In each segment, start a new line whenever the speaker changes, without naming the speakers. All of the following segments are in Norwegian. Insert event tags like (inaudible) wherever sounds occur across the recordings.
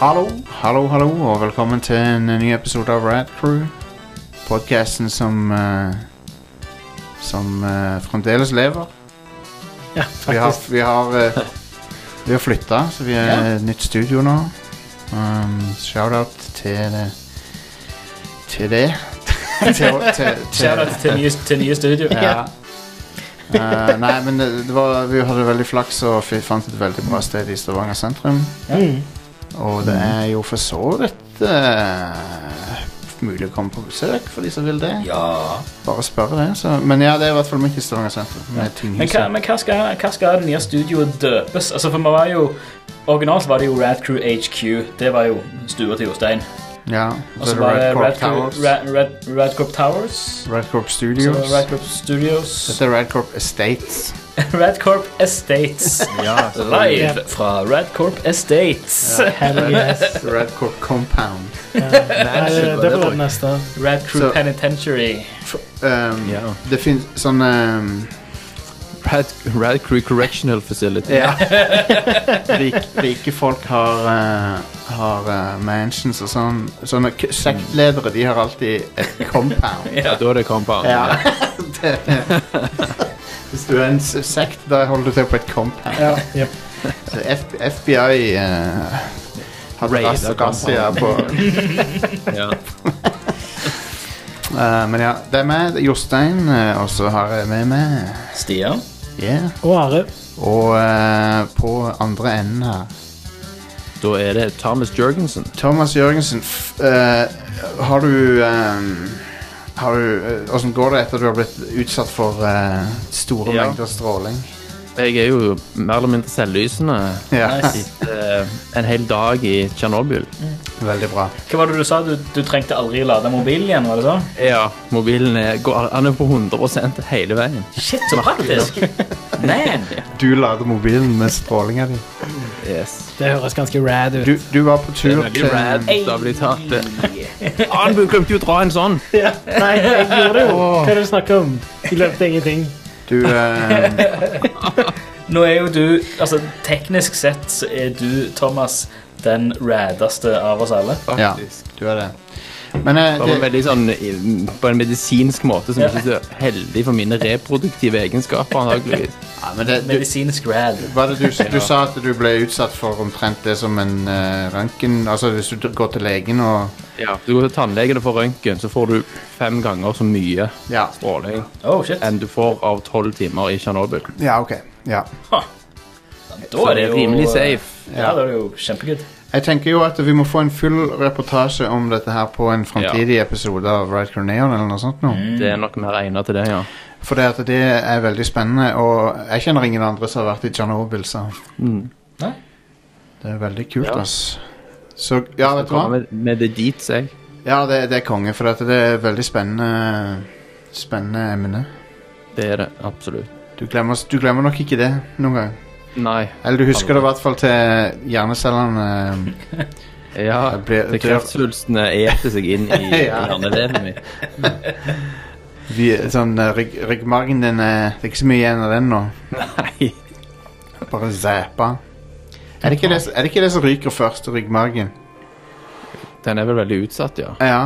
Hallo, hallo, hallo, og velkommen til en eh, ny episode av Rad Crew. Podcasten som eh, Som eh, fremdeles lever.
Ja,
Vi har,
faktisk.
vi har, eh, vi har flytta, så vi er et nytt studio nå. Um, Shout-out til eh, Til det. til, til, til,
Shoutout til nye, til nye studio.
ja. Eh, nei, men det, det var, vi hadde veldig flaks og vi fant et veldig bra sted i Stavanger sentrum.
Mm.
Og det er jo for så vidt eh, mulig å komme på besøk for de som vil det.
Ja.
Bare spørre det. Så. Men ja, det er i hvert fall mitt Stavanger sentrum. Med
Men, hva,
tinghuset.
men hva, skal, hva skal det nye studioet døpes? Altså, for vi var jo Originalt var det jo Rad Crew HQ. Det var jo stua til Jostein.
Ja,
Og
så
så
Altså, er
var
det
det
Red
Rad
Corp
Crew,
Towers.
Rad, Rad, Rad Corp Towers.
Red Corp
Så
Studios.
Rad Corp Studios.
Dette er Red Corp Estates.
(laughs) Rad Corp Estates.
Ja, så det er
Live fra Rad Corp Estates.
Hell yes. (laughs)
Red Corp Compound.
Ja. Nei, det, det får være det neste.
Rad Crew
Så-
Penitentiary.
Um,
Ja.
Det fins sånn um,
Rad, Rad Crew Correctional Facility.
ja. (laughs) Rik, rike folk har, eh, har eh, mansions og sånn. Sånne k- sektledere de har alltid et compound.
Ja, da er det compound.
Ja. (laughs) Det- Hvis du er en s- sekt, da holder du til på et compound.
Ja, jep.
Så F FBI eh, hadde
Raid
rass-
av
razzia på
Ja.
Eh, Men ja, det er meg, det er Jostein, eh, og så har jeg med meg
Stian.
yeah.
Og Are.
Og eh, på andre enden her
Da er det Thomas Jørgensen.
Thomas Jørgensen, f eh, har du eh, har du, eh, Hvordan går det etter du har blitt utsatt for eh, store
Ja.
mengder stråling?
Jeg er jo mer eller mindre selvlysende.
Ja,
Nice.
Etter en hel dag i Tsjernobyl.
(laughs) Veldig bra.
Hva var det du sa? Du, du trengte aldri lade mobilen igjen? var det så?
Ja, mobilen er, går, han er på 100 hele veien.
Shit, så praktisk! (laughs) Man!
Du lader mobilen med strålinga di.
Yes.
Det høres ganske rad ut.
Du, du var på tur
veldig rad.
til
Da blir det tatt, det. (laughs) Han glemte jo å dra en sånn!
Ja. Nei, jeg gjorde det jo. Hva er det du snakker om? Jeg løpte ingenting.
Du, eh,
Nå er jo du Altså, teknisk sett så er du, Thomas, den raddeste av oss alle.
ja,
Faktisk.
du er det. Men eh,
Bare
det,
veldig sånn i- på en medisinsk måte som
Ja.
ikke er så heldig for mine reproduktive egenskaper, antakeligvis.
ja, men det du,
Medisinsk rad.
Var det du, du sa at du ble utsatt for omtrent det som en eh, røntgen Altså hvis du går til legen og
Ja. Du går til tannlegen og får røntgen, så får du fem ganger så mye
Ja,
stråling
Oh, shit.
enn du får av tolv timer i Tsjernobyl.
ja ok. Ja.
Da
Så
er
det
det
er
jo
rimelig safe.
Ja, da er det jo kjempegood.
Jeg tenker jo at vi må få en full reportasje om dette her på en framtidig episode av Ride Corneon eller noe sånt nå.
Mm.
Det er nok mer egnet til det, ja.
For det, at det er veldig spennende, og jeg kjenner ingen andre som har vært i Tsjernobyl, så
Mm.
Nei.
Det er veldig kult,
Ja.
ass. Så, ja, vet du hva?
Kommer Med, med det dit, sier jeg.
Ja, det, det er konge, for dette, det er veldig spennende Spennende emne.
Det er det absolutt.
Du glemmer, du glemmer nok ikke det noen gang.
Nei.
Eller du husker det i hvert fall til hjernecellene eh,
Ja,
Jeg blir-
det kreftsvulstene eter seg inn
(laughs)
i i
Ja.
hjernevevet mitt.
vi, Sånn eh, rygg, ryggmargen din eh, Det er ikke så mye igjen av den nå.
Nei.
Bare zæpa. Er det, ikke det, er det ikke det som ryker først? Ryggmargen?
Den er vel veldig utsatt, ja.
Ja.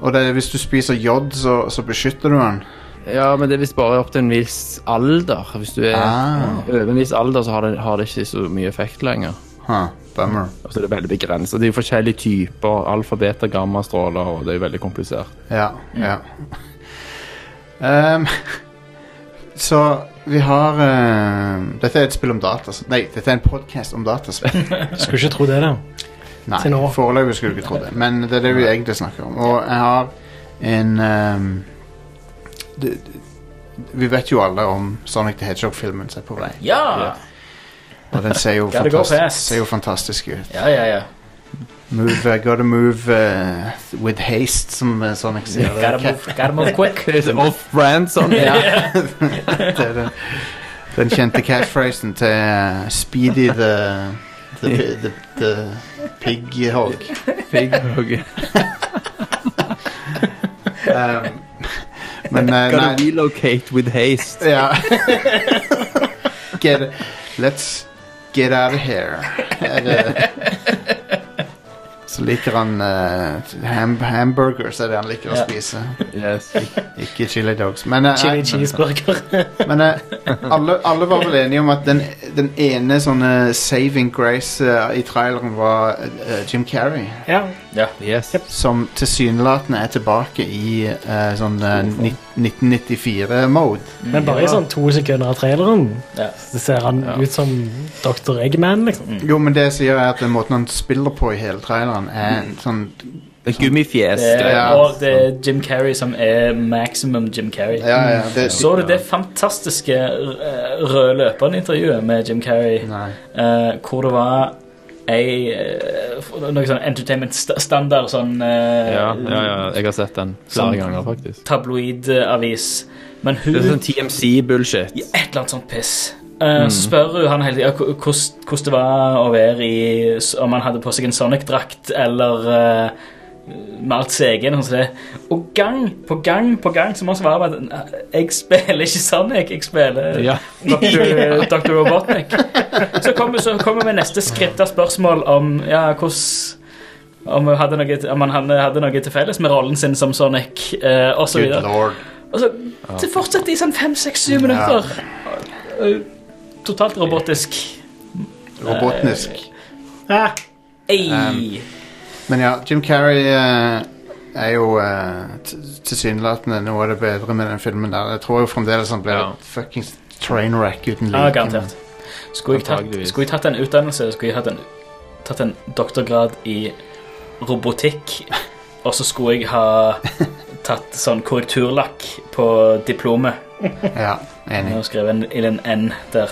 Og det, er hvis du spiser jod, så, så beskytter du den.
Ja, men det er visst bare opp til en viss alder. Hvis du er
Ah.
over en viss alder, så har det, har det ikke så mye effekt lenger.
Huh, bummer.
Og så er det veldig begrenset. Det er jo forskjellige typer. Alfa, beta, gamma, stråler, og det er jo veldig komplisert.
Ja, ja. Ehm, så vi har ehm, Dette er et spill om dataspill. Nei, dette er en podkast om
(laughs)
dataspill.
Skulle ikke tro det, da.
Nei,
Til nå.
foreløpig skulle du ikke tro det, men det er det vi egentlig snakker om. Og jeg har en ehm, det, Vi vet jo alle om Sonic the Hedgehog-filmen som er på vei.
Ja!
Og den ser jo,
(laughs) Gotta go
fantastisk-
fast.
ser jo fantastisk ut.
Ja, ja, ja.
Move, uh, gotta move uh, with haste, som uh, Sonic sier.
Gotta move, gotta move
(laughs)
quick.
Det er så off-brand sånn.
Ja. det er den, den kjente catchphrasen til uh, Speedy the, the, pi- the, the Pig Hog.
Fig, og
Um, men uh,
Gotta
nei
relocate with haste.
ja. get, Let's get out of here. Er det- så liker han eh, ham hamburgers, er det han liker å
Ja.
spise.
Yes.
Ikke chili dogs. Men, eh,
Chili
nei,
cheeseburger.
men eh, alle, alle var vel enige om at den, den ene sånne saving grace eh, i traileren var eh, Jim Carrey.
ja.
yes.
Som tilsynelatende er tilbake i eh, sånn 1994-mode.
Men bare i sånn to sekunder av traileren
Ja.
så ser han
Ja.
ut som Dr. Eggman, liksom.
Jo, men det jeg sier er at den måten han spiller på i hele traileren, er
Mm.
sånn
En gummifjes.
Det er,
Ja.
Og det er Jim Carrey som er maximum Jim Carrey.
Ja, ja. Det,
Så du det fantastiske eh, røde løperen-intervjuet med Jim Carrey?
Nei.
eh, hvor det var ei eh, Noe sånn entertainment sta- standard sånn eh,
Ja, ja, ja, jeg har sett den flere
Sånn.
ganger, faktisk.
tabloidavis. Men hun
Det er
i
sånn TMC-bullshit.
Et eller annet sånt piss. Eh,
Mm.
Så spør hun han hele tida hvordan det var å være i s- Om han hadde på seg en Sonic-drakt eller eh, med alt seg egen. og sånn som det. Og gang på gang på gang så må han svare på at eh, jeg spiller ikke Sonic, jeg spiller
Ja.
Dr. Dr. Robotnik. Så kommer, så kommer vi neste skritt av spørsmål om ja, hvordan om hun hadde noe, om han hadde noe til felles med rollen sin som Sonic eh, og så
Good
videre
lord.
Og så det fortsetter i sånn fem, seks, syv minutter. Eh, Totalt robotisk. Eh,
Robotnisk.
Ah,
Ei.
Um, Men ja, Jim Carrey eh, er jo eh, t- tilsynelatende noe av det bedre med den filmen der. Jeg tror jo fremdeles han blir
Ja.
et fuckings train wreck uten
ja,
like.
garantert. Skulle jeg, tatt,
Antageligvis.
skulle jeg tatt en utdannelse, skulle jeg hatt en, tatt en doktorgrad i robotikk, og så skulle jeg ha tatt sånn korrekturlakk på diplomet.
Men- Ja,
Jeg
enig.
har skrevet en, eller en N der.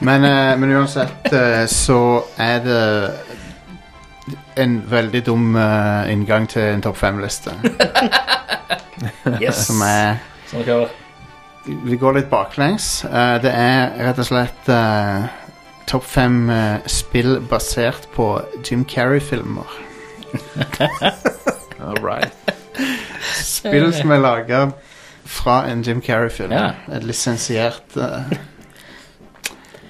Men, eh, men uansett eh, så er det en veldig dum eh, inngang til en topp fem-liste.
Yes.
Som er
Som dere hører.
Vi går litt baklengs. Eh, det er rett og slett eh, topp fem eh, spill basert på Jim Carrey-filmer.
All right.
Spill som er laga fra en Jim Carrey-film.
Ja.
Et Lisensiert eh.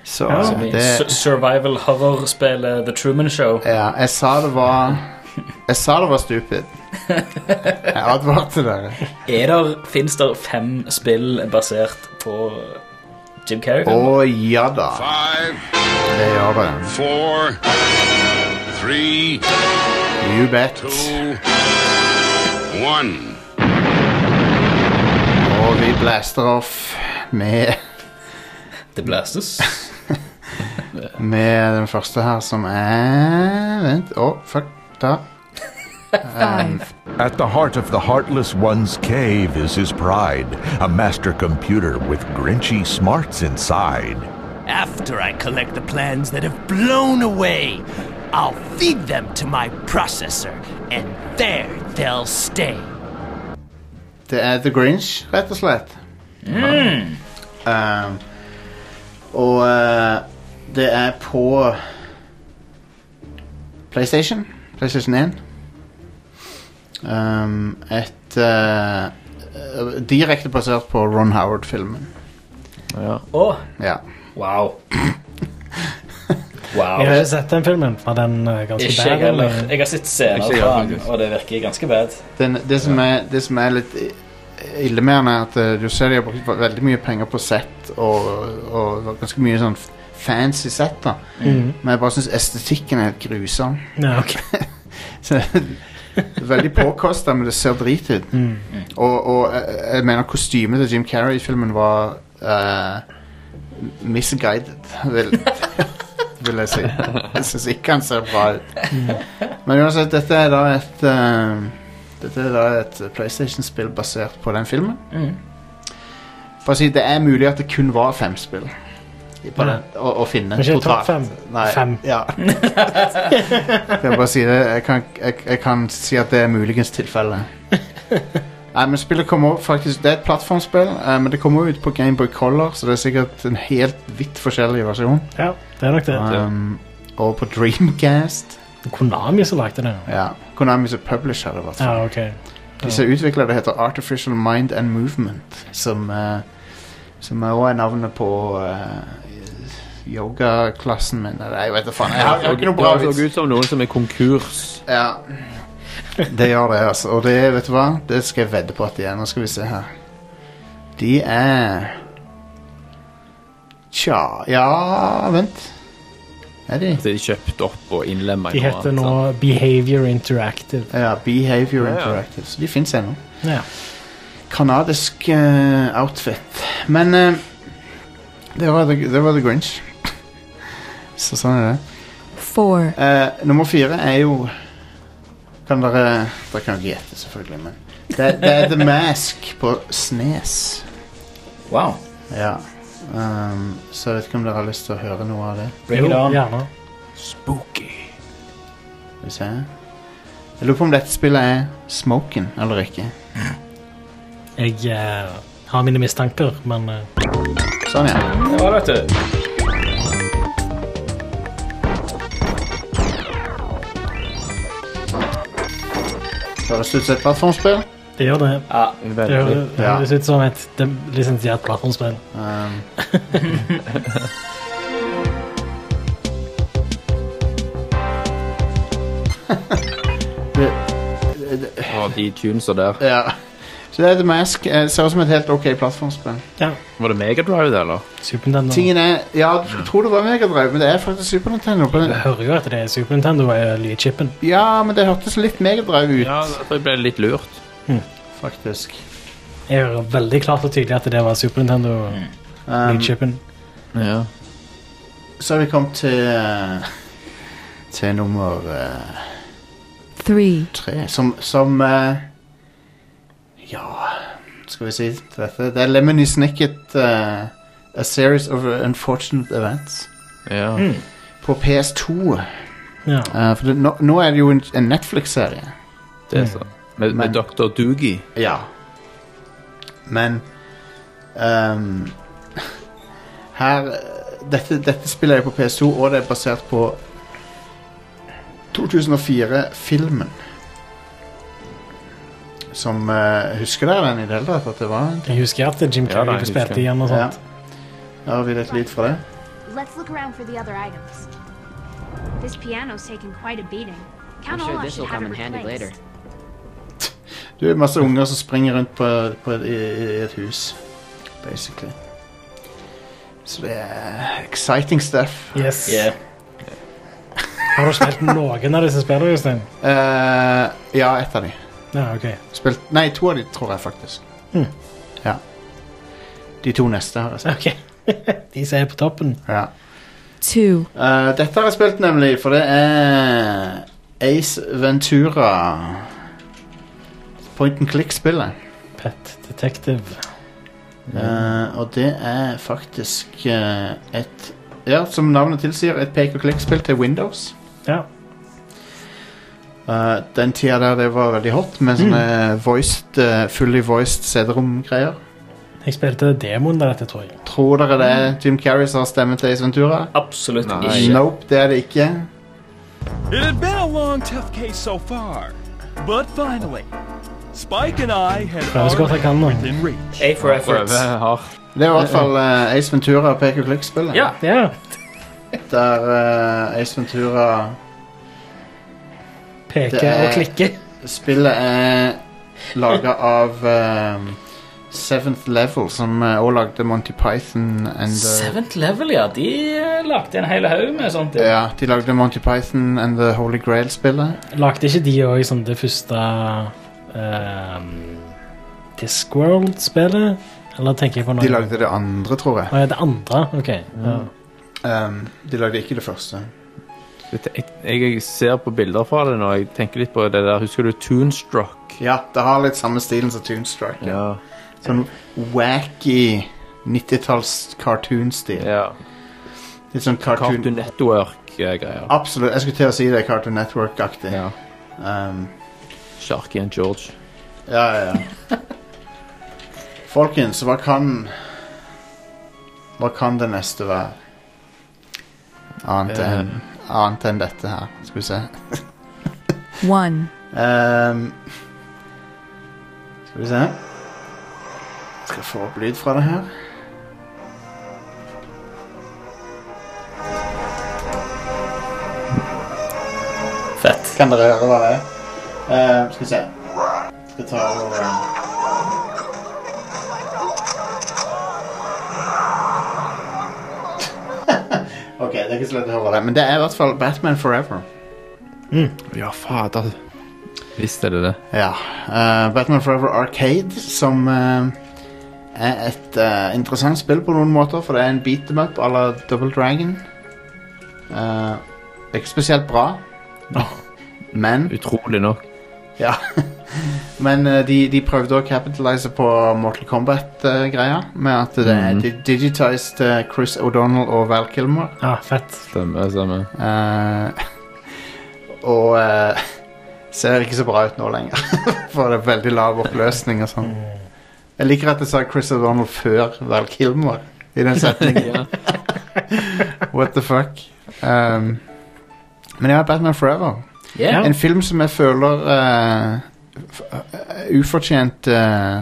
Så
Ja,
Som i su-
det
survival horror-spillet The Truman Show.
Ja, jeg sa det var Jeg sa det var stupid. Jeg advarte dere.
Er der, Fins der fem spill basert på Jim Carrey?
Å ja da.
Five,
Det gjør det.
four, three,
You bet.
two, one.
Og vi blaster off med,
Det blastes.
med den første her, som er Vent. Å, fuck. Da.
At the heart of the Heartless One's cave is his pride, a master computer with grinchy smarts inside.
After I collect the plans that have blown away, I'll feed them to my processor, and there they'll stay.
Det er The Grinch, rett og slett. Um, og eh, det er på PlayStation. PlayStation 1. Um, et eh, eh, Direkte basert på Ron Howard-filmen.
Ja.
Å,
Ja.
wow. Wow.
Jeg har ikke sett den filmen. Var den eh, ganske
Ikke jeg
bad?
heller.
eller?
Jeg har sett scener
Ikke jeg
fra den,
faktisk.
og det virker ganske bad.
Den, det, som er, det som er litt i- ille med den, er at eh, du ser de har brukt veldig mye penger på sett, og, og ganske mye sånn f- fancy sett. da
Mm.
Men jeg bare syns estetikken er helt grusom.
Ja, ok.
Så, (laughs) veldig påkosta, men det ser drit ut.
Mm.
Og, og jeg, jeg mener kostymet til Jim Carrey i filmen var eh, misguided, vil, vil jeg si. Jeg syns ikke han ser bra ut. Men uansett, dette er da et eh, Dette er da et PlayStation-spill basert på den filmen.
Mm.
For å si, Det er mulig at det kun var fem spill på
Ja.
den, å, å finne.
Men ikke topp
totalt.
fem.
Nei,
Fem.
Ja. Skal jeg bare si det? Jeg kan, jeg, jeg kan si at det er muligens tilfellet. Nei, men spillet kommer faktisk Det er et plattformspill, eh, men det kommer ut på Gameboy Color, så det er sikkert en helt vidt forskjellig versjon.
Ja, det er nok det.
Um, og på Dreamcast.
Konami som lagde den.
Ja. Konami som publisher det, i
(laughs)
hvert fall.
Ja, ok.
De som utvikler det, heter Artificial Mind and Movement, som, eh, som er også er navnet på eh, yogaklassen min. Eller jeg vet da faen. Jeg har, jeg har ikke noe bra
Det
vits.
så ut som noen som er konkurs.
Ja. Det gjør det, altså. Og det, vet du hva? Det skal jeg vedde på at de er. Nå skal vi se her. De er Tja Ja, vent. Er de?
Så de er kjøpt opp og innlemma
De heter nå Behavior Interactive.
Ja, Behavior
Ja, ja.
Interactive. Så de fins ennå.
Ja.
Kanadisk eh, outfit. Men eh, det, var the, det var The Grinch. (laughs) Så sånn er det.
four,
Eh, nummer fire er jo Kan dere Dere kan jo ikke gjette, selvfølgelig, men det, det er The Mask på Snes.
Wow.
Ja. Um, så jeg vet ikke om dere har lyst til å høre noe av det.
Bring it
Jo,
on.
Gjerne.
Spooky.
Skal vi se. Jeg lurer på om dette spillet er Smoken eller ikke.
Jeg eh, har mine mistanker, men eh,
Sånn, ja.
Det var det, vet du.
Høres ut som et plattformspill.
det gjør det.
Ja.
Det
Veldig.
hø-
Ja.
høres ut som et dem- lisensiert plattformspill.
Um. det,
Og de tunesa der.
ja. Så det er The Mask. eh, Ser ut som et helt ok plattformspill.
Ja.
Var det Megadrive, det, eller?
Super Nintendo.
Tingen er Ja, du skulle tro det var Megadrive, men det er faktisk Super Nintendo. på den.
Jeg hører jo at det er Super Nintendo er lydchipen.
Ja, men det hørtes litt Megadrive ut,
Ja, jeg ble litt lurt.
faktisk.
Jeg hører veldig klart og tydelig at det var Super Nintendo
Mm.
Um,
lydchipen.
Ja.
så er vi kommet til eh, Til nummer eh,
three,
tre, som, som eh, Ja Skal vi si til dette? Det er Lemony Snicket eh, A Series of Unfortunate Events
ja.
på PS2.
Ja.
Eh, for det, nå, nå er det jo en, en Netflix-serie.
Det er så. Med,
Men-
med Dr. Doogie.
Ja. Men ehm, Her dette, dette spiller jeg på PS2, og det er basert på 2004-filmen. Som eh, Husker dere den i det hele tatt? At det var en
Jeg husker at Jim
Ja, da,
Carrey
jeg
spilte
husker.
igjen og sånt.
Ja. Har vi litt lyd fra det?
Let's look around for the other items. This piano's taken quite a beating. Count
I'm sure
Olaf
this
should
will
have
come
it
in handy
replaced.
later.
Du er masse unger som springer rundt på, på et, i, i et hus, basically. Så det er exciting stuff.
Yes.
Yeah.
Har du spilt noen av disse spillene, Jostein?
Eh, ja, ett av de.
Ja, ok.
Spilt, nei, to av de tror jeg faktisk.
Mm.
Ja. De to neste har jeg spilt.
Ok. (laughs) De som er på toppen.
Ja.
two,
Eh, dette har jeg spilt nemlig, for det er Ace Ventura. Point and click-spillet.
Pet Detective.
Eh, og det er faktisk eh, et Ja, som navnet tilsier, et pek og klikk-spill til Windows.
Ja.
Eh, den tida der det var veldig hot, med sånne voiced, eh, fully voiced CD-rom-greier.
Jeg spilte demoen der, dette, tror jeg.
Tror dere det er Jim Carrey som har stemmen til Ace Ventura?
Absolutt
Nei.
ikke.
Nope, det er det ikke.
It had been a long, tough case so far, but finally, Spike and I had
Prøver så godt jeg kan nå.
within reach.
A for effort.
Prøve hardt.
Det er i hvert fall eh, Ace Ventura og Pek og Klikk-spillet.
Ja.
Ja.
Der eh, Ace Ventura
Peke
Det er-
og klikke.
Spillet er laga av eh, Seventh Level, som òg lagde Monty Python and the,
Seventh Level, ja. De eh, lagde en hel haug med sånt. ja.
Ja, de lagde Monty Python and The Holy Grail-spillet.
Lagde ikke de òg sånn det første ehm, Discworld-spillet? Eller tenker jeg på noe?
De lagde det andre, tror jeg.
Å, ja, det andre? Ok. Ja.
Um, de lagde ikke det første.
Jeg, jeg ser på bilder fra det nå. Jeg tenker litt på det der. Husker du Toonstruck?
Ja, det har litt samme stilen som Toonstrike.
Ja.
Sånn wacky 90-talls cartoon-stil.
ja.
Litt sånn cartoon...
Cartoon Network-greier.
Absolutt. Jeg skulle til å si det er Cartoon Network-aktig.
Ja.
Um,
Sharky and George.
ja, ja, ja. Folkens, hva kan Hva kan det neste være? Um, Annet enn annet enn dette her. Skal vi se.
one,
Um, skal vi se Skal jeg få opp lyd fra det her. Kan dere høre hva det er? Eh, skal vi se. Skal ta over eh. (laughs) Ok, det er ikke så lett å høre det, men det er i hvert fall Batman Forever.
Ja, fader. Visst er det det.
Ja. eh, Batman Forever Arcade, som eh, er et eh, interessant spill på noen måter, for det er en beat them up à la Double Dragon. Eh, det er ikke spesielt bra, men
Utrolig nok.
Ja. Men eh, de, de prøvde å capitalise på Mortal Kombat-greia. med at det er
Mhm.
di- digitized eh, Chris O'Donnell og Val Kilmer.
Ah, fett.
Stemmer, stemmer.
Eh, (laughs) og eh, ser ikke så bra ut nå lenger. (laughs) For det er veldig lav oppløsning og sånn. Jeg liker at jeg sa Chris O'Donnell før Val Kilmer i den
(laughs)
setningen. What the fuck? Um, men ja, Batman Forever.
Yeah.
En film som jeg føler eh, f- eh, ufortjent eh,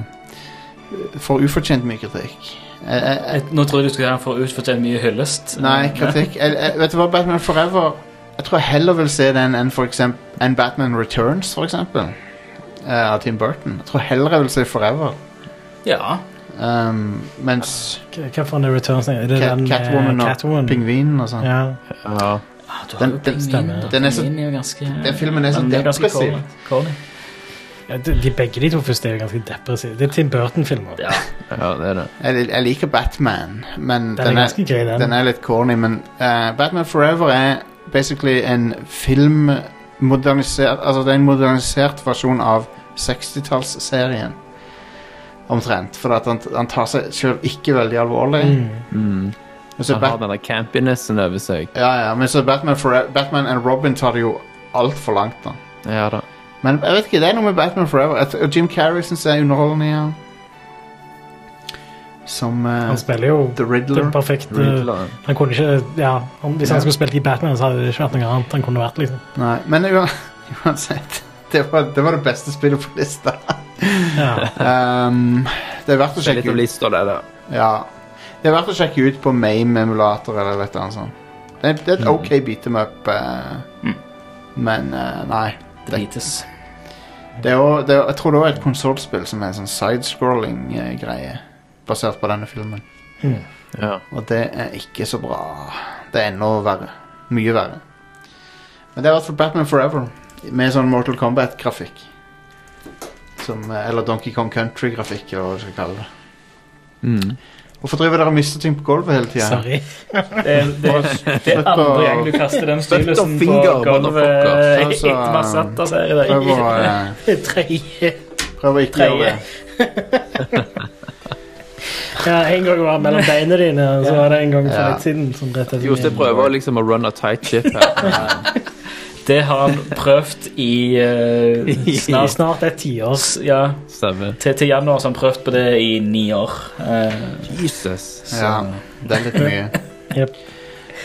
Får ufortjent mye kritikk. Eh, eh, eh,
Et- Nå tror jeg du skulle ha for utfortjent mye hyllest.
nei, kritikk jeg, jeg, Vet du hva, Batman Forever Jeg tror jeg heller vil se den enn for eksempel, enn Batman Returns, for eksempel. eh, av Tim Burton. Jeg tror heller jeg vil se Forever.
Ja. Ah,
Um, mens
Hva hva for en returns er det?
Cat,
den, eh,
Catwoman og Pingvinen og sånn
Ja.
Ja.
Ah, du har
Den-
jo
den-
pingvinen,
stemmer.
da.
Den er så-
Pingvinen jo ganske,
den filmen er så
den ganske
depressiv.
corny- corny.
Ja, de, de, begge de to første er jo ganske depressive. Det er Tim Burton-filmer.
Ja.
ja, det er det.
jeg, jeg liker Batman, men
Den er ganske gøy, den.
den er litt corny, men eh, Batman Forever er basically en film modernisert Altså, det er en modernisert versjon av 60-tallsserien. Omtrent. For at han, han tar seg sjøl ikke veldig alvorlig.
Mm.
Men så
Han har
Bat
denne campinessen over seg.
ja, ja, men så Batman, Forever, Batman and Robin tar det jo altfor langt, da.
Ja da.
Men jeg vet ikke, det er noe med Batman Forever. At, og Jim Carrey syns jeg er underholdende i han. Som eh,
Han spiller jo
The Riddler.
den perfekte
Riddler.
Han kunne ikke Ja, om, hvis
Ja.
han skulle spilt i Batman, så hadde det ikke vært noe annet han kunne vært, liksom.
Nei, men ua- (laughs) uansett det var, det var det beste spillet på lista.
Ja.
Ehm, det er verdt å
Det er litt
sjekke
om
ut.
lista, det der.
Ja. Det er verdt å sjekke ut på MAME-emulator eller et eller annet sånt. Det er,
Mm.
det er et ok beat em up, eh, men eh, nei.
Det bites.
Det er også, det er, jeg tror det er et konsollspill som er en sånn sidescrolling-greie, basert på denne filmen.
Ja.
Og det er ikke så bra. Det er enda verre. Mye verre. Men det er i hvert fall Batman Forever, med sånn Mortal Kombat-grafikk. Som, eh, Eller Donkey Kong Country-grafikk, eller hva du skal kalle det.
Mm.
Hvorfor driver dere og mister ting på gulvet hele tida?
Sorry.
Det, det, det er andre gang du kaster den stylusen på
finger, motherfucker.
gulvet. (laughs)
Altså,
Etter man satt der, så er det
Prøv å,
ikke-
eh,
Tredje.
prøv å ikke
Tredje.
gjøre det.
Ja, en gang var det
(laughs)
mellom beina dine, og så var det en gang for
Ja.
litt siden. Som rett etter
Jostein prøver liksom å run a tight ship her.
Det har han prøvd i
(laughs)
eh,
Ja,
snart
snart et tiår.
Ja,
(laughs) Stemmer.
til, til januar så har han prøvd på det i ni år. Eh,
Jesus.
Ja, det er litt mye.
Jep.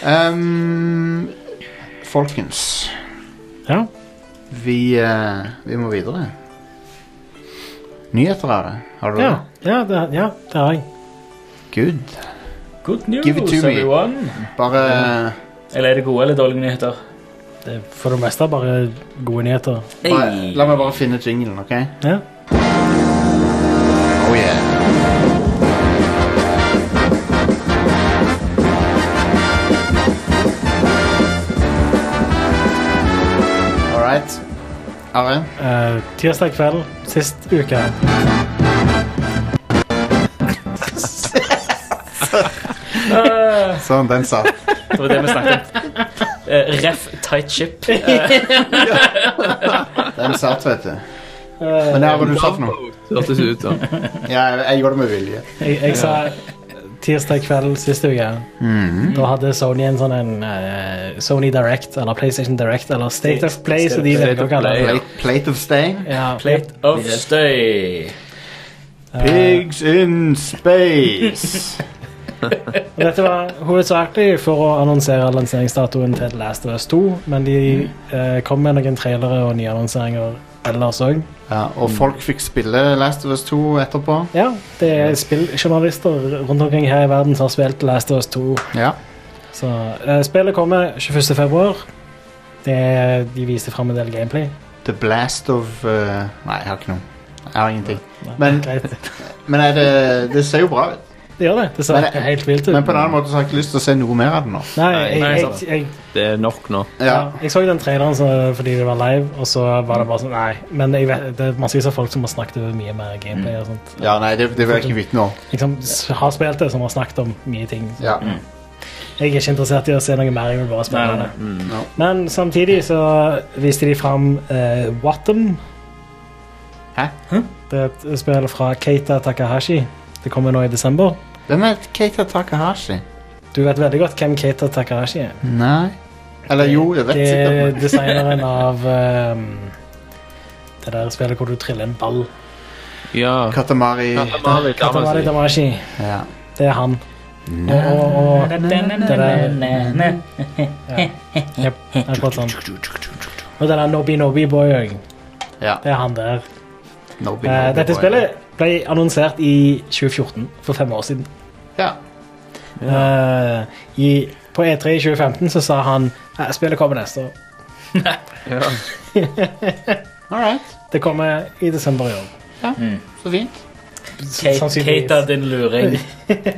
Ehm, folkens,
Ja.
vi, eh, vi må videre. Nyheter er det. Har du
Ja,
det?
ja, det, ja, det har jeg.
Good.
good news,
Give it to me.
everyone.
Bare
Eller er det gode eller dårlige nyheter?
Det er for det meste bare gode nyheter.
Bare- La meg bare finne jinglen, OK?
Ja.
Oh yeah. All right. Are,
Eh, tirsdag kveld sist uke.
sånn, den satt.
Det var det vi snakket om. Eh, ref tight ship. Eh,
Den satt, vet du.
Eh,
Men det er hva du sa for noe.
Hørtes ut som.
Ja, jeg, jeg gjorde det med vilje.
Jeg, jeg sa tirsdag kveld siste uke.
Mhm.
Da hadde Sony en sånn en eh, Sony Direct, eller PlayStation Direct, eller State of Play, som de
State
velger å
of
kalle det.
Play.
Plate, plate of stain.
Ja,
plate of støy.
Pigs in space.
og dette var hovedsakelig for å annonsere lanseringsdatoen til The Last of Us 2, men de
Mm.
eh, kom med noen trailere og nye annonseringer ellers òg.
Ja, og folk fikk spille Last of Us 2 etterpå.
Ja, det er spilljournalister rundt omkring her i verden som har spilt The Last of Us 2.
Ja.
Så eh, spillet kommer 21. februar. Det, de viste fram en del gameplay.
The Blast of eh, Nei, jeg har ikke noe. Jeg har ingenting.
Nei,
Men-
greit.
Men er det, det ser jo bra ut.
Det gjør det. Det ser
Men-
helt vilt ut.
Men på en annen måte så har jeg ikke lyst til å se noe mer av det nå.
Nei, jeg,
Nei,
jeg,
sant.
jeg,
Det er nok nå.
Ja,
ja, jeg så den traileren så, fordi det var live, og så var det bare sånn Nei. Men jeg vet, det er massevis av folk som har snakket over mye mer gameplay og sånn. sånt.
ja nei, det, det vil jeg ikke vite nå.
Liksom s- har spilt det, som har snakket om mye ting. Så
Ja.
Jeg er ikke interessert i å se noe mer. Jeg vil bare spille
Nei, nei,
det. Men samtidig så viste de fram uh, Wattam.
Hæ?
Det er et spill fra Keita Takahashi. Det kommer nå i desember.
Hvem er Keita Takahashi?
Du vet veldig godt hvem Keita Takahashi er.
Nei Eller jo, jeg vet
Det er
sikkert.
designeren av ehm, det der spillet hvor du triller en ball.
Ja.
men- Katamari
Katamari
Katamari
Damacy.
Damashi.
Ja.
Det er han. Og, og, og jep, akkurat sånn. Og den der Nobby Nobby Boy òg.
Ja.
Det er han der.
Nobby,
Eh,
Nobby
dette
Boy.
spillet ble annonsert i 2014, for fem år siden.
Ja.
Eh, i, på E3 i 2015 så sa han at spillet kommer neste år.
Ja.
All right.
Det kommer i desember i år.
Så fint.
Kate-
sannsynligvis.
Kate er din luring.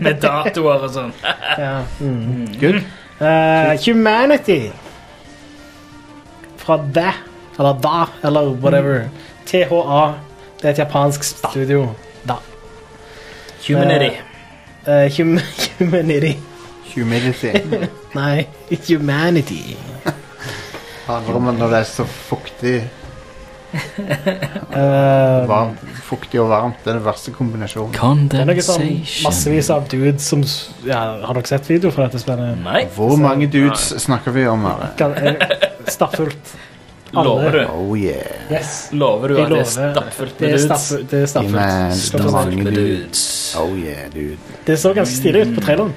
Med datoer og sånn.
Ja. Mm.
Good.
Eh, humanity fra Da, eller Da, eller whatever. THA. Det er et japansk studio. Da.
Humanity.
Eh, hum (laughs) humanity.
(laughs) Humidity.
Nei, Humanity.
Handler om når det er så fuktig,
Eh,
varmt, fuktig og varmt. Det er den verste kombinasjonen.
det er noe sånn massevis av dudes som s- ja, Har dere sett video fra dette spillet?
Nei,
Hvor mange dudes snakker vi om her?
Kan- eh, Stappfullt.
(laughs) lover du?
Oh yeah.
Yes.
Lover du
Jeg
at det er
lover.
stappfullt
Det
med
er
dudes?
stappfullt. Det, er
Gi meg
stappfullt.
det er
Stappfullt.
mange
Med
dudes.
dudes.
Oh yeah, dude.
Det så ganske stilig ut på traileren.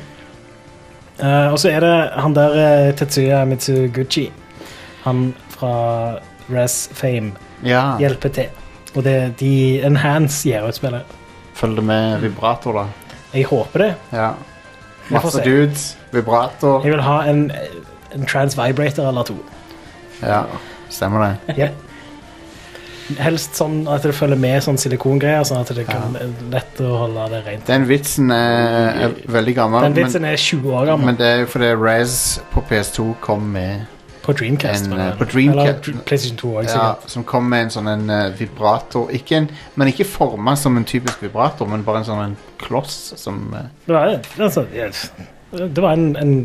Eh, og så er det han der eh, Tetsuya Mitsuguchi. Han fra Res Fame
Ja.
hjelper til. Og det de enhance gir ut spillet.
Følg det med vibrator, da.
Jeg håper det.
Ja.
Vi får
Masse
se.
dudes, vibrator.
Jeg vil ha en, en trans vibrator eller to.
Ja, stemmer det.
Jep. Helst sånn at det følger med sånn silikongreier, sånn at det kan er lett å holde det rent.
Den vitsen er, er veldig gammel,
Den vitsen er 20 år
men,
gammel
men det er jo fordi Rez på PS2 kom med
på Dreamcast.
en,
mener jeg.
eh, på Dreamcast-
Eller PlayStation 2 også,
ja,
sikkert.
Som kom med en sånn en eh, vibrator ikke en, Men ikke forma som en typisk vibrator, men bare en sånn en kloss som eh,
Det var, altså, yes. det var en, en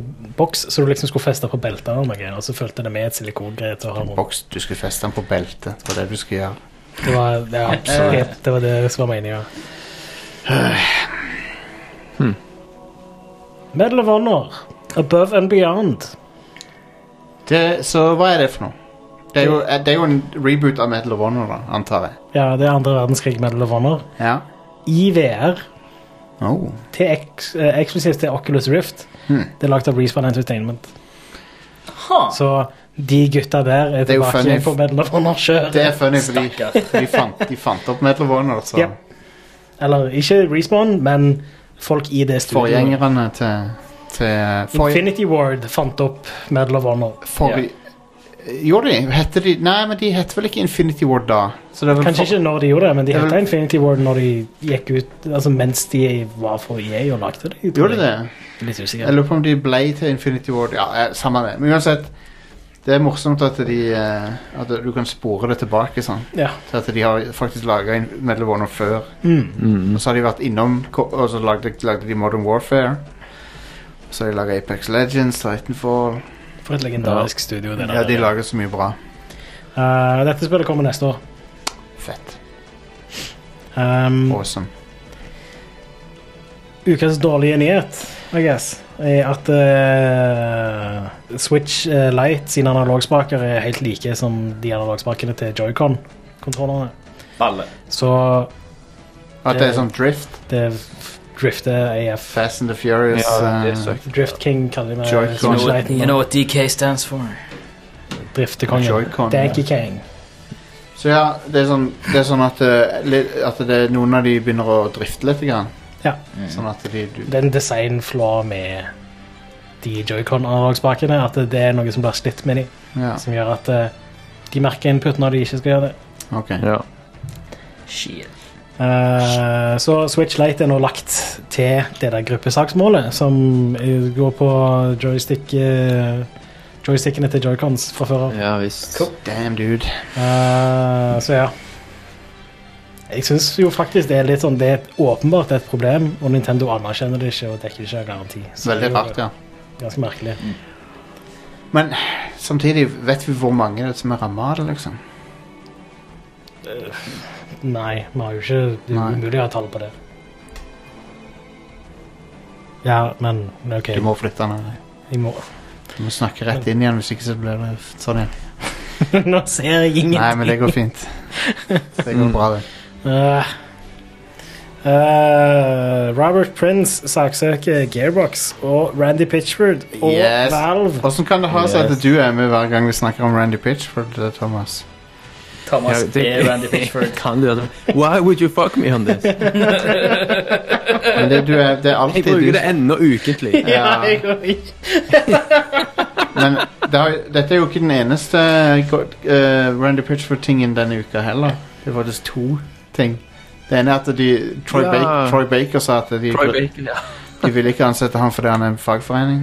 boks som du liksom skulle feste på beltet, og noe, greier, og så fulgte det med et silikongreie til å ha rundt.
boks du skulle feste den på beltet. Det var det du skulle gjøre.
Det var det, var
Eh.
absolutt, det, var det som var meninga.
Hmm.
Medal of Honor, Above and Beyond.
Det, så hva er det for noe? Det er, jo, eh, det er jo en reboot av Metal of Honor, da, antar jeg.
Ja, det er andre verdenskrig Medal of Honor.
Ja.
I VR,
Oh.
til eks- eh, eksklusivt til Oculus Rift.
Hmm.
Det er lagd av Respawn Entertainment.
Ha,
Så de gutta der er
Det er jo
tilbake
funny.
igjen på Medal of Honor sjøl.
Det er funny, fordi
Stakkar.
de fant, de fant opp altså. Metal of Honor, så
Ja. Eller ikke Respawn, men folk i det studioet.
forgjengerne til, til forgj-
Infinity Ward fant opp Medal of Honor.
For, Gjorde de? Hette de? Nei, men de hette vel ikke Infinity Ward da? Så det er vel
Kanskje
for,
ikke når de gjorde det, men de
Det er
heta
vel-
Infinity Ward når de gikk ut Altså mens de var for EA og lagde det. tror
Gjorde de
jeg.
det?
Litt
Jeg
usikker.
lurer på om de ble til Infinity Ward. Ja, eh, samme det. Men uansett, det er morsomt at, de, eh, at du kan spore det tilbake sånn.
Ja.
Til at de har faktisk laga Medal of Honor før.
Hmm.
Mm.
Og så har de vært innom ko- Og så lagde, lagde de Modern Warfare. Så har de laga Apex Legends, Titanfall
For et legendarisk studio. Det der.
Ja, de lager så mye bra.
Eh, dette spillet kommer neste år.
Fett.
Um,
Awesome.
ukas dårlige nyhet, I guess, er at eh, Switch eh, Lite sine analogspaker er helt like som de analogspakene til Joy-Con-kontrollerne.
balle.
Så
At det er sånn Drift,
det f- drifter AF.
Fast and the Furious
Ja, det
eh,
søker.
Drift King kaller de med
Joy-Con.
You know,
Switch
what,
Liten.
you know what DK stands for?
Driftekongen.
Joy-Con,
Danky Kang.
Så ja, det er sånn, det er sånn at, eh, li- at det er noen av de begynner å drifte litt. Grann.
Ja.
Mm.
Sånn at de du,
Det er en designflaw med de Joy-Con-analogsspakene. At det er noe som blir slitt med dem.
Ja,
som gjør at eh, de merker input når de ikke skal gjøre det.
ok.
Ja.
Shit.
Eh, så Switch Lite er nå lagt til det der gruppesaksmålet, som eh, går på joystick eh, joystickene til joycons fra før av.
Ja visst.
Damn, dude.
Eh, så ja. Jeg syns jo faktisk det er litt sånn Det er åpenbart et problem, og Nintendo anerkjenner det ikke og dekker det ikke av garanti. Så
Veldig
det er jo
rart, ja.
Ganske merkelig.
Men samtidig, vet vi hvor mange det er som er ramma av det, liksom?
Nei, vi har jo ikke Det er
Nei.
jo umulig å ha tall på det. Ja, men OK.
Du må flytte den. eller?
Jeg må (laughs)
Du må snakke rett inn igjen, hvis ikke så blir det f- sånn igjen.
Nå ser jeg ingen
Nei, men det går fint. Det
(laughs)
går bra, det.
Eh, eh, Robert Prince saksøker Gearbox og Randy Pitchford og
Yes.
Valve.
Hvordan kan det ha seg at du er med hver gang vi snakker om Randy Pitchford, eh, Thomas?
Thomas
Ja, det-
er Randy
(laughs)
Pitchford.
Kan du det? Why would you fuck me on (laughs) this?
Men det, du er, det er
Jeg
alltid
bruker
du
det ennå (laughs) ukentlig.
(laughs)
Ja.
jeg går ikke.
Men det har, dette er jo ikke den eneste go- eh, Randy Pitchford-tingen denne uka heller. Det var faktisk to ting. Det ene er at de, Troy,
Ja.
Baker, Troy Baker sa at de,
Troy Baker, ja.
de ville ikke ansette han fordi han er en fagforening.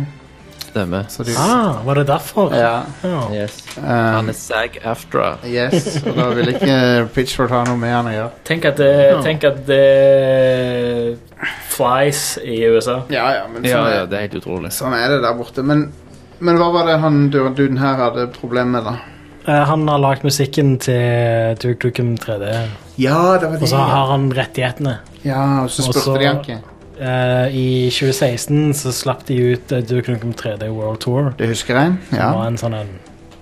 Stemmer.
Så de,
Ah, var det derfor?
ja,
Ja.
Yes.
eh,
Han er SAG-AFTRA.
yes, og da ville ikke eh, Pitchford ha noe med han å gjøre.
Tenk at det, tenk at det flies i USA.
Ja, ja, men
Ja,
sånn,
ja,
er,
det er helt utrolig.
sånn er det der borte. Men, men hva var det han du- duden her hadde problemer med, da?
Eh, han har lagd musikken til Duke Dukem 3D,
Ja, det var
og så har han rettighetene.
Ja, og så
Og
spurte
så-
de han ikke.
Eh, I 2016 så slapp de ut eh, Duke Dukem 3D World Tour.
Det husker jeg.
Det var
Ja.
en sånn en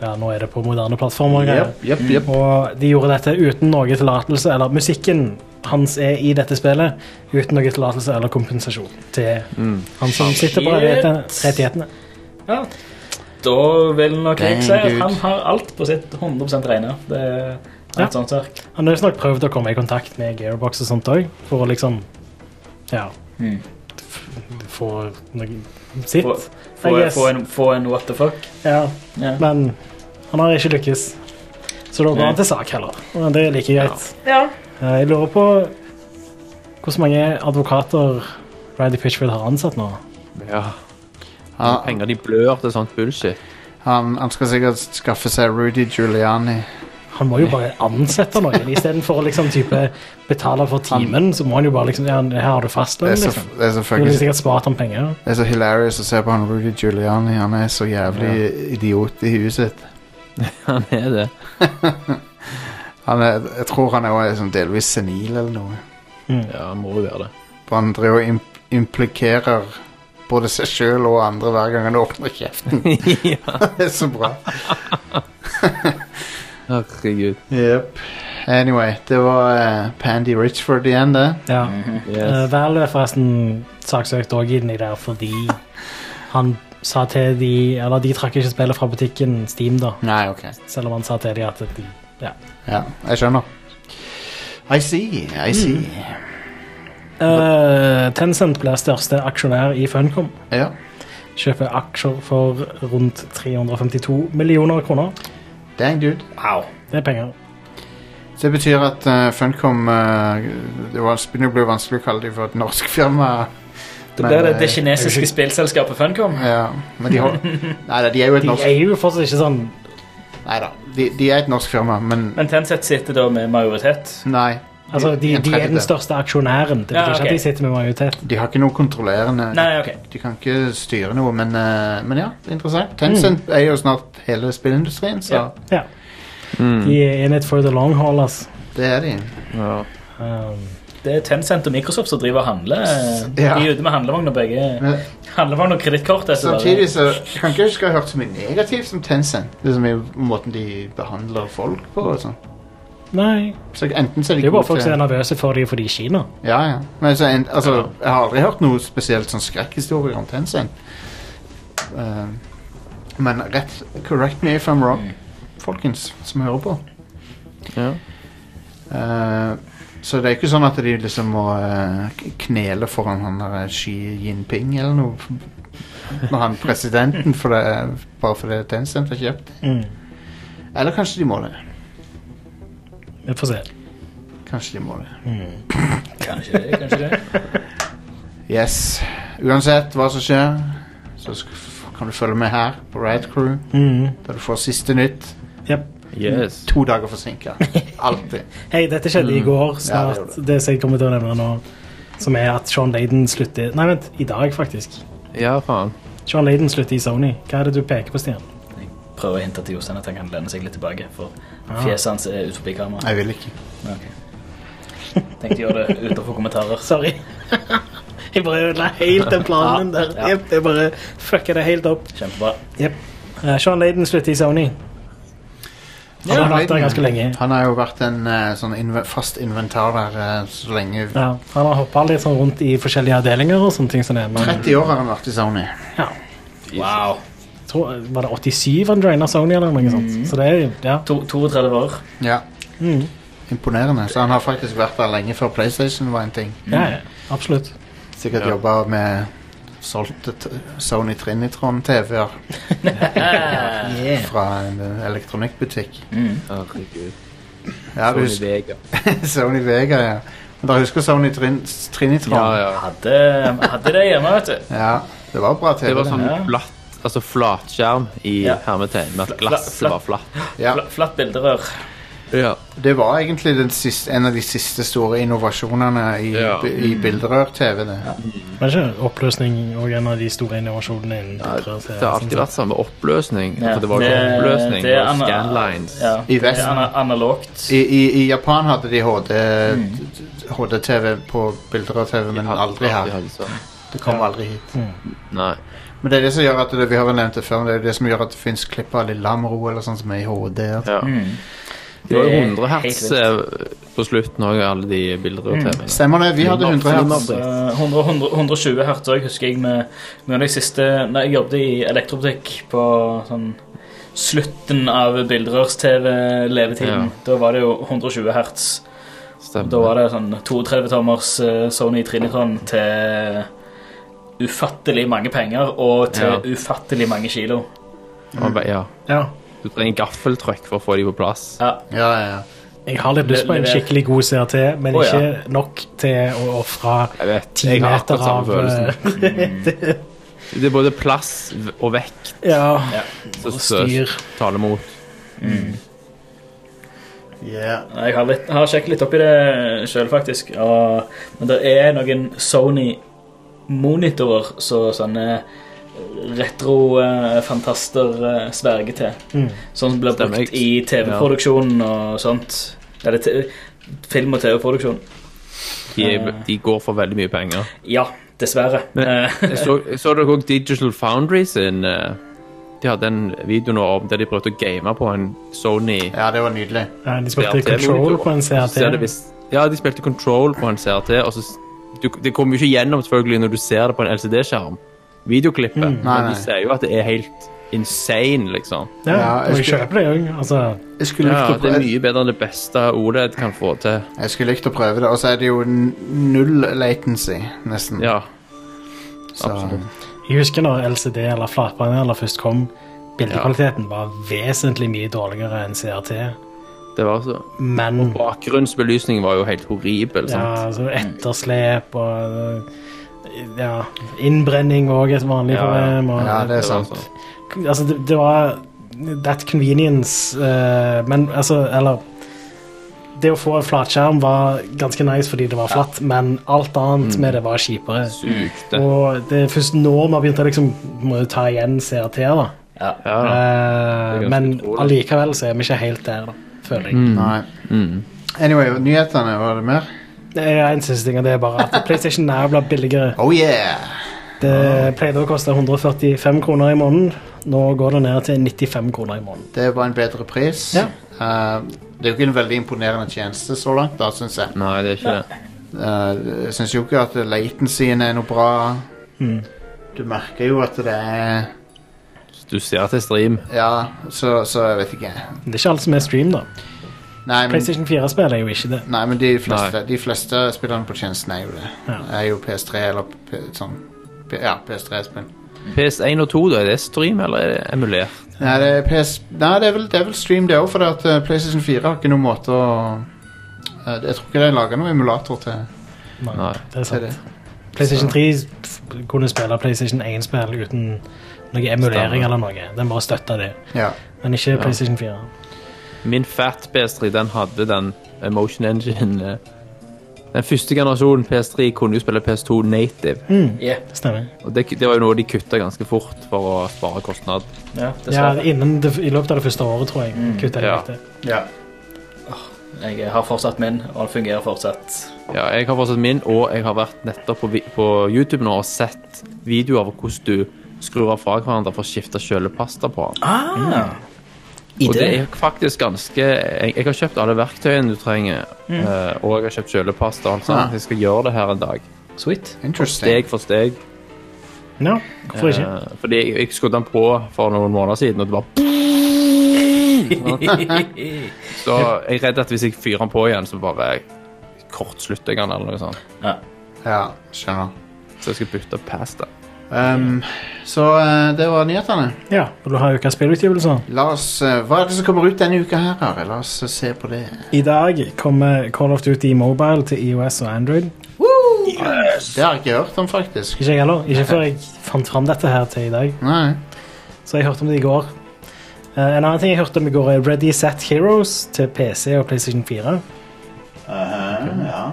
ja, Nå er det på moderne plattformer. og greier.
Jepp, jepp.
Og de gjorde dette uten noe tillatelse, eller musikken hans er i dette spillet, uten noe tillatelse eller kompensasjon til han som sitter på
Shit.
rettighetene. rettighetene.
Ja. Da vil nok
Dang,
jeg si at
dude.
han har alt på sitt 100 regne. Det er sånn et
Ja.
sånt ark.
Han har visstnok prøvd å komme i kontakt med Gearbox og sånt òg, for å liksom Ja.
Mm.
f- Få noe sitt.
Få, få,
I guess.
få, en, få en what the fuck.
Ja,
Ja.
men han har ikke lykkes. Så da går han til sak heller. Og det er like greit. Eh, Jeg lurer på hvor mange advokater Randy Pitchfield har ansatt nå.
Ja.
Han,
Penger de blør til sånt bullshit. (laughs)
han, han skal sikkert skaffe seg Rudy Giuliani.
Han må jo bare ansette noen istedenfor å liksom type betale for timen. Så må han jo bare liksom ja, Her har du
Det
fastlønn,
er så,
liksom.
det er så,
Du ville
fucking,
sikkert spart ham penger.
det er så hilarious å se på han Rudy Giuliani. Han er så jævlig idiot i huet sitt.
Han er det.
Han er, jeg tror han er også sånn delvis senil eller noe.
Mm,
Ja, han må jo (laughs) være det.
For han driver og imp implikerer både seg sjøl og andre hver gang han åpner kjeften. (laughs) det er så bra.
Herregud.
Yep. Anyway, det var eh, Pandy Richford igjen, det.
Ja.
Mhm.
Yes.
Uh, Val er forresten saksøkt òg inni der fordi han sa til de Eller de trakk ikke spillet fra butikken Steam, da.
Nei, ok.
Selv om han sa til de at de
Ja, jeg skjønner. I see, I see.
Eh, Tencent ble største aksjonær i Funcom.
Ja.
Kjøper aksjer for rundt 352 millioner kroner.
Dang, dude.
Wow.
Det er penger.
Det betyr at eh, Funcom eh, Det var- begynner å bli vanskelig å kalle dem for et norsk firma.
Da blir det det
eh,
kinesiske spillselskapet Funcom.
Ja, men de
(laughs)
har Nei da, de er jo et
De
norsk
er jo fortsatt ikke sånn
Neida, de, de er et norsk firma, men
Men Tencent sitter da med majoritet.
Nei.
Altså, de,
En
de er den
tredjedel.
største aksjonæren. Det betyr
Ja,
ikke
ok.
at de sitter med majoritet.
De har ikke noe kontrollerende
Nei, ok.
De kan ikke styre noe, men, eh, men ja, interessant. Tencent er jo snart hele spillindustrien, så
Ja.
Mm. Ja.
Mm.
De er in it for the long haul, ass.
det er de.
Ja.
Um,
Det er Tencent og Microsoft som driver og handler.
Ja.
De er ute med handlevogn og begge.
Men,
Handlevogn og kredittkort. er så bare-
samtidig så jeg kan ikke huske å ha hørt så mye negativt som Tencent. Liksom i måten de behandler folk på og sånn.
nei,
Så enten så er
det
de
er jo bare
gode
folk som er
til-
nervøse for de fordi Kina.
Ja, ja. Men så en, altså, jeg har aldri hørt noe spesielt sånn skrekkhistorie om Tencent. Eh, men rett Correct me if I'm wrong, folkens som hører på.
Ja.
Eh, så det er ikke sånn at de liksom må eh, k- knele foran han der eh, Xi Jinping eller noe. Når han presidenten, for det, er- bare fordi Tencent har kjøpt.
Mm.
Eller kanskje de må det.
Vi får se.
Kanskje de må det.
Kanskje det, kanskje det.
Yes. Uansett hva som skjer, så sk- f- kan du følge med her på Riot Crew.
Mm.
Der du får siste nytt.
Jep.
Yes.
To dager forsinka. Alltid.
Hei, dette skjedde i går.
Mm. Ja, det
Snart,
gjorde
det, som jeg kommer til å nevne nå, som er at Sean Layden slutter Nei, vent. I dag, faktisk.
Ja, faen.
Sean Layden slutter i Sony. Hva er det du peker på, Stian?
Jeg prøver å hinte til Jostein at han kan lene seg litt tilbake, for
Ah.
fjeset hans er ut forbi kameraet.
Jeg vil ikke.
Ok. Tenkte å gjøre det utenfor kommentarer.
Sorry. (laughs) jeg bare ødela helt den planen der. Jep, jeg bare fucka det helt opp.
Kjempebra.
Jep. Eh, Sean Layden slutter i Sony. Han
Ja,
har vært der
Raiden.
ganske lenge.
Han har jo vært en eh, sånn inve fast inventar der eh, så lenge.
Ja, han har hoppa litt sånn rundt i forskjellige avdelinger og sånne ting som det. Men
30 år har han vært i Sony.
ja,
Wow.
jeg tror, var det 87 han joina Sony eller noe sånt?
Mm.
Så det er jo ja.
To, 32 år.
Ja.
Mm.
Imponerende. Så han har faktisk vært der lenge før PlayStation var en ting.
Mm.
ja, ja, absolutt.
Sikkert jobba med solgte t Sony Trinitron-TV-er fra en eh, elektronikkbutikk.
Herregud.
Ja, du
Sony
husker
Vega.
(laughs) Sony Vega, ja. Men dere husker Sony Trin Trinitron?
Ja, ja.
Hadde, hadde det hjemme, vet du.
Ja, det var bra TV.
Det var sånn
Ja.
flatt, altså flatskjerm i
Ja.
hermetegn, med at
Fla-
glasset
fla-
var flatt.
ja.
Fla, flatt bilderør.
Ja.
Det var egentlig den siste, en av de siste store innovasjonene i,
Ja.
bi- i bilderør-TV. det.
Men ikke oppløsning og en av de store innovasjonene innen sånn
Det har alltid vært samme oppløsning.
Ja.
For det var jo
Det-
oppløsning
det er
og
ana-
scanlines.
Ja.
I
Det er
Vesten.
ana- analogt.
I, i, I Japan hadde de HD, HD-TV på bilderør-TV, men aldri her.
Aldri sånn.
Det kom aldri hit.
Nei.
Men det er det som gjør at det, vi har vel nevnt det før, men det er det som gjør at det fins klipp av Lillehamro eller sånn som er i HD.
Ja.
Mm.
Det var jo 100 hertz eh, på slutten òg, alle de bilderør-TV-ene.
Stemmer det. Vi hadde 100 hertz.
Så, 100, 100, 120 hertz òg, husker jeg. Med, med de siste, når jeg jobbet i elektrobutikk på sånn slutten av bilderørs-TV-levetiden.
Ja.
Da var det jo 120 hertz. Da var det sånn 32-tommers eh, Sony Trinitron til ufattelig mange penger og til
Ja.
ufattelig mange kilo.
Og- Ja.
Ja.
Du trenger gaffeltrykk for å få de på plass.
Ja,
Ja, ja, ja.
Jeg har litt lyst på en
Lever.
skikkelig god CRT, men
Å, ja.
ikke nok til å ofre
Jeg vet,
ti
jeg har
meter
akkurat samme
av
følelsen. Mm.
eh,
Det er både plass v- og vekt
Ja,
som
og
s-
styr.
taler mot.
Yeah.
Jeg har, litt, har sjekket litt opp i det sjøl, faktisk. Og, men det er noen Sony-monitorer som sånne retrofantaster eh, sverger til. Sånn som blir
Mm. Stemmer,
brukt
jeg-
i TV-produksjonen og sånt. Eller te, film- og TV-produksjon.
De, er- de går for veldig mye penger.
Ja, dessverre.
Men-
Eh, (laughs)
Jeg så, jeg så dere òg Digital Foundry sin eh, De hadde en video nå om der de prøvde å game på en Sony
ja, det var nydelig.
Ja, de spilte Control på en
Så ser det
CRT.
visst- Ja, de spilte Control på en CRT, og så s- du, Det kommer jo ikke gjennom selvfølgelig når du ser det på en LCD-skjerm, videoklippet, men
Mm. nei.
du ser jo at det er helt insane, liksom.
Ja,
Ja, jeg
og jeg
skulle-
kjøper det òg. Altså,
Jeg skulle
Ja,
likt å
det er
prøve-
mye bedre enn det beste OLED kan få til.
Jeg skulle likt å prøve det, og så er det jo n- null latency, nesten.
Ja,
så,
absolutt.
jeg husker når LCD eller flatpaneler først kom. Bildekvaliteten var vesentlig mye dårligere enn CRT,
Det var så
men
Bakgrunnsbelysningen var jo helt horribel. sant?
ja, altså, etterslep og eh, ja, innbrenning var også et vanlig
Ja, ja.
problem. Og,
ja, det er
Det var
sant.
sånn.
altså, det, det var that convenience, eh, men altså, eller Det å få en flatskjerm var ganske nice fordi det var flatt, men alt annet med det var kjipere.
Sugte.
Og det er først nå vi har begynt å liksom, må jo ta igjen CRT-er, da.
ja.
Eh,
Ja, da. Det er ganske
men
utrolig. Mm.
allikevel så er vi ikke helt der, da, føler jeg.
Nei. Anyway, nyhetene, var det mer?
Det er en siste ting, og det er bare at PlayStation Now blir billigere.
Oh yeah!
Det pleide å koste 145 kroner i måneden. Nå går det ned til 95 kroner i måneden.
Det var en bedre pris.
Ja.
Eh, det er jo ikke en veldig imponerende tjeneste så langt, da, syns jeg.
Nei, det er ikke det.
Eh, jeg syns jo ikke at latensyen er noe bra.
Mm.
Du merker jo at det er
Du ser til stream.
Ja, så, så jeg vet ikke.
Det er ikke alt som er stream, da.
Nei, men,
PlayStation 4-spill er jo ikke det.
nei, men de, fleste,
Nei.
de fleste spillerne på tjenesten er jo det.
Ja.
Er jo PS3 eller P sånn P- Ja, PS3-spill.
PS1 og 2, da? Er det stream, eller er det emulert?
Nei, det er PS... Nei, det er vel, det er vel Stream det òg, for at eh, PlayStation 4 har ikke noen måte å eh, Jeg tror ikke de lager noen emulator til,
Det
Nei.
er
til det.
sant. PlayStation 3 sp- kunne spille PlayStation 1-spill uten noe emulering
Stemmer.
eller noe. Den bare støtta det.
Ja.
Men ikke PlayStation 4.
Min fat PS3 den hadde den Motion Engine. eh. Den første generasjonen PS3 kunne jo spille PS2 native.
Ja,
Stemmer.
Og det, det var jo noe de kutta ganske fort for å spare kostnad.
ja,
Ja,
dessverre.
innen det, I løpet av det første året, tror jeg. Kutta de
Ja.
ut det.
ja.
Jeg har fortsatt min, og den fungerer fortsatt.
Ja, jeg har fortsatt min, og jeg har vært nettopp på, vi- på YouTube nå og sett videoer av hvordan du skrur av fra hverandre for å skifte kjølepasta på. den.
Ah,
Og det er faktisk ganske Jeg, jeg har kjøpt alle verktøyene du trenger,
Mm.
eh, og jeg har kjøpt kjølepasta. og alt sånt.
Ja.
Jeg skal gjøre det her en dag.
Ah. Sweet.
Interesting.
Steg for steg.
Ja, hvorfor ikke?
Eh, Fordi jeg, jeg skrudde den på for noen måneder siden, og det
(laughs)
bare Så jeg er redd at hvis jeg fyrer den på igjen, så bare kortslutter jeg den, eller noe sånt.
Ja, skjønner.
Så jeg skal bytte pasta.
Um, så eh, det var nyhetene.
Ja, og du har øka spillutgivelser.
La oss, eh, Hva er det som kommer ut denne uka her? Are? La oss eh, se på det.
I dag kommer Call of Duty Mobile til EOS og Android.
Det har jeg ikke hørt om, faktisk.
Ikke jeg heller. Ikke før jeg fant fram dette her til i dag.
Nei.
Så jeg hørte om det i går. Eh, en annen ting jeg hørte om i går, er Ready Set Heroes til PC og PlayStation 4.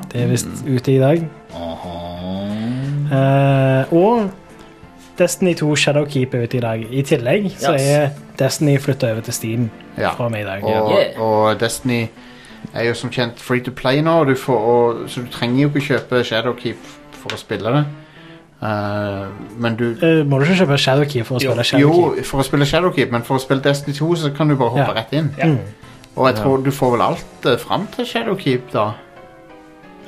Det er visst ute i dag. Eh, og Destiny 2 Shadowkeep er ute i dag. I tillegg så
Yes.
er Destiny flytta over til Steam
Ja.
fra og med i dag.
Og,
Yeah.
og Destiny er jo som kjent free to play nå, og du får, og, så du trenger jo ikke kjøpe Shadowkeep for å spille det. Eh, men du
Eh, må du ikke kjøpe Shadowkeep for å spille Shadowkeep?
Jo, for å spille Shadowkeep, men for å spille Destiny 2 så kan du bare hoppe
Ja.
rett inn.
Ja.
Mm.
Og jeg tror du får vel alt eh, fram til Shadowkeep, da.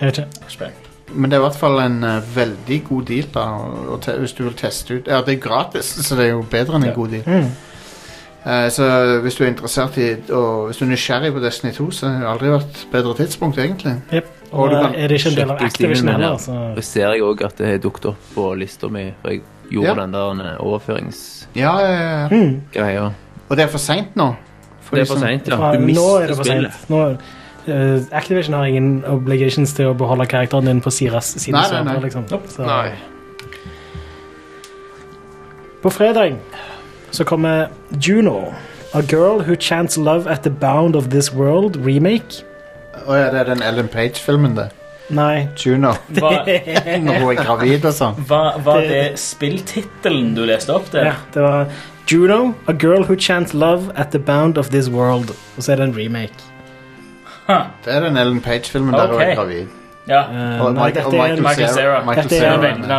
Jeg vet ikke.
Spennende.
Men det er i hvert fall en eh, veldig god deal, da, å te hvis du vil teste ut Ja, det er gratis, (laughs) så det er jo bedre enn en god deal.
Mm.
Eh, så hvis du er interessert i Og hvis du er nysgjerrig på Destiny 2, så har det aldri vært bedre tidspunkt, egentlig.
Jep.
Og
Og
du
eh,
kan
er det ikke en del av
Kjøpte
Activision
Steam, men
heller?
ja.
Så.
Og ser jeg òg at det har dukket opp på lista mi. For jeg gjorde
Ja.
den der eh, overføringsgreia.
Ja, ja, ja.
Mm.
Og det er for seint nå. For
Det
de
er for
som-
seint, ja.
Fra-
Du
Nå er
mister
det for
spillet.
sent. Nå, eh, Activision har ingen obligations til å beholde karakteren din på Siras sine
Nei, nei,
servere,
nei.
Liksom. Så-
Nei.
På fredag så kommer Juno. A Girl Who Chants Love at the Bound of This World remake.
Å ja, det er den Ellen Page-filmen, det.
Nei.
Juno.
Var,
(laughs) Når hun er gravid og sånn.
var, var det spilltittelen du leste opp der?
Ja, det var Juno, A Girl Who Chants Love at the Bound of This World. Og så er det en remake.
Det er den Ellen Page-filmen der hun
Ok.
er gravid.
Ja.
Eh,
Og
nei,
Mike-
dette
og
er en,
Michael
Michael
Cera.
Cera.
Michael
Dette er
Cera.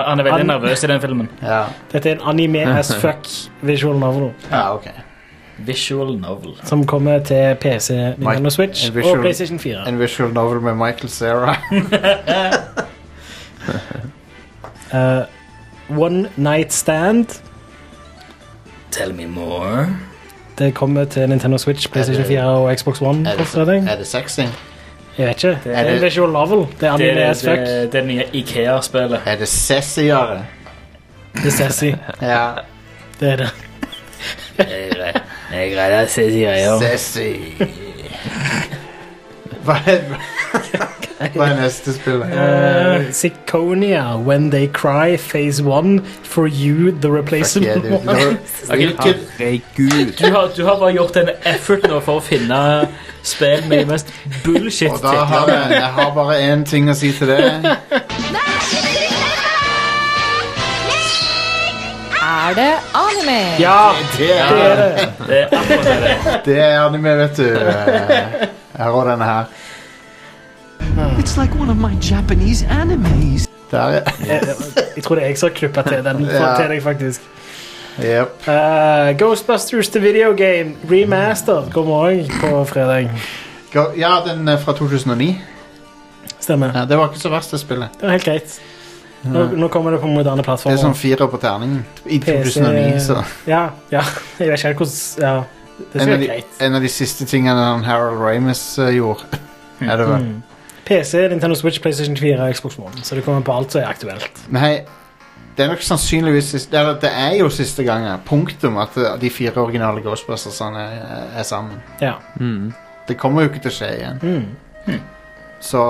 Han er veldig, han er veldig
Han-
nervøs i den filmen.
Ja.
dette er en anime as fuck visual novel
ja, ok.
Visual novel.
som kommer til PC, Nintendo Switch
en visual-
og PlayStation 4.
En visual novel med Michael Cera.
Eh, One Night Stand.
Tell me more.
Det kommer til Nintendo Switch, PlayStation
Er det-
4 og Xbox One.
er,
på
det,
fredag.
er det sexy?
Jeg vet ikke. Det
Er
er
det-
en visual novel. Det er
Det
anime
er
as
det,
fuck.
det, det nye Ikea-spillet.
Er det sassyere?
Det er sassy.
(laughs) Ja.
Det er det.
Jeg greier å se greier.
Sassy. (laughs) Hva er, hva er neste spill?
Eh, Zirconia, When They Cry, Phase 1, For You, The
Fuck
Replacement.
yeah, dude.
One.
Nå-
(laughs)
Hvilket
Herregud.
Du har, du har bare gjort en effort nå for å finne spill med de mest
Og da har
bullshit-titlene.
jeg, jeg har bare én ting å si til det.
Er det anime?
Ja,
Det
det
er,
er det.
Det er akkurat det det. er.
det er anime, vet du. Jeg har også denne her.
It's like one of my Japanese animes.
Der, ja.
Jeg, Eh, jeg tror det er jeg som har klippet til den.
Ja.
Til deg faktisk
Jep.
Eh, Ghostbusters The Video Game Remaster kommer òg på fredag.
Go- Ja, den er fra 2009.
Stemmer.
Ja, det var ikke så verst, det spillet.
Det er helt greit. Nå, nå kommer det på moderne
Det
plattformer.
er sånn firer på terningen. I
PC
2009, så
Ja, ja. (laughs) Jeg vet ikke helt hvordan ja. Det
en
skal
av,
være
de,
greit.
en av de siste tingene han Harold Ramis eh, gjorde. er det
Mm.
vel?
Mm. PC, Nintendo Switch, PlayStation 4 og Xbox One. Så det kommer på alt som er aktuelt.
Men hei, Det er nok sannsynligvis siste, eller, Det er jo siste gangen, punktum, at eh, de fire originale Ghostbustersene er, er sammen.
Ja. Mm.
Det kommer jo ikke til å skje igjen. Så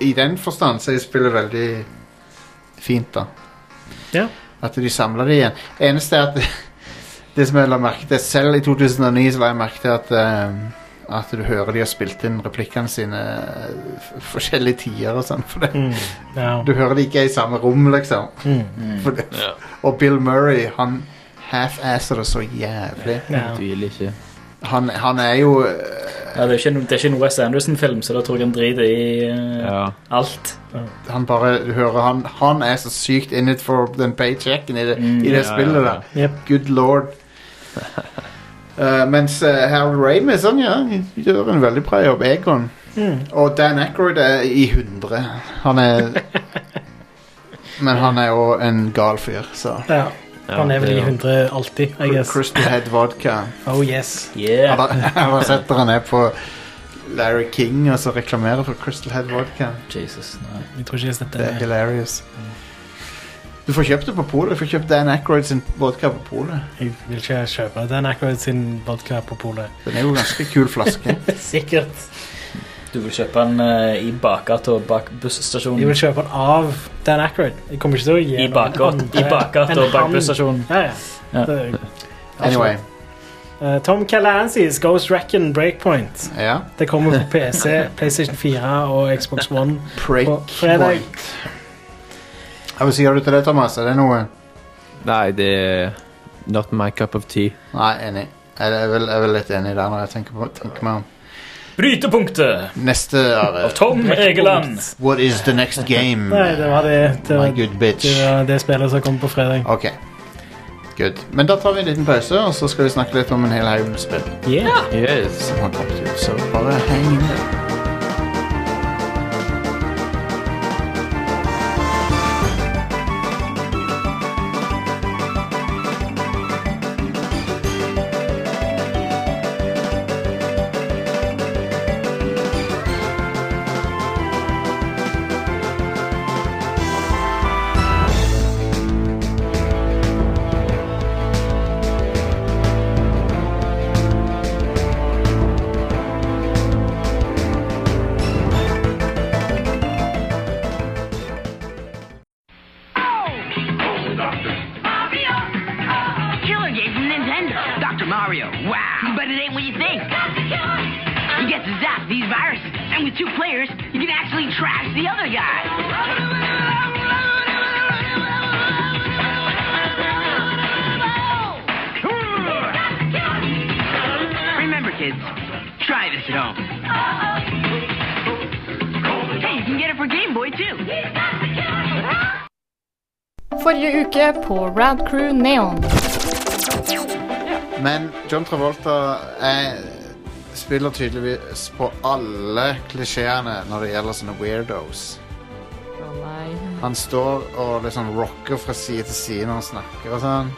i den forstand så er spillet veldig fint, da.
Ja.
At de samler det igjen. Eneste er at (laughs) det som jeg la merke til selv i 2009, så la jeg merke til at eh, at du hører de har spilt inn replikkene sine eh, f- forskjellige tider og sånn. For det,
Mm. ja. Mm.
du hører de ikke er i samme rom, liksom. (laughs) For det,
Ja.
og Bill Murray, han half-asser det så jævlig.
ja.
Tviler ikke.
Han, han er jo eh,
Ja, det, er jo ikke, no- det er ikke en Wes Anderson-film, så da tror jeg han driter i eh,
Ja.
alt.
han bare du hører han, han er så sykt in it for den paychecken i det, i det
Mm, ja,
spillet
ja, ja.
der.
Jep.
Good lord.
(laughs)
Eh, mens eh, Harold Ramis han, ja, gjør en veldig bra jobb. Egon.
Mm.
Og Dan Ackroyd er i 100. Han er
(laughs)
Men han er jo en gal fyr, så
ja. Han er vel i
det-
100 alltid, I guess.
Crystal Head Vodka.
Oh yes.
Jeg
Yeah,
har jeg har sett der han er på Larry King og så reklamerer for Crystal Head Vodka.
Jesus, nei.
Jeg tror ikke jeg har sett
Det er
det.
hilarious. Du får kjøpt det på polet. Du får kjøpt Dan Ackroyd sin vodka på polet.
Jeg vil ikke kjøpe Dan Ackroyd sin vodka på polet.
Den er jo en ganske kul
(laughs)
flaske.
Sikkert.
Du vil kjøpe den eh, i bakgata og bak
Jeg vil
busstasjonen.
kjøpe den av Dan Ackroyd. Jeg kommer ikke til å gi
I
den
bakgata
andre
i bakgata
enn
og bak
han.
busstasjonen.
Ja, ja.
Ja.
Det-
Anyway.
Eh, Tom Calancy's Ghost Reckon Breakpoint.
Ja.
Det kommer på PC, PlayStation 4 og Xbox One.
Break
På fredag.
point. Ja, Hva sier du til det, Thomas? Er det noe
Nei, det er Not my cup of tea.
Nei, enig. Jeg er vel, jeg er vel litt enig der når jeg tenker, på, tenker meg om.
Brytepunktet
Neste er
av Tom Egeland.
What is the next game?
Nei, det var det. Det
My
var
good bitch.
det, var det spillet som kom på fredag.
Ok. Good. Men da tar vi en liten pause, og så skal vi snakke litt om en hel haug med spill.
Yeah.
Yes.
som har kommet ut, så bare heng med.
Killer game from Nintendo. Dr. Mario. Wow. But it ain't what you think. You get to zap these viruses. And with two players, you can actually trash the other guy. Remember, kids, try this at home. Hey, you can get it for Game Boy, too.
Forrige uke på Rad Crew Neon.
Men John Travolta er, spiller tydeligvis på alle klisjeene når det gjelder sånne weirdos.
Å nei.
Han står og liksom rocker fra side til side når han snakker og sånn.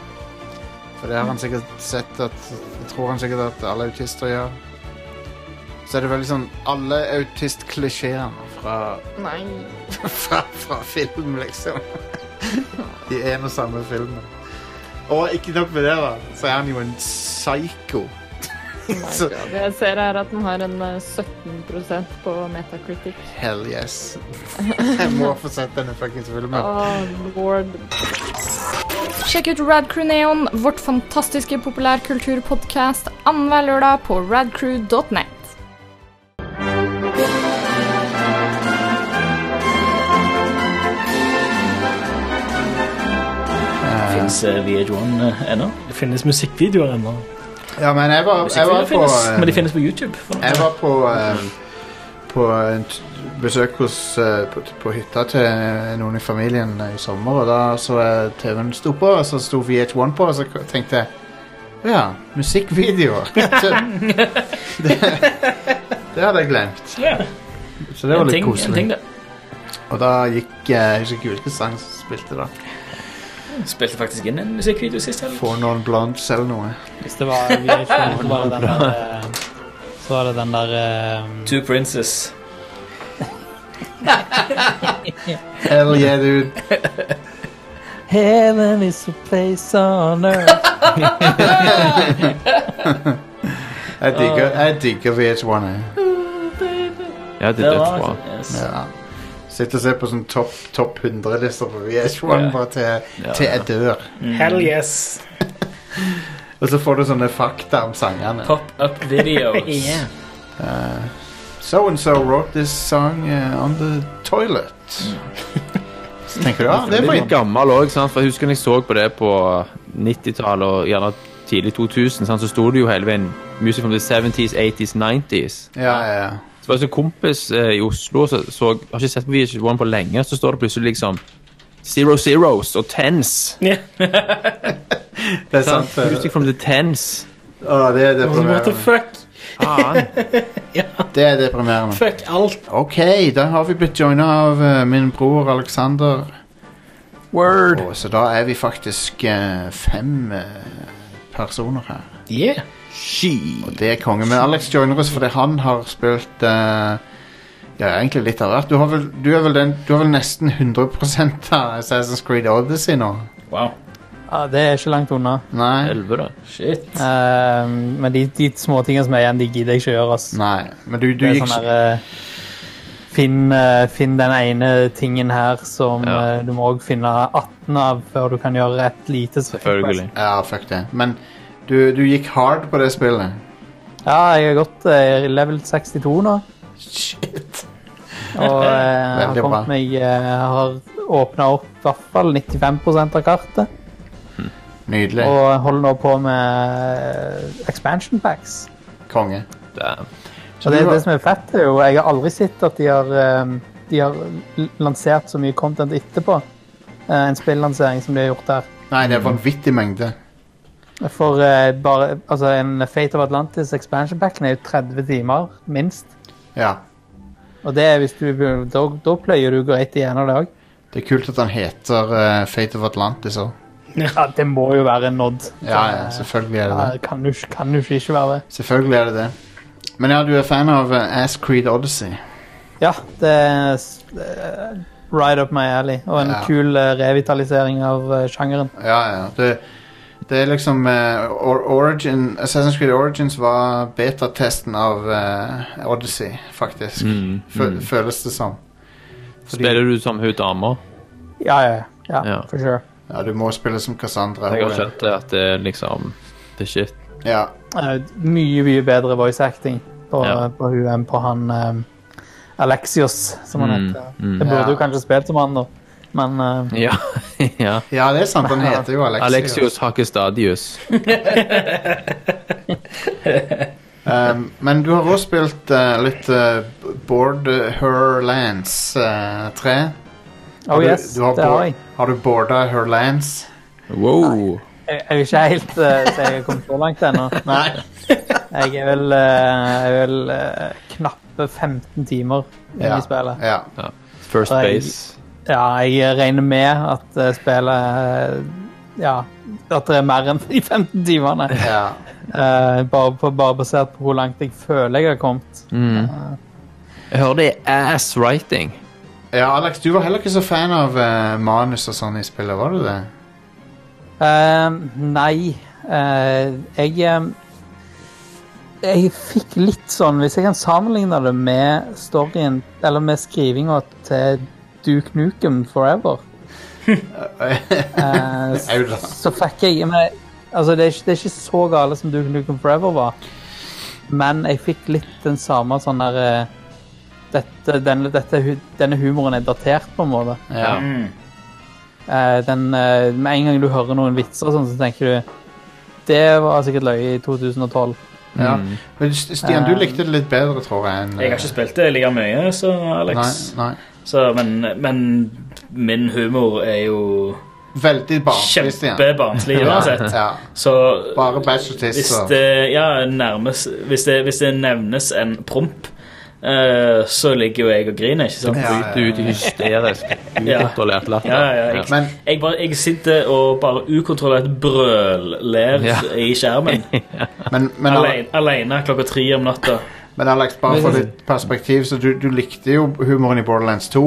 For det har han sikkert sett at Jeg tror han sikkert at alle autister gjør. Så er det veldig sånn alle autistklisjeene fra,
Nei.
(laughs) fra, fra film, liksom. I en og samme filmen. Og ikke nok med det, da, så er han jo en psycho. (laughs) Så-
Det jeg ser er at den har en eh, 17 på Metacritic.
Hell yes. (laughs) Jeg må få sett denne fuckings filmen.
Oh, lord. Sjekk ut Rad Crew Neon, vårt fantastiske populærkulturpodkast, annenhver lørdag på radcrew.net.
Fins VH1 eh, ennå?
Det finnes musikkvideoer ennå.
Ja, men jeg var, jeg var
Musikkvideoer
på
finnes,
eh,
men de finnes på YouTube. for noe.
Jeg var på, eh, på en t besøk hos, eh, på, på hytta til noen i familien eh, i sommer, og da så jeg TV-en sto på, og så sto VH1 på, og så k- tenkte jeg Ja, musikkvideoer. Så, (laughs) det, det hadde jeg glemt.
Ja.
Så det var
En
litt
ting- en
koselig.
ting, det.
Og da gikk eh, Jeg husker ikke hvilken sang som spilte, da.
Spilte faktisk inn en musikkvideo sist helg.
For noen blondes eller noe.
Hvis det var
(laughs)
VH1, så var det den der eh, Så var det den der eh,
Two Princes.
Hell yeah, dude.
Heaven is a place on earth.
Jeg digger, jeg digger VH1. Jeg.
Ja, det er
Det var-
dødsbra.
Yes.
Ja. Sitter og ser på sånn topp top 100-lister på VH1
Ja.
bare til,
Ja.
til jeg dør. Mm.
Hell yes.
Og så får du sånne fakta om sangene.
Pop-up
(laughs)
videos.
Yeah.
Uh, so and so wrote this song uh, on the toilet. (laughs) Så tenker du ja, det må
litt
jeg
gammel òg, for jeg husker når jeg så på det på 90-tallet og gjerne tidlig 2000, sant, så sto det jo hele veien Music from the 70s, 80s, 90s.
Ja, ja, ja.
Så var det en kompis eh, i Oslo som så, har ikke sett på VH1 på lenge, så står det plutselig liksom Zero Zeros og Tens.
Det er sant, det.
Music from the Tens.
Å, det er
What the
deprimerende.
fuck?
Det er deprimerende.
Fuck alt.
Ok, da har vi blitt joina av eh, min bror Alexander.
(laughs) Word.
Og så da er vi faktisk eh, fem eh, personer her.
Yeah.
Og det er konge. Men Alex joiner oss fordi han har spilt eh, Ja, egentlig litt av hvert. Du har vel, du er vel, den, du har vel nesten 100 av Assassin's Creed Odyssey nå?
Wow.
Ja, det er ikke langt unna.
Nei.
Shit.
Eh, men de, de små tingene som er igjen, de gidder jeg ikke gjøre. ass.
Nei, men du, du
det er
gikk
sånn der, eh, finn, eh, finn den ene tingen her som eh, du må også finne 18 av før du kan gjøre et lite s- eh,
Ja, fuck det. Men du, du gikk hard på det spillet.
Ja, jeg har gått eh, level 62 nå.
Shit.
Og eh, jeg har
Veldig bra.
kommet meg eh, jeg har åpna opp i hvert fall 95 av kartet.
Hm. Nydelig.
Og holder nå på med eh, expansion packs.
Konge.
Og det, det som er fett, er jo Jeg har aldri sett at de har, ehm, de har l- lansert så mye content etterpå. eh, En spillansering som de har gjort her.
Nei, det er vanvittig mengde.
For eh, bare Altså, en Fate of Atlantis expansion packen er jo 30 timer, minst.
Ja.
Og det er hvis du Da, da pløyer du greit igjennom det òg.
Det er kult at han heter eh, Fate of Atlantis òg.
Ja, det må jo være en nod.
Ja, ja, selvfølgelig er det det.
Ja, kan jo ikke- kan jo ikke ikke være det.
Selvfølgelig er det det. Men ja, du er fan av eh, Ass Creed Odyssey.
Ja, det er s- eh, right up my alley. Og en
Ja.
kul eh, revitalisering av eh, sjangeren.
Ja, ja. Det, det er liksom eh, or Origin, Assassin's Creed Origins var betatesten av eh, Odyssey, faktisk.
Mm,
Fø-
mm.
Føles det som.
Spiller du som hun dama?
Ja, ja, ja,
Ja.
for sure.
Ja, du må spille som Cassandra.
Jeg har
Hun er-
skjønt det at det er liksom Det er shit.
Ja.
Eh, mye, mye bedre voice acting på,
Ja.
på hun enn på han eh, Alexios, som han
Mm,
heter.
mm.
Jeg burde
Ja.
jo kanskje spilt som han, da. Men eh,
(laughs) Ja. ja.
ja, det er sant. Han heter jo Alexios.
Alexios Hakestadius.
Um, men du har også spilt eh, litt eh, Board eh, Herlands uh, 3.
Oh, yes,
du, du har
det har
board-
jeg.
Har du boarda Herlands?
Wow.
jeg jeg er jo ikke helt eh, så jeg har kommet så langt ennå.
(laughs) Nei.
Jeg er vel, eh, jeg er vel eh, knappe 15 timer inn
Ja,
i spillet.
Ja.
First
Og jeg-
base.
Ja, jeg regner med at eh, spillet eh, Ja, at det er mer enn de 15 timene.
(laughs) Ja.
Eh, bare, på- bare basert på hvor langt jeg føler jeg har kommet.
Mm. Jeg hører det er ass writing.
Ja, Alex, du var heller ikke så fan av eh, manus og sånn i spillet, var du det?
Eh, nei. Eh, jeg eh, Jeg fikk litt sånn Hvis jeg kan sammenligne det med storyen Eller med skrivinga til Duke Nukem Forever eh, s-
Aula.
Så fikk jeg men, Altså, det er, ikke, det er ikke så gale som Duke Nukem Forever var, men jeg fikk litt den samme sånn der eh, dette, denne, dette, hu- denne humoren er datert, på en måte.
(laughs) Ja.
Mm.
Eh, den, eh, med en gang du hører noen vitser, og sånn, så tenker du Det var sikkert løye i 2012.
Ja. Men S- Stian, du
Eh,
likte det litt bedre, tror jeg. Enn,
Mm.
eh,
Jeg har ikke spilt det like mye som Alex.
Nei,
Så, men, men min humor er jo
Veldig barnslig, Stian.
Kjempebarnslig
Ja,
uansett.
ja.
Så
Bare bachelortister.
hvis eh, det, ja, nærmes, hvis, det, hvis det nevnes en promp, eh, så ligger jo jeg og griner, ikke sant?
Ja, ja, ja. Ut i hysterisk, ukontrollert latter.
Ja, ja, jeg,
Men-
jeg, bare, jeg sitter og bare ukontrollert brøller
Ja.
i skjermen.
(laughs) Men, men,
Alene, alene klokka tre om natta.
men Alex, bare for litt perspektiv, så du, du likte jo humoren i Borderlands 2.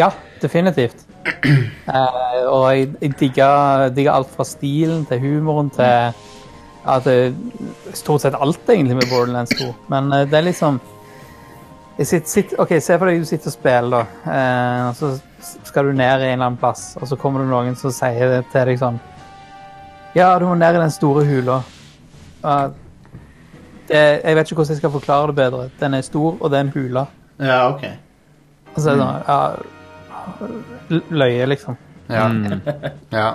Ja, definitivt. (clears throat) Eh, og jeg, jeg digger, digger alt fra stilen til humoren til at det, Stort sett alt, egentlig, med Borderlands 2. Men eh, det er liksom jeg sitter, sitter, OK, se for deg du sitter og spiller, da. Eh, og så skal du ned i en eller annen plass, og så kommer det noen som sier det til deg sånn Ja, du må ned i den store hula. Ja, det, jeg vet ikke hvordan jeg skal forklare det bedre. Den er stor, og det er en hule.
Ja, ok.
Og så er det sånn ja, l- Løye, liksom.
Ja.
Mm.
ja.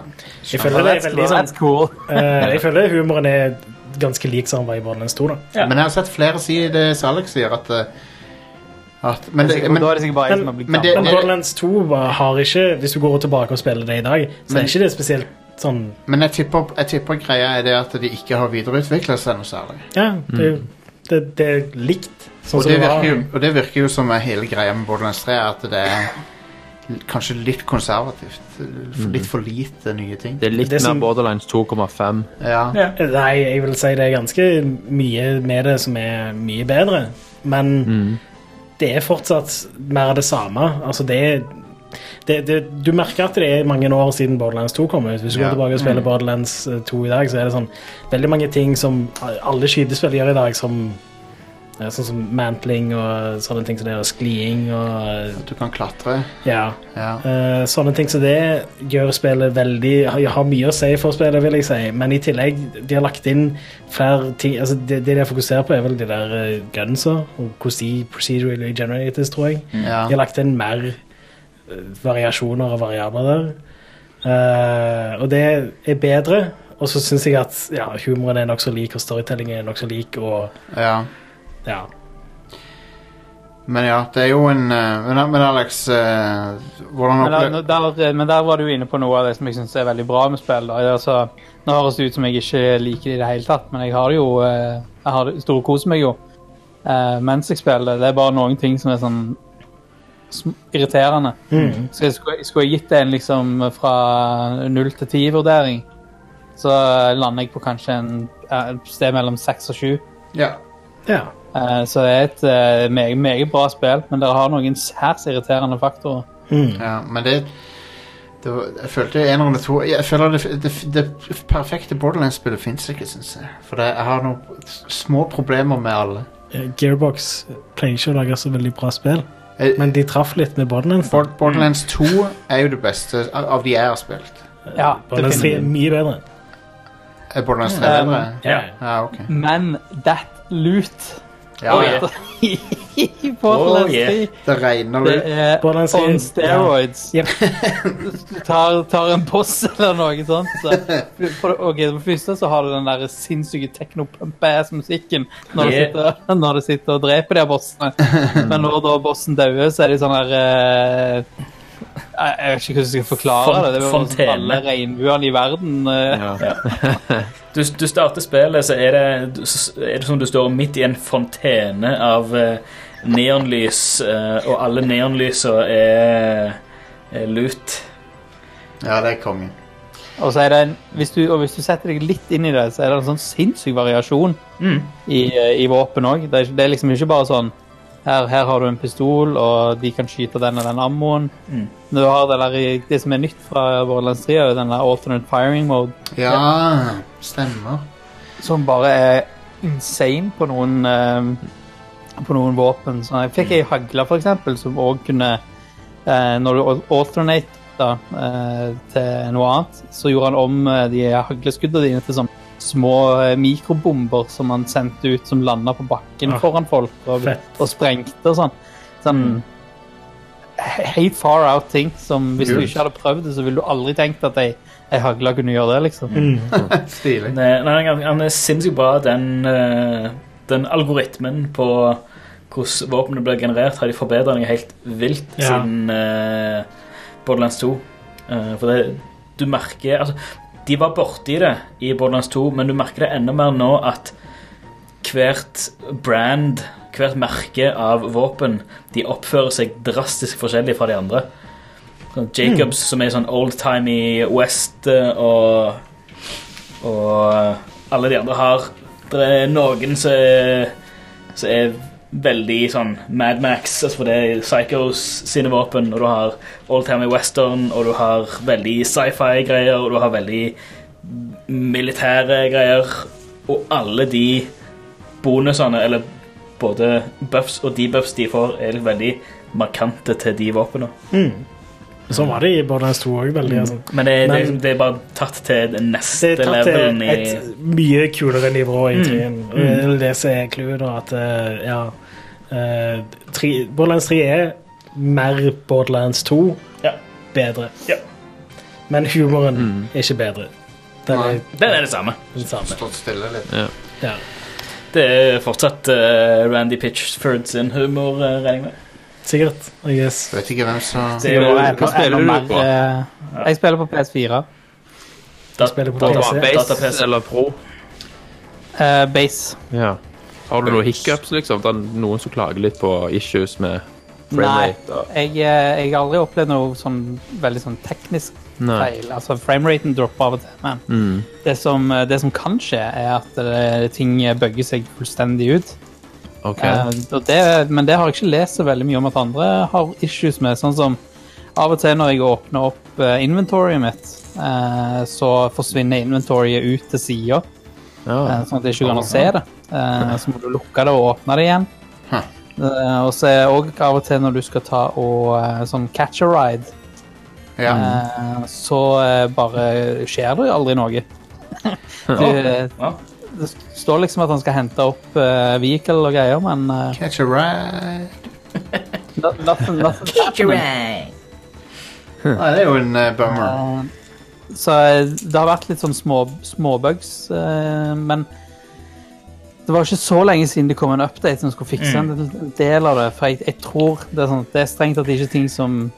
Jeg føler det er veldig sånn
That's cool.
eh, Jeg føler humoren er ganske lik som han var i Borderlands 2, da.
Men jeg har sett flere si det Alex sier, at, eh, at men, det, men,
men, men, det, men Borderlands 2 var, har ikke Hvis du går tilbake og spiller det i dag, så
Men-
er ikke det spesielt sånn
men jeg tipper, jeg tipper greia er det at de ikke har videreutvikla seg noe særlig.
Ja, det, det, det er likt
Mm.
sånn
og,
som
det
det var.
virker jo, og det virker jo som er hele greia med Borderlands 3 er at det er l- kanskje litt konservativt. For- Litt for lite nye ting.
Det er litt
Det som-
mer Borderlands 2,5.
Ja.
Nei, jeg vil si det er ganske mye med det som er mye bedre, men
Mm.
det er fortsatt mer av det samme. Altså, det er det, det, du merker at det er mange år siden Borderlands 2 kom ut. Hvis du
Ja.
går tilbake og spiller
Mm.
Borderlands eh, 2 i dag, så er det sånn veldig mange ting som alle skytespill gjør i dag, som eh, Sånn som mantling og sånne ting som det, og skliing og
At du kan klatre.
Ja.
Ja.
Eh, sånne ting som det gjør spillet veldig har, har mye å si for spillet, vil jeg si. Men i tillegg, de har lagt inn flere ting altså Det, det de fokuserer på, er vel de der eh, gunsa, og hvordan de procedurally generators, tror jeg.
Mm. Ja.
De har lagt inn mer eh, variasjoner og variabler der. Eh, og det er bedre. Og så syns jeg at ja, humoren er nokså lik, og storytellingen er nokså lik, og
ja.
ja.
Men ja, det er jo en eh, Men, men Alex, eh, hvordan
Men der,
opplevde
der, eh, men der var du inne på noe av det som jeg syns er veldig bra med spill. Da. Altså, nå høres det ut som jeg ikke liker det i det hele tatt, men jeg har det jo eh, Jeg har det storkoser meg jo eh, mens jeg spiller. Det er bare noen ting som er sånn sm- irriterende.
Mhm.
Så jeg skulle, jeg skulle gitt det en liksom fra null til ti-vurdering. Så lander jeg på kanskje en, eh, et sted mellom seks og sju.
Ja.
ja.
Eh, så det er et eh, meget, meget bra spill, men dere har noen særs irriterende faktorer.
Ja, men det, det var, Jeg følte en eller to Jeg føler det, det, det perfekte Borderlands-spillet fins ikke, syns jeg. For det, jeg har noen små problemer med alle.
Eh, Gearbox pleier ikke å lage så veldig bra spill,
Eh, mm.
men de traff litt med Borderlands. da.
Bord- Borderlands 2 er jo det beste av av de jeg har spilt.
Ja,
Borderlands 3 er mye bedre.
Er Eh, Borderlands 3
Um,
bedre?
ja.
ja ok.
Men that loot
Ja, ja.
(laughs) i Borderlands 3
Det regner
Det
litt.
er
Borderlands 3
on steroids. Du (laughs) tar, tar en boss eller noe sånt. Så. For, det- ok, for det første så har du den der sinnssyke technopump-ass-musikken når, du
Yeah.
sitter- når du sitter og (laughs) dreper de her bossene. Men når da bossen dauer, så er de sånn her eh, jeg- Jeg vet ikke hvordan jeg skal forklare det. Det er jo
Fontene.
sånn alle regnbuene i verden. eh,
Du, du starter spillet, så er det, du- så er det som du står midt i en fontene av eh, neonlys, eh, og alle neonlysa er, er lut.
Ja, det er kongen.
Og så er det en, hvis du, og hvis du setter deg litt inn i det, så er det en sånn sinnssyk variasjon i, eh, i våpen òg. Det, er ikke- det er liksom ikke bare sånn her, her har du en pistol, og de kan skyte den og den ammoen.
Mm.
Du har det, der, i- det som er nytt fra Borderlands 3, er jo den der alternate firing mode,
Ja, stemmer.
som bare er insane på noen, eh, på noen våpen. Så jeg fikk ei
Mm.
hagle, for eksempel, som òg kunne eh, Når du al- alternate da, eh, til noe annet, så gjorde han om eh, de hagleskuddene dine til sånn små eh, mikrobomber som han sendte ut, som landa på bakken
Ah,
foran folk og,
fett. Mm.
og sprengte og sånn. Sånn he- helt far out-ting som hvis du
Kult.
ikke hadde prøvd det, så ville du aldri tenkt at ei, ei hagle kunne gjøre det,
Mm.
liksom.
Stilig.
Nei, Eh, nei, han- han er sinnssykt bra. Den, eh, den algoritmen på hvordan våpenet blir generert, har de forbedret noe helt vilt
Ja.
siden eh, Borderlands 2. Eh, for det, du merker altså, De var borti det i Borderlands 2, men du merker det enda mer nå at hvert brand, hvert merke av våpen, de oppfører seg drastisk forskjellig fra de andre. Sånn Jacobs, som er sånn old-timey West, eh, og eh, Og alle de andre har Det er noen som er, som er veldig sånn Mad Max, altså for det er Psychos sine våpen, og du har oldtimey western, og du har veldig sci-fi-greier, og du har veldig militære greier, og alle de bonusene, eller både buffs og debuffs de får, er veldig markante til de våpnene.
Mm. Sånn var det i Borderlands 2 òg,
Mm.
veldig. Altså.
Men det, det,
Men-
det er bare tatt til den neste
Det er tatt
levelen
til
i
et mye kulere nivå i
Mm.
trien.
Mm.
Mm. Det som er clouet, da, at eh, ja eh, tre- Borderlands 3 er mer Borderlands 2, bedre. Men humoren er ikke bedre. Den er,
Den er det samme.
Stått stille litt.
ja.
Det er fortsatt eh, Randy Pitchford sin humor, eh, regner jeg med.
Sikkert. I guess.
Vet ikke hvem som
Det er jo-
Hva spiller du på? Eh, Jeg spiller på PS4.
Da,
spiller på
Data-
PC.
Base eller Pro?
Eh, base.
Ja. Har du noen hiccups, liksom? Det er noen som klager litt på issues med
Nei,
framerate og
jeg, eh, jeg har aldri opplevd noe sånn veldig sånn teknisk
Nei.
feil. Altså, Frameraten dropper av og til, men
Mm.
det, som, eh, det som kan skje, er at eh, ting bugger seg fullstendig ut.
OK.
Eh, og det, men det har jeg ikke lest så veldig mye om at andre har issues med. Sånn som av og til når jeg åpner opp eh, inventoryet mitt, eh, så forsvinner inventoryet ut til sida.
Ja.
sånn at det ikke går an å se det. Eh, så må du lukke det og åpne det igjen. Eh, og så er òg av og til når du skal ta og eh, sånn catch a ride,
Mm.
eh, så eh, bare skjer det jo aldri noe. Du, eh, det står liksom at han skal hente opp eh, vehicle og greier, men eh,
Catch a ride.
no- nothing, nothing happening.
Nei, det er jo en eh, bummer.
Eh, Så eh, det har vært litt sånn små, småbugs, eh, men det var ikke så lenge siden det kom en update som skulle fikse
Mm.
en- en del av det. For jeg, jeg tror det er, sånn, det er strengt at det ikke er ting som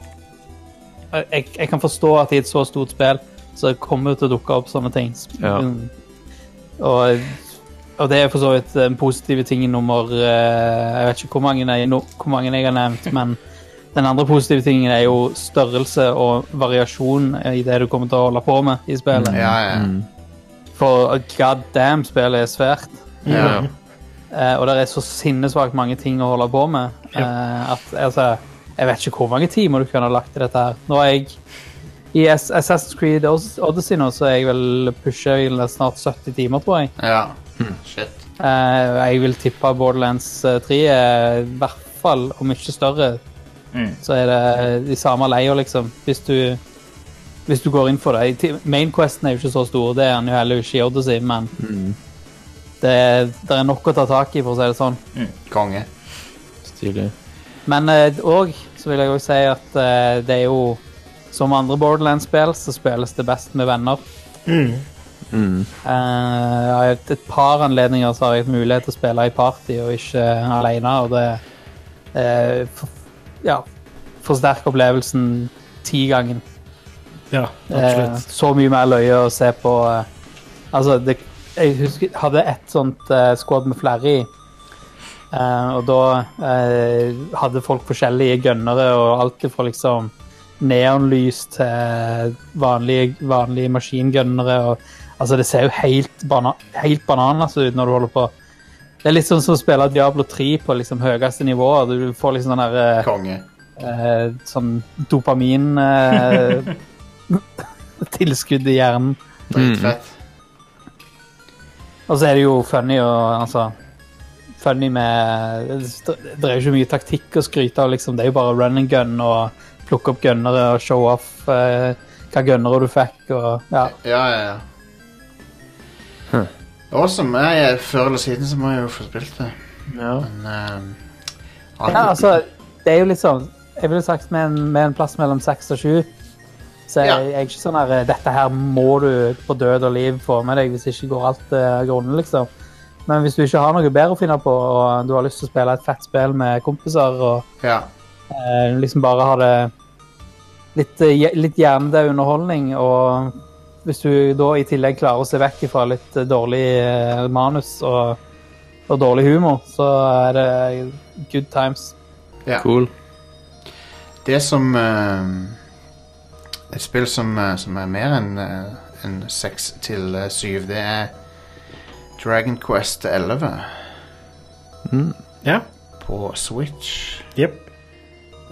jeg, jeg- jeg kan forstå at i et så stort spill så kommer det til å dukke opp sånne ting.
Ja.
Mm. Og, eh, og det er for så vidt den positive tingen nummer eh, Jeg vet ikke hvor mange jeg, no, hvor mange jeg har nevnt, men den andre positive tingen er jo størrelse og variasjon i det du kommer til å holde på med i spillet.
Ja, Mm, ja.
For uh, god damn, spillet er svært.
Ja.
Eh, og det er så sinnesvakt mange ting å holde på med. eh, at, altså, jeg vet ikke hvor mange timer du kunne ha lagt i dette her. Nå er jeg I Ass- Assassin's Creed Ods- Odyssey nå, så er jeg vel pusher jeg vel snart 70 timer, tror jeg.
Ja. Shit.
Eh, jeg vil tippe Borderlands eh, 3 er i hvert fall, og mye større,
Mm.
så er det de samme leia, liksom. Hvis du, hvis du går inn for det. I ti- Mainquesten er jo ikke så stor, det er den jo heller ikke i Odyssey, men det, er- det er nok å ta tak i, for å si det sånn.
Konge.
Stilig.
Men eh, og så vil jeg òg si at eh, det er jo Som andre Borderlands-spill så spilles det best med venner.
Mm.
Mm.
Eh, jeg har hatt et par anledninger så har jeg hatt mulighet til å spille i party og ikke eh, alene, og det eh, for, ja, forsterker opplevelsen ti gangen.
Ja,
Eh,
absolutt.
så mye mer løye å se på. eh, altså, det, jeg husker jeg hadde et sånt eh, squad med flere i, eh, og da eh, hadde folk forskjellige gønnere og alt fra liksom neonlys til vanlige, vanlige maskingønnere. Og, altså, det ser jo helt, bana helt bananas ut når du holder på. Det er litt sånn som å spille Diablo 3 på liksom høyeste nivå. og Du får liksom den der eh,
Konge.
eh, sånn dopamin eh, tilskudd i hjernen.
Dritfett.
Og så er det jo funny og altså Funny med Det er jo ikke mye taktikk å skryte av, liksom. Det er jo bare run and gun og plukke opp gunnere og show off eh, hva gunnere du fikk og Ja.
Ja, ja, ja. Awesome. Nei, jeg- før eller siden så må jeg jo få spilt det. Men ehm,
ja altså, det er jo litt sånn Jeg ville sagt med en, med en plass mellom seks og sju. Så jeg, jeg er ikke sånn her Dette her må du på død og liv få med deg hvis ikke går alt til grunne, liksom. Men hvis du ikke har noe bedre å finne på, og du har lyst til å spille et fett spill med kompiser og
Ja.
Eh, liksom bare ha det litt, eh, hje- litt hjernedød underholdning, og hvis du da i tillegg klarer å se vekk fra litt eh, dårlig eh, manus og, og dårlig humor, så er det good times.
Ja.
Cool.
Det som ehm, Et spill som, eh, som er mer enn eh, enn seks til eh, syv, det er Dragon Quest 11.
Mm.
Ja.
på Switch.
Jep.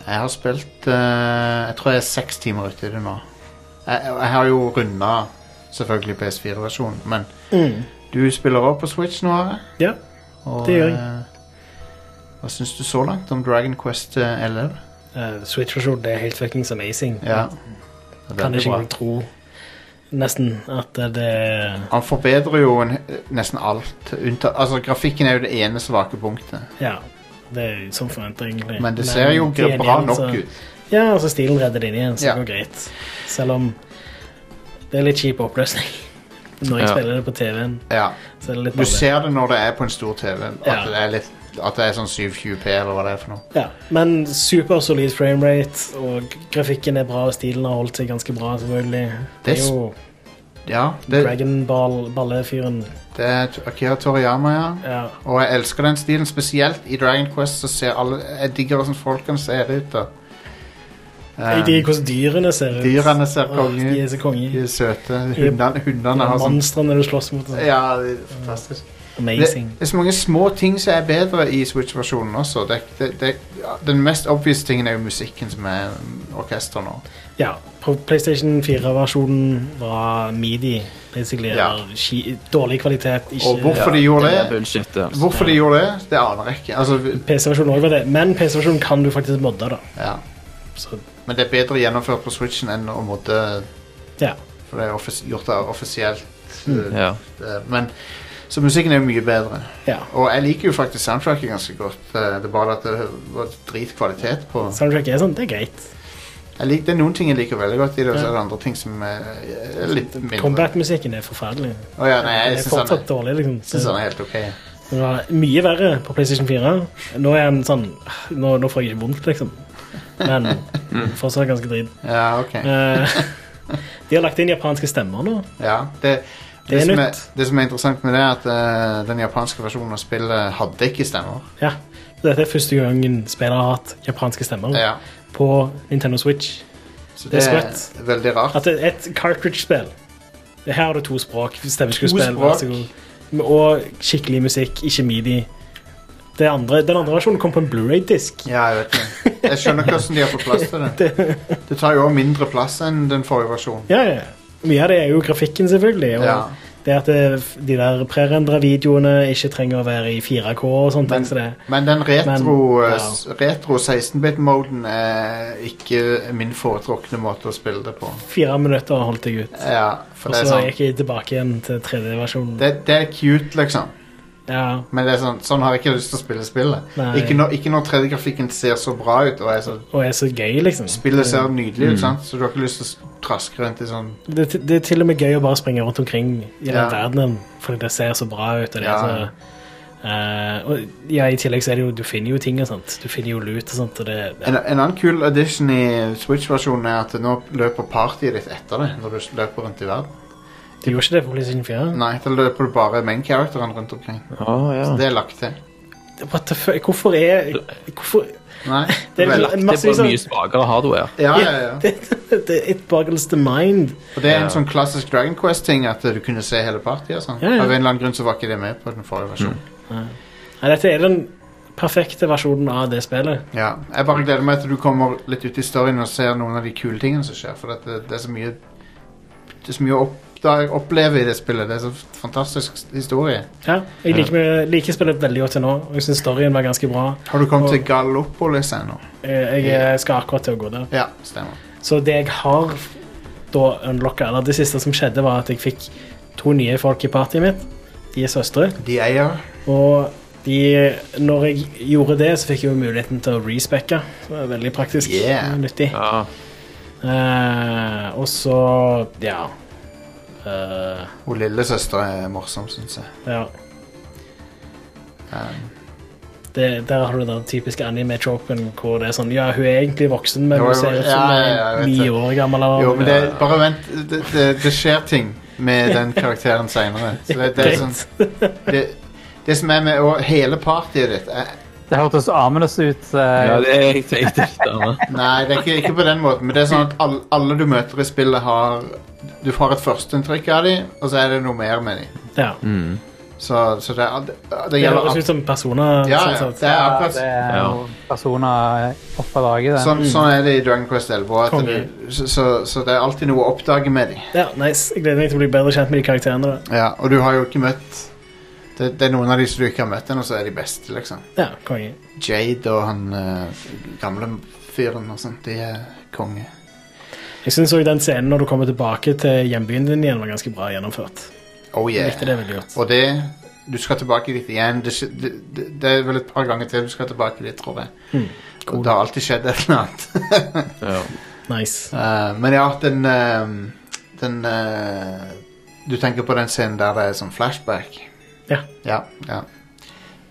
Jeg har spilt eh, Jeg tror jeg er seks timer ute i det nå. Jeg, jeg har jo runda selvfølgelig PS4-versjonen, men
Mm.
du spiller også på Switch nå, Are.
Ja,
Og,
det gjør jeg.
eh, hva syns du så langt om Dragon Quest eh, 11?
Eh, Switch-versjonen det er helt fuckings amazing.
Ja.
Kan
Veldig
ikke
bra.
engang tro nesten at eh, det
Han forbedrer jo en, nesten alt. Unnta, altså, grafikken er jo det ene svake punktet.
Ja. Det er jo som forventa, egentlig.
Men det ser jo
til
bra
gjengjeld
nok
så-
ut.
Ja, altså stilen redder det inn igjen, så
Ja.
det går greit. Selv om det er litt kjip oppløsning. (laughs) Når jeg
Ja.
spiller det på TV-en,
Ja.
så er det litt
Du
dårlig.
ser det når det er på en stor TV, at,
Ja.
det, er litt, at det er sånn 720P eller hva det er for noe.
Ja, men super solid framerate, og grafikken er bra, og stilen har holdt seg ganske bra, selvfølgelig. Det
Det
er
s-
jo
Ja, det,
Dragon Ball-ballefyren.
det er T- Akira Toriyama, ja.
Ja.
Og jeg elsker den stilen, spesielt i Dragon Quest. Så ser alle, jeg digger hvordan folkene ser ut. da.
Jeg
Eh,
liker hvordan dyrene ser ut.
Dyrene ser
Åh,
konge
De er så konge.
Eh, de er søte.
Yep.
Hundene, hundene har sånn
Monstrene du slåss mot. og sånn.
Ja, det er fantastisk.
Amazing.
Det, det er så mange små ting som er bedre i Switch-versjonen også. Det, det, det, ja, den mest obvious tingen er jo musikken som er mm, orkester nå.
Ja, på PlayStation 4-versjonen var midi, basically.
Ja.
Eller ski- dårlig kvalitet. Ikke,
Og hvorfor de gjorde det, Hvorfor de gjorde det, det aner jeg ikke. Altså, vi-
PC-versjonen også var det, men PC-versjonen kan du faktisk modde, da.
ja.
Så,
Men det er bedre gjennomført på Switchen enn å måtte
Ja.
For det er offis gjort av offisielt.
Mm.
eh,
Ja.
eh, Men så musikken er jo mye bedre.
Ja.
Og jeg liker jo faktisk soundtracket ganske godt. eh, Det er bare at det var dritkvalitet på
Soundtrack er sånn, det er greit.
Jeg liker, det er noen ting jeg liker veldig godt i det, og så
Ja.
er det andre ting som er, er litt mindre.
Combat-musikken er forferdelig.
Å ja, nei, jeg
den er
synes han er-
fortsatt dårlig, liksom.
Jeg synes han er helt ok.
Den var mye verre på PlayStation 4. Nå er den sånn Nå, nå får jeg ikke vondt, liksom. Men
(laughs)
fortsatt ganske drit.
Ja, ok.
Eh, (laughs) de har lagt inn japanske stemmer nå.
Ja, det, det,
Det er
som er,
nytt.
det som er interessant med det, er at eh, den japanske versjonen av spillet hadde ikke stemmer.
Ja. Dette er første gangen spillere har hatt japanske stemmer
Ja.
på Nintendo Switch.
Så
Mm. Det er sprøtt.
veldig rart.
At det er et cartridge-spill Her har du to språk.
To
Stemmeskuespill. vær
språk.
så god. Og skikkelig musikk, ikke midi. Det andre, den andre versjonen kom på en Blu-ray-disk.
Ja, jeg vet det. Jeg skjønner ikke hvordan de har fått plass til det.
(laughs)
Det tar jo også mindre plass enn den forrige versjonen.
Ja, ja. Mye av det er jo grafikken, selvfølgelig. Og
Ja.
det at det, de der prerendra videoene ikke trenger å være i 4K og sånt. Men, så det,
Men den retro,
Men, ja.
eh, s- retro 16-bit-moden er ikke min foretrukne måte å spille det på.
fire minutter holdt jeg ut.
Ja, for
Og
det er
så
sånn
gikk jeg tilbake igjen til 3D-versjonen.
det, det er cute, liksom.
Ja.
Men det er sånn, sånn har jeg ikke lyst til å spille spillet.
Nei.
Ikke når, ikke når 3D-grafikken ser så bra ut, og er så,
Og er så gøy, liksom.
spillet ser nydelig
Mm.
ut, sant? så du har ikke lyst til å s- traske rundt i sånn
Det, det er til og med gøy å bare springe rundt omkring i den
Ja.
verdenen, fordi det ser så bra ut. Og, det er
Ja.
så, eh, og ja, I tillegg så er det jo Du finner jo ting og sånt. Du finner jo lut og sånt. Og det,
En, en annen kul addition i Switch-versjonen er at nå løper partyet ditt etter det, når du løper rundt i verden.
de gjorde ikke det på PlayStation 4.
Nei, da løper du bare main-characteren rundt omkring.
Ah, ja.
Så det er lagt til.
What the fuck? Hvorfor er Hvorfor
Nei,
Det er
vel.
en
Det er
masse
bare
liksom-
sånn
mye svakere hardware.
Ja, ja, ja.
(laughs) det, det, It boggles the mind.
Og det er
Ja.
en sånn klassisk Dragon Quest-ting at eh, du kunne se hele partyet. Sånn.
Ja, ja.
Av en eller annen grunn så var ikke det med på den forrige versjonen.
Nei, dette er den perfekte versjonen av det spillet.
Ja, Jeg bare gleder meg til du kommer litt ut i storyen og ser noen av de kule tingene som skjer. For at det, det er så mye Det er så mye å oppdage, oppleve i det spillet. Det er så fantastisk s- historie.
Ja, jeg liker, meg- liker spillet veldig godt til nå, og jeg syns storyen var ganske bra.
Har du kommet
Og-
til Gallopolis ennå?
Eh, Jeg skal akkurat til å gå der.
Ja, stemmer.
Så det jeg har da unlocka, eller det siste som skjedde, var at jeg fikk to nye folk i partyet mitt. De er søstre.
De eier
Og de, når jeg gjorde det, så fikk jeg jo muligheten til å respecke. Det var Veldig praktisk.
Yeah.
Nyttig.
Ja.
Eh, og så ja. Eh,
Hun lillesøster er morsom, syns jeg.
ja.
Um,
Det, der har du den typiske anime-tropen hvor det er sånn Ja, hun er egentlig voksen, men
Jo,
hun
jo,
ser ut
ja,
som hun
ja, jeg
er
vet
ni
det.
år gammel. Eller,
jo, men det, bare vent. Det, det, det skjer ting med den karakteren seinere. Det, (laughs) det, er
Greit.
sånn, det, det som er med og hele partyet ditt er,
Det hørtes ominous ut.
Ja,
eh,
det er jeg tenkte ikke annet.
Nei, det er ikke, ikke på den måten, men det er sånn at alle, alle du møter i spillet har Du får et førsteinntrykk av dem, og så er det noe mer med dem.
Ja.
Mm.
Så, så det, er, det, det
Det
gjelder
høres ut som personer.
Ja,
sånn
ja,
sett.
det er akkurat-
det er jo personer eh, oppe av daget. det. Mm.
Sånn, sånn er det i Dragon Quest 11. også, At
Konge.
du, så, så, så det er alltid noe å oppdage med dem.
Ja, nice. Jeg gleder meg til å bli bedre kjent med de karakterene. da.
Ja, og du har jo ikke møtt det, det er noen av de som du ikke har møtt ennå, så er de beste, liksom.
Ja, konge.
Jade og han eh, gamle fyren og sånt, de er konge.
Jeg syns òg den scenen når du kommer tilbake til hjembyen din igjen, var ganske bra gjennomført.
Oh yeah.
Jeg likte det veldig godt.
Og det Du skal tilbake dit igjen. Det, skj- det, det, det er vel et par ganger til du skal tilbake dit, tror jeg.
Mm,
Og det har alltid skjedd et eller annet.
Nice.
Eh, men ja, den, eh, den eh, Du tenker på den scenen der det er sånn flashback?
Ja.
Ja, ja.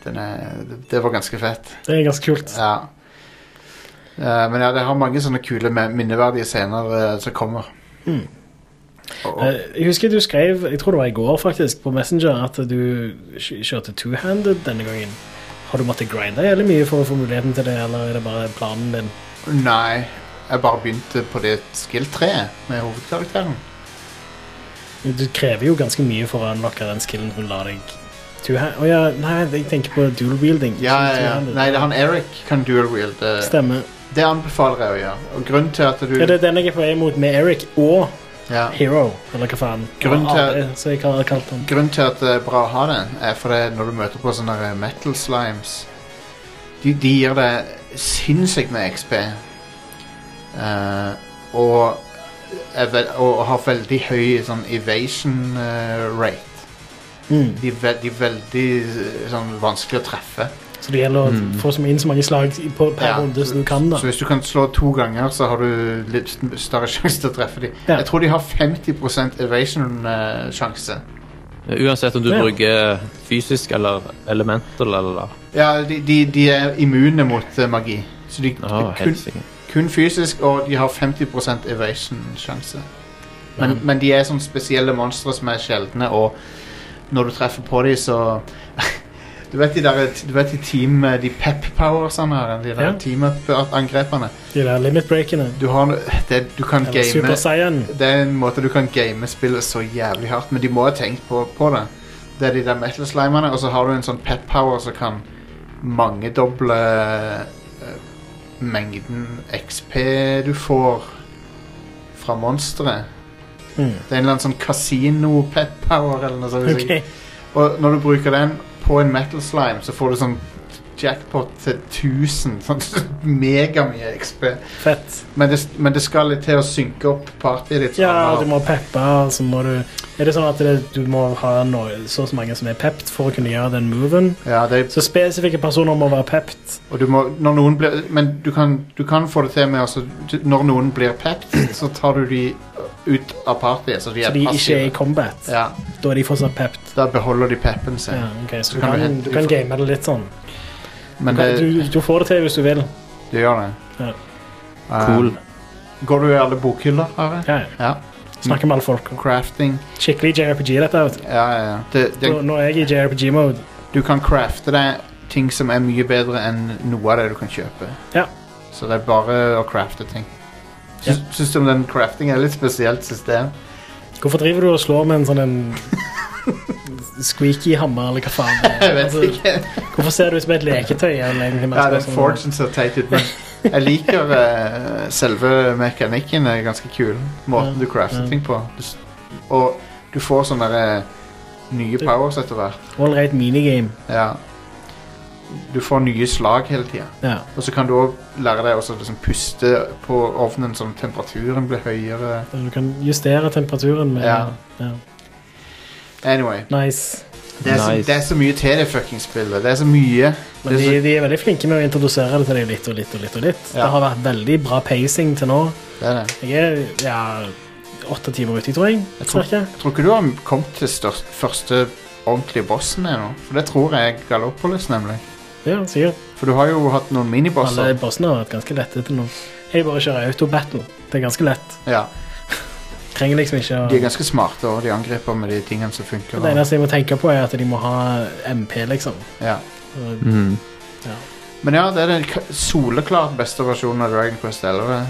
Den er, det- det var ganske fett.
Det er ganske kult.
Ja. Eh, men ja, det har mange sånne kule me- minneverdige scener eh, som kommer.
Mm.
Og, og,
Eh, Jeg husker du skrev, jeg tror det var i går faktisk, på Messenger at du kj- kjørte two-handed denne gangen. Har du måttet grinde jævlig mye for å få muligheten til det, eller er det bare planen din?
nei, jeg bare begynte på det skill-treet med hovedkarakteren.
Du krever jo ganske mye for å unlocke den skillen hun lar deg two-hand... Å ja, nei, jeg tenker på dual wielding.
Ja, ja, ja.
Two-handed.
Nei, det er han Eric kan dual wield. eh,
Stemmer.
Det anbefaler jeg å gjøre. Og grunnen til at du
Ja, det er den jeg er på vei mot med Eric og
Ja.
Hero, eller hva faen.
Grunnen til-
Ah, det- Så jeg har kalt han.
Grunnen til at det er bra å ha det, er fordi når du møter på sånne der eh, metal slimes De, de gir deg sinnssykt med XP. Eh, og, er vel, og har veldig høy sånn evasion eh, rate.
Mm.
De, er ve de er veldig eh, sånn, vanskelig å treffe.
Så det gjelder å
Mm.
få så inn så mange slag i- på, per
Ja,
runde som du kan, da.
Så hvis du kan slå to ganger, så har du litt større (laughs) sjanse til å treffe dem.
Ja.
Jeg tror de har 50 eh, evasion-sjanse.
Uansett om du
Ja.
bruker fysisk eller elemental eller
Ja, de, de, de er immune mot eh, magi. Så de
Ja,
kun,
helt sikkert.
kun fysisk, og de har 50 evasion-sjanse. Men,
Ja.
men de er sånn spesielle monstre som er sjeldne, og når du treffer på dem, så (laughs) Du vet de der, du vet de team eh, De pep powersene her, de der
Ja.
team-up-angrepene.
De der limit-breakene.
Du, har no- det, du kan
Eller Super
game eh,
Saiyan.
Det er en måte du kan game spillet så jævlig hardt, men de må ha tenkt på, på det. Det er de der metal slimene, og så har du en sånn pet power som kan mangedoble eh, mengden XP du får fra monsteret.
Mm.
Det er en eller annen sånn kasino-pet power eller noe sånt. hvis jeg-
Ok.
Og når du bruker den på en metal slime, så får du sånn jackpot til 1000. Sånn (laughs) megamye XP.
Fett.
Men det, men det skal litt til å synke opp partyet ditt. så
Ja,
han har-
du må peppe, og så må du Er det sånn at det, du må ha no, så og så mange som er pepped for å kunne gjøre den moven?
Ja, det,
Så spesifikke personer må være pepped.
og du må, når noen blir, men du kan, du kan få det til med altså, du- Når noen blir pept, så tar du de ut av partyet, så de er
Så de ikke er i
passive.
combat.
Ja,
Da er de fortsatt pepped.
da beholder de peppen sin.
Ja, ok, så
Så
du
kan
kan,
du
du
hente-
kan, game det litt sånn.
Men
Du kan-
det-
du, du får det til hvis du vil.
De gjør det.
Ja.
Um,
Cool.
Går du i alle bokhyller, Are?
Ja, ja.
Ja.
Snakker med alle folk.
Crafting.
Skikkelig JRPG, dette. vet du.
Ja, ja, ja. Det, det,
Nå- Nå er jeg i JRPG-mode.
du kan crafte deg ting som er mye bedre enn noe av det du kan kjøpe.
Ja.
Så det er bare å crafte ting. Syns, syns du om den crafting er et litt spesielt system?
Hvorfor driver du og slår med en sånn en squeaky hammer, eller hva faen? det er?
(laughs) Jeg vet ikke.
hvorfor ser du ut som et leketøy? Ja,
Ja, den forgen ser teit ut, men jeg liker eh, selve mekanikken er ganske kul. Måten du crafter
ja.
ting på. Du, s- og du får sånne eh, nye powers etter hvert.
All right minigame.
Ja. Du får nye slag hele tida.
Ja.
Og så kan du òg lære deg å liksom puste på ovnen sånn at temperaturen blir høyere.
Du kan justere temperaturen med
Ja.
ja.
Anyway.
Nice.
Det er, så,
Nice.
det er så mye til det fuckings spillet. Det er så mye.
Men
Det er
de,
så,
de er veldig flinke med å introdusere det til deg litt og litt og litt. og litt.
Ja.
Det har vært veldig bra pacing til nå.
det er det.
Jeg er ja, åtte timer ute, tror jeg.
Jeg tror,
Cirka.
jeg tror ikke du har kommet til størst, første ordentlige bossen ennå. For det tror jeg er Gallopolis, nemlig.
Ja, sikkert.
For du har jo hatt noen minibosser.
Alle bossene har vært ganske lette til nå. Jeg bare kjører auto-battle. Det er ganske lett.
Ja,
Trenger liksom ikke å
de er ganske smarte, og de angriper med de tingene som funker.
Det eneste jeg må tenke på, er at de må ha MP, liksom.
Ja.
Så-
Mm.
Ja.
Men ja, det er den k- soleklart beste versjonen av Dragon Quest 11.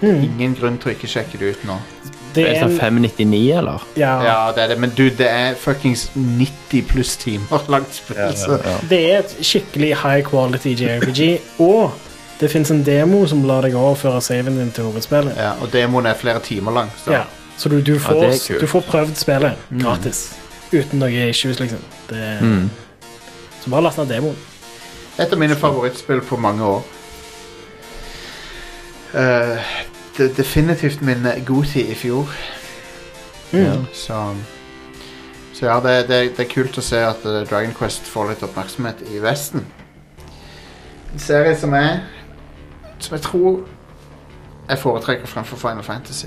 Mm.
Ingen grunn til å ikke sjekke det ut nå.
Det er
Er det
en-
sånn 599, eller?
Ja.
det er det. Men dude, det er fuckings 90 pluss timer (laughs) langt spill.
Ja,
så-
ja,
Det er et skikkelig high quality JRPG, og det fins en demo som lar deg overføre saven din til hovedspillet.
Ja, og demoen er flere timer lang. Så.
Ja, så du, du,
Ja,
får,
det er kult.
du får prøvd spillet gratis. Uten noe issues, liksom. Det,
Mm.
Så bare last ned demoen.
Et av mine favorittspill på mange år. Eh, det, definitivt min Goti i fjor.
Mm.
Ja, så så ja, det, det, det er kult å se at eh, Dragon Quest får litt oppmerksomhet i Vesten. En serie som jeg Som jeg tror jeg foretrekker fremfor Final Fantasy.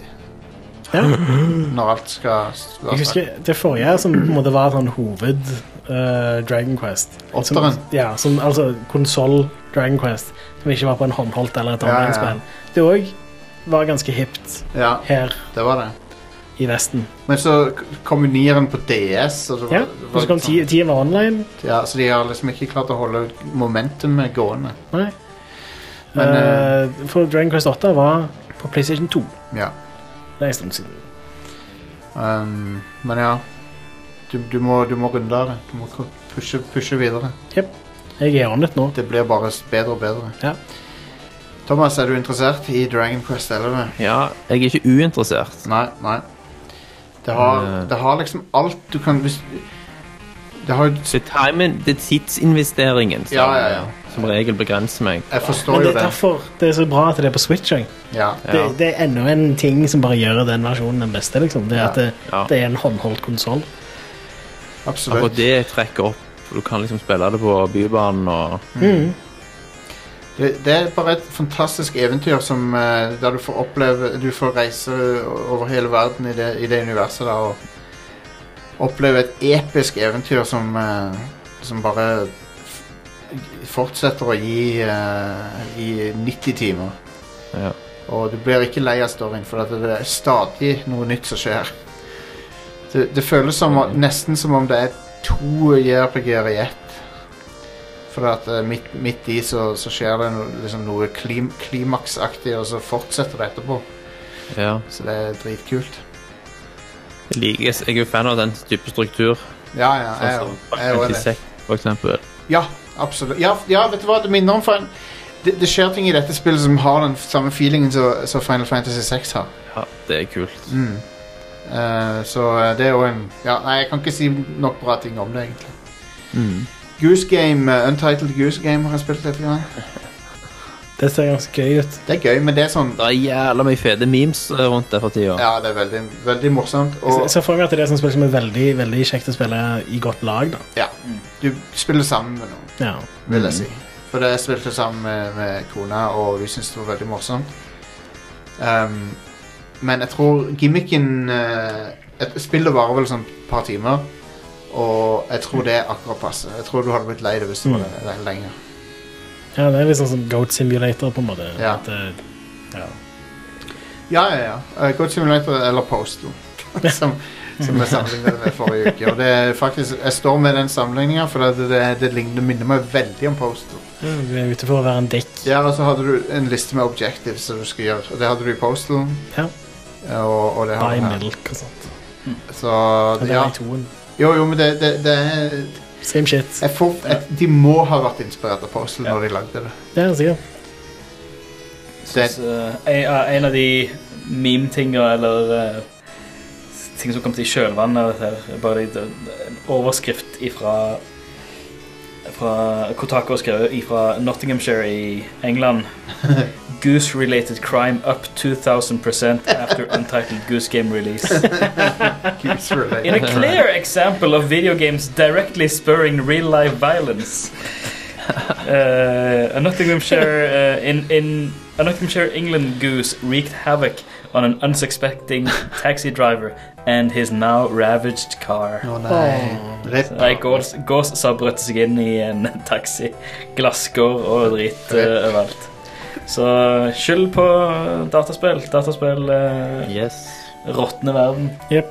Ja.
Når alt skal s-
Jeg
være
husker det forrige som på en måte var sånn hoved eh, Dragon Quest. Som,
Åtteren.
ja, som, altså konsoll Dragon Quest, som ikke var på en håndholdt eller et
Ja, ja, ja.
online-spill. Det òg var ganske hipt
Ja,
her
det var det.
i Vesten.
Men så k- kom jo nieren på DS. Og det var,
Ja,
det var
og så kom
litt sånn-
ti- tiden var online.
Ja, så de har liksom ikke klart å holde momentumet gående.
Nei.
Men,
Eh, for Dragon Quest 8 var på PlayStation 2.
Ja.
Det er en stund siden.
Um, men ja, du, du, må, du må runde av det. Du må ko- pushe, pushe videre.
Jep. Jeg er on it nå.
Det blir bare s- bedre og bedre.
Ja.
Thomas, er du interessert i Dragon Quest 11?
ja, jeg er ikke uinteressert.
Nei, nei. Det har,
Eh.
det har liksom alt du kan hvis, Det har jo
Så timen, det er tidsinvesteringen som,
Ja, ja, ja.
som regel begrenser meg.
Jeg
Men det er derfor det er så bra at det er på Switch. også.
Ja.
Det, det er enda en ting som bare gjør den versjonen den beste. liksom. Det er at det,
Ja.
det er en håndholdt konsoll.
Akkurat det trekker opp. for Du kan liksom spille det på Bybanen og
Mm.
Det, det er bare et fantastisk eventyr som, eh, der du får oppleve Du får reise over hele verden i det, i det universet da, og oppleve et episk eventyr som, eh, som bare f- fortsetter å gi, eh, gi 90 timer.
Ja.
Og du blir ikke lei av storyen, for at det er stadig noe nytt som skjer. Det, det føles som, om- nesten som om det er to JRPG-er i ett. For at eh, midt, midt i så, så skjer det no, liksom noe klim, klimaksaktig, og så fortsetter det etterpå.
Ja.
Så det er dritkult.
Jeg liker Jeg er jo fan av den type struktur.
Ja, ja, jeg er
sånn som
jo- jeg er jo enig.
56, for eksempel.
Ja, absolutt. Ja, f- ja vet du hva det minner om? Fin- Det, det skjer ting i dette spillet som har den f- samme feelingen som som Final Fantasy 6 har.
Ja, det er kult.
Mm. Eh, så eh, det er jo en ja, Nei, jeg kan ikke si nok bra ting om det, egentlig.
Mm.
Goose Game, eh, Untitled Goose Game har jeg spilt litt. Grann.
Det ser ganske gøy ut.
Det er gøy, men det er sånn
Det er jævla mye fete memes eh, rundt det for tida.
Ja, det er veldig, veldig morsomt.
Jeg
Og
ser for meg at det er et sånt spill som er veldig veldig kjekt å spille i godt lag. da.
ja, du spiller sammen med noen,
Ja.
vil jeg si. Mm. For det spilte jeg sammen med, med kona, og vi syntes det var veldig morsomt. Ehm, men jeg tror gimmicken eh, et- Spillet varer vel sånn et par timer, og jeg tror det er akkurat passe. Jeg tror du hadde blitt lei det hvis det var
Mm.
le- lenger.
ja, Det er litt sånn som Goat Simulator, på en måte.
Ja.
At, eh, ja.
Ja, ja, ja. Eh, Goat Simulator eller Postal. (laughs) som, som jeg sammenlignet med forrige uke. Og det er faktisk, jeg står med den sammenligninga, for det, det, det ligner, minner meg veldig om Postal.
Ja, Du mm, er ute for å være en dick.
Ja, og så hadde du en liste med objectives som du skulle gjøre, og det hadde du i Postal.
Ja.
Og, og det har
Buy
du her.
milk og sånt.
Så,
Men det
ja.
er i toen.
Jo, jo, men det, det, det er
Same shit.
jeg får, jeg, De må ha vært inspirert av Postal når de lagde det.
Det er sikkert.
Det-
Så, eh, en, en av de meme-tinga eller eh, ting som kom til i kjølvannet av dette, her, er bare det- det- en overskrift ifra fra Kotako skrevet ifra Nottinghamshire i England. Goose-related crime up 2000% after untitled Goose Game release. (laughs) In a clear example of video games directly spurring real life violence. Uh, a Nottinghamshire uh, in in a Nottinghamshire England goose wreaked havoc on an unsuspecting taxi driver and his now ravaged car.
Å nei. Rip.
Nei, gås, gås sabret seg inn i en taxi. Glasskår og drit uh, overalt. Så skyld på dataspill. Dataspill uh,
Yes.
råtner verden.
Jep.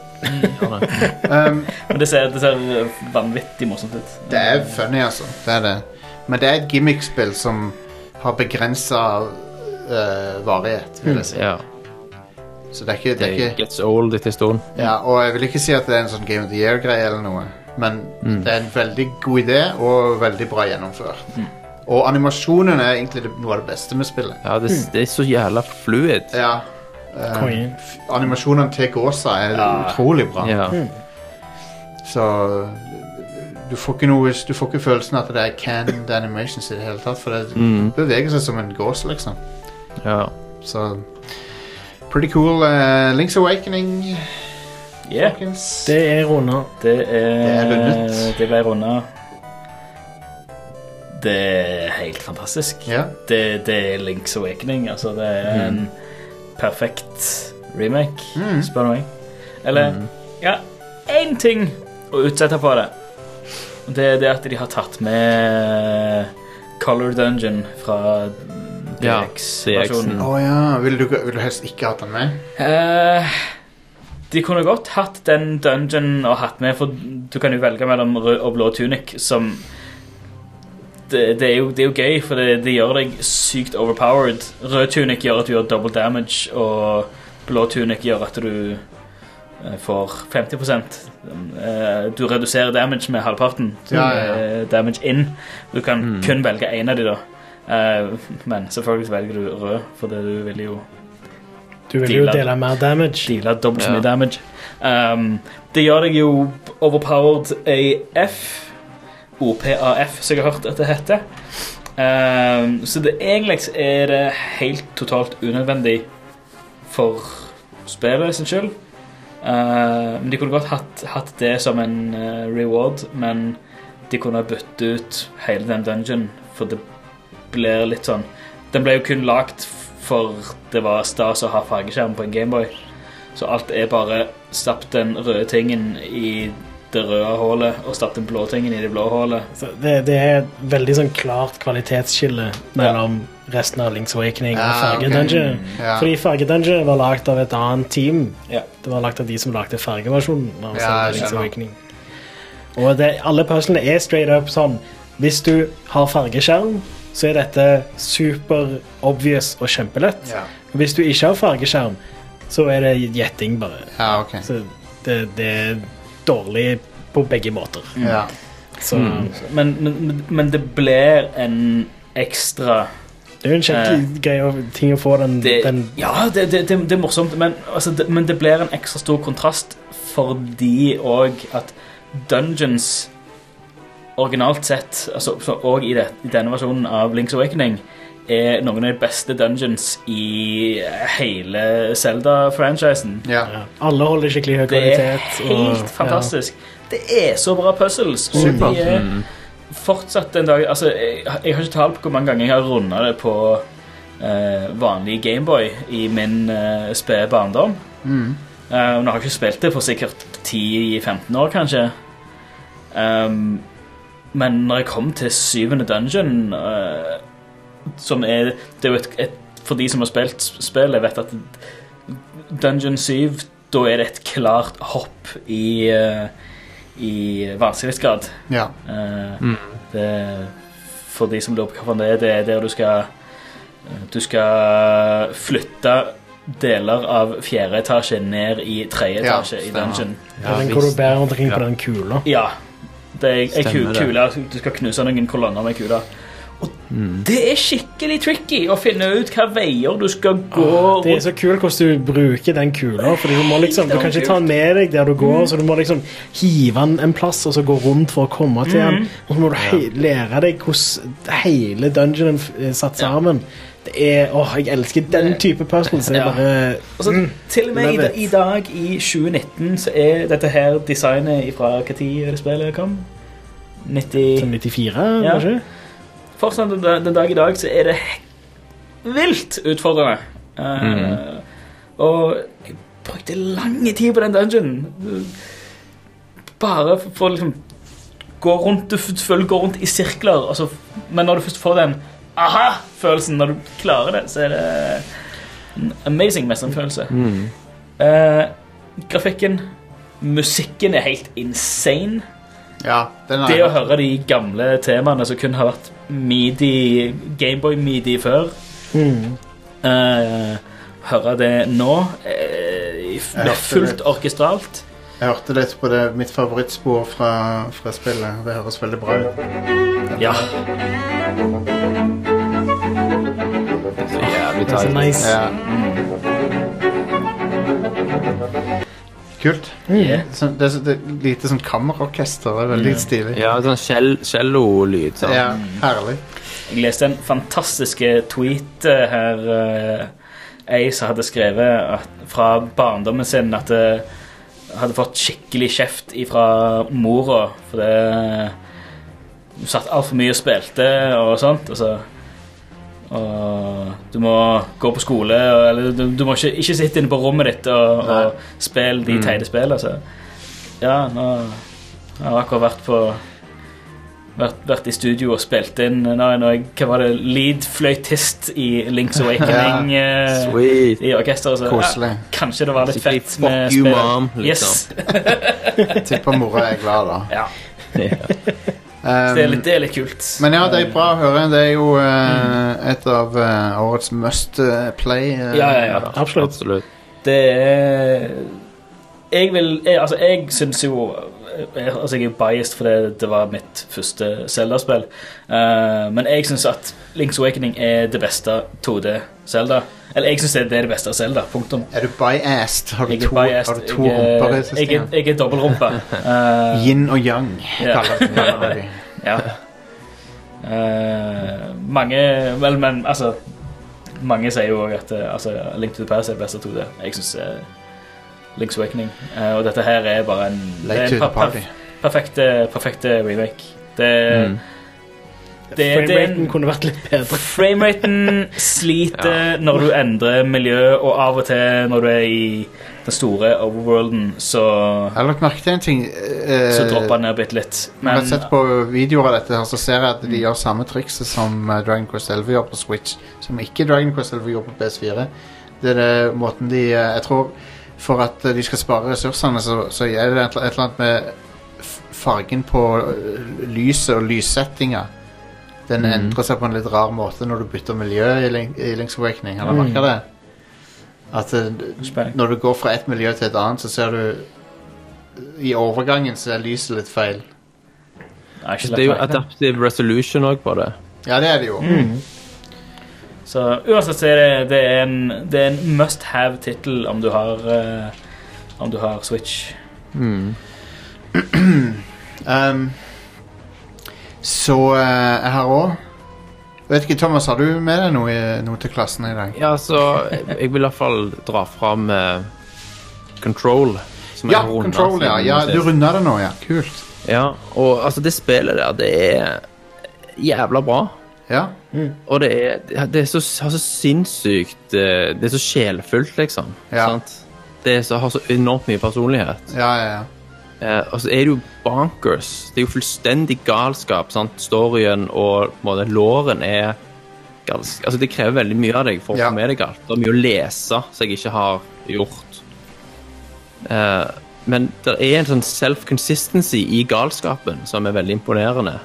Um,
Men det ser, det ser vanvittig morsomt ut.
Det er funny, altså. Det er det. Men det er et gimmickspill som har begrensa varighet, vil jeg si.
Ja.
eh, Så det er ikke, det er
Det
ikke
gets old etter en stund.
ja, Og jeg vil ikke si at det er en sånn Game of the Year-greie eller noe, men
Mm.
det er en veldig god idé og veldig bra gjennomført. Og animasjonen er egentlig det- noe av det beste med spillet.
Ja, det, det er så jævla fluid.
Ja. eh,
Konge.
f- animasjonene til Gåsa er
Ja.
utrolig bra.
Ja. Mm.
Så du får, ikke noe, du får ikke følelsen at det er canned animations i det hele tatt, for det
Mm.
beveger seg som en gås, liksom.
Ja.
Så Pretty cool. eh, Link's Awakening.
Yeah.
Det er runda.
Det er,
Det er rundet.
Det ble runda. Det er helt fantastisk.
Ja. Mm.
Det, det er Links Awakening. Altså, det er en perfekt remake, spør du meg. Eller
Mm.
ja, én ting å utsette på det. Og Det er det at de har tatt med Color Dungeon fra
Ja,
DX-versjonen.
Mm.
Å ja. Vil du, vil du helst ikke hatt den med?
Eh, de kunne godt hatt den dungeon og hatt med, for du kan jo velge mellom rød og blå tunic, som det, det, er jo, det er jo gøy, for det, det gjør deg sykt overpowered. Rød tunic gjør at du gjør double damage, og blå tunic gjør at du eh, får 50 Eh, Du reduserer damage med halvparten.
Ja, ja, ja.
eh, Damage in. Du kan
Mm.
kun velge én av de, da. Eh, men selvfølgelig velger du rød, for det du vil jo
Du vil jo dele mer damage.
Deale dobbelt så
Ja.
mye damage. Um, det gjør deg jo overpowered AF. OPAF, som jeg har hørt at det heter. Um, så det egentlig så er det helt totalt unødvendig for spillet sin skyld. Uh, men de kunne godt hatt, hatt det som en eh, reward, men de kunne ha byttet ut hele den dungeon, for det blir litt sånn Den ble jo kun lagd for det var stas å ha fargeskjerm på en Gameboy. Så alt er bare stapp den røde tingen i det røde hullet, og stapp den blå tingen i det blå hullet.
Det, det er et veldig sånn klart kvalitetsskille mellom resten av Links Awakening og
Ah,
Farge
ok.
Dungeon.
Ja.
Fordi Farge Dungeon var lagd av et annet team.
Ja.
Det var lagd av de som lagde fargeversjonen. av
Ja, jeg
Link's
skjønner.
Awakening. liksom Og det, alle puzzlene er straight up sånn Hvis du har fargeskjerm, så er dette super obvious og kjempelett.
Ja.
Hvis du ikke har fargeskjerm, så er det gjetting, bare.
Ja, ok.
Så det, det er dårlig på begge måter.
Ja.
Så
Mm. Men, men, men det blir en ekstra
det er jo en
eh,
kjekk greie å- ting å få den,
det,
den
Ja, det, det, det, det er morsomt, men, altså, det, men det blir en ekstra stor kontrast fordi òg at Dungeons originalt sett, altså så og i, det, i denne versjonen av Link's Awakening, er noen av de beste dungeons i hele Zelda-franchisen.
Alle holder skikkelig høy
Det
kvalitet.
er helt fantastisk. Det er så bra puzzles. og
Supert.
de er
Mm.
Fortsatt en dag altså, jeg, jeg har ikke tall på hvor mange ganger jeg har runda det på eh, vanlig Gameboy i min eh, spede barndom.
Mm.
Eh, nå har jeg ikke spilt det for sikkert 10-15 år, kanskje. Ehm, men når jeg kom til syvende dungeon, eh, som er Det er jo et, et For de som har spilt s- spillet, vet at Dungeon 7, da er det et klart hopp i, eh, i vanskelighetsgrad.
Ja.
Eh,
Mm.
det, for de som lurer på hva faen det er, det er der du skal eh, Du skal flytte deler av fjerde etasje ned i tredje
Ja,
etasje i
stemmer.
Dungeon.
Ja, den hvor du bærer rundt omkring på den kula.
Ja. Det er, er ku,
Stemmer det.
kula, du skal knuse noen kolonner med kula.
Mm.
Det er skikkelig tricky å finne ut hva veier du skal gå
Ah, Det er så kult hvordan du bruker den kula. Fordi Du må liksom, du kan ikke ta den med deg der du går, så du må liksom hive den en plass og så gå rundt for å komme til den.
Mhm.
Og så må du hei, lære deg hvordan hele dungeonen f- er satt sammen. Det er, åh, Jeg elsker den type puzzles. Det er
Ja.
bare
Altså,
mm,
til og med i,
love
da- i dag, i 2019, så er dette her designet fra hva tid er det spillet kom? 90...
94,
Ja.
kanskje?
Fortsatt den, den dag i dag så er det vilt utfordrende. Eh,
Mhm.
Og jeg brukte lang tid på den dungeonen. Bare for- for å liksom gå rundt, Du f- føler du går rundt i sirkler, og så, men når du først får den aha-følelsen, når du klarer det, så er det en amazing mestring-følelse. Eh, grafikken, musikken er helt insane.
Ja, den er-
det å høre de gamle temaene som kun har vært midi, Gameboy-midi før,
Mm.
eh, høre det nå. eh, i f-
Jeg hørte
fullt
det.
orkestralt.
Jeg hørte litt på det, mitt favorittspor fra, fra spillet. Det høres veldig bra ut.
Ja.
Jævlig
Det er så
tight.
nice. Ja. Kult.
Yeah.
Sånn- det er så- det er lite sånn kammerorkester. Det er
Mm.
veldig stilig.
Ja, sånn skjell- cello-lyd. sant?
Ja, herlig.
Jeg leste en fantastisk tweet eh, her. eh, Ei som hadde skrevet at, fra barndommen sin at eh, hadde fått skikkelig kjeft ifra mora fordi hun satt altfor mye og spilte og sånt. Og så og du må gå på skole, og- eller du, du må ikke, ikke sitte inne på rommet ditt og, og spille de
Mm.
teite spillene. Så ja, nå jeg har akkurat vært på vært, vært i studio og spilt inn nå, nå, Hva var det? Lead fløytist i Link's Awakening eh,
Sweet.
i orkesteret. så,
Koselig.
Ja, kanskje det var litt fett
Skikkelig fuck
med
you,
spill.
mom, liksom.
Yes.
Tipper mora er glad, da. (laughs)
Ja.
Um,
Så det, er litt, det er litt kult.
Men ja, det er bra å høre. Det er jo eh, et av eh, årets must eh, play. eh.
Mm. Ja, ja, ja.
Absolutt.
Absolutt.
Det er Jeg vil jeg, Altså, jeg syns jo jeg, altså jeg er jo biased fordi det var mitt første Zelda-spill. Eh, men jeg syns at Link's Awakening er det beste 2D-Zelda. Eller jeg syns det er det beste Zelda. Punktum.
Er du biased? Har du
Jeg er
to,
biased.
har du to
Jeg er-
rumper i
Jeg, er-
systemet?
jeg er dobbeltrumpe.
(laughs)
Eh,
Yin og yang.
ja.
kaller- kaller
(laughs)
de.
ja. Eh, mange Vel, men altså Mange sier jo også at eh, altså, Link to the Past er det beste 2D. Jeg syns Link's Awakening eh, Og dette her er bare en, det
Late to
er en
the
per-
party.
perf- perfekt, eh, perfekt eh, remake. Det,
Mm.
det, det er en
Frameraten kunne vært litt bedre.
Frameraten
(laughs)
sliter når du endrer miljø, og av og til når du er i den store overworlden, så,
Jeg har lagt merke til en ting. eh,
så dropper han ned bitte litt.
Jeg har
Men
sett på videoer av dette her, så ser jeg at de gjør samme trikset som eh, Dragon Quest 11 gjør på Switch, som ikke Dragon Quest 11 gjør på PS4. Det er det måten de eh, Jeg tror for at eh, de skal spare ressursene, så, så gjør det et eller- et eller annet med f- fargen på eh, lyset og lyssettinga. Den
Mhm.
endrer seg på en litt rar måte når du bytter miljø i, Link, i Link's Awakening. Har du
Mm.
merket det? At eh,
Spennende.
når du går fra et miljø til et annet, så ser du eh, I overgangen så er lyset litt feil.
Jeg har ikke
Det er jo
lagt merke til det.
adaptive resolution òg på det.
Ja, det er det jo.
Så uansett så er det, det, er en, det er en must have-tittel om du har eh, Om du har Switch.
Mm.
Ehm, så eh, jeg har òg Vet ikke, Thomas, har du med deg noe, i- noe til klassen i dag?
Ja, så jeg vil i hvert fall dra fram eh, Control. som jeg
Ja,
har rundet
Control, ja.
siden
ja
sist.
du runda det nå, ja. Kult.
Ja, og altså det spillet der, det er jævla bra.
Ja.
Og det er, det er så, har så sinnssykt eh, Det er så sjelfullt, liksom.
Ja.
Sant? Det er så, har så enormt mye personlighet.
Ja, ja, ja.
Eh, og så er det jo bonkers. Det er jo fullstendig galskap. sant? Storyen og på en måte, låren er ganske Altså, det krever veldig mye av deg for å
Ja.
få med deg alt. Det er mye å lese som jeg ikke har gjort. Eh, men det er en sånn self-consistency i galskapen som er veldig imponerende.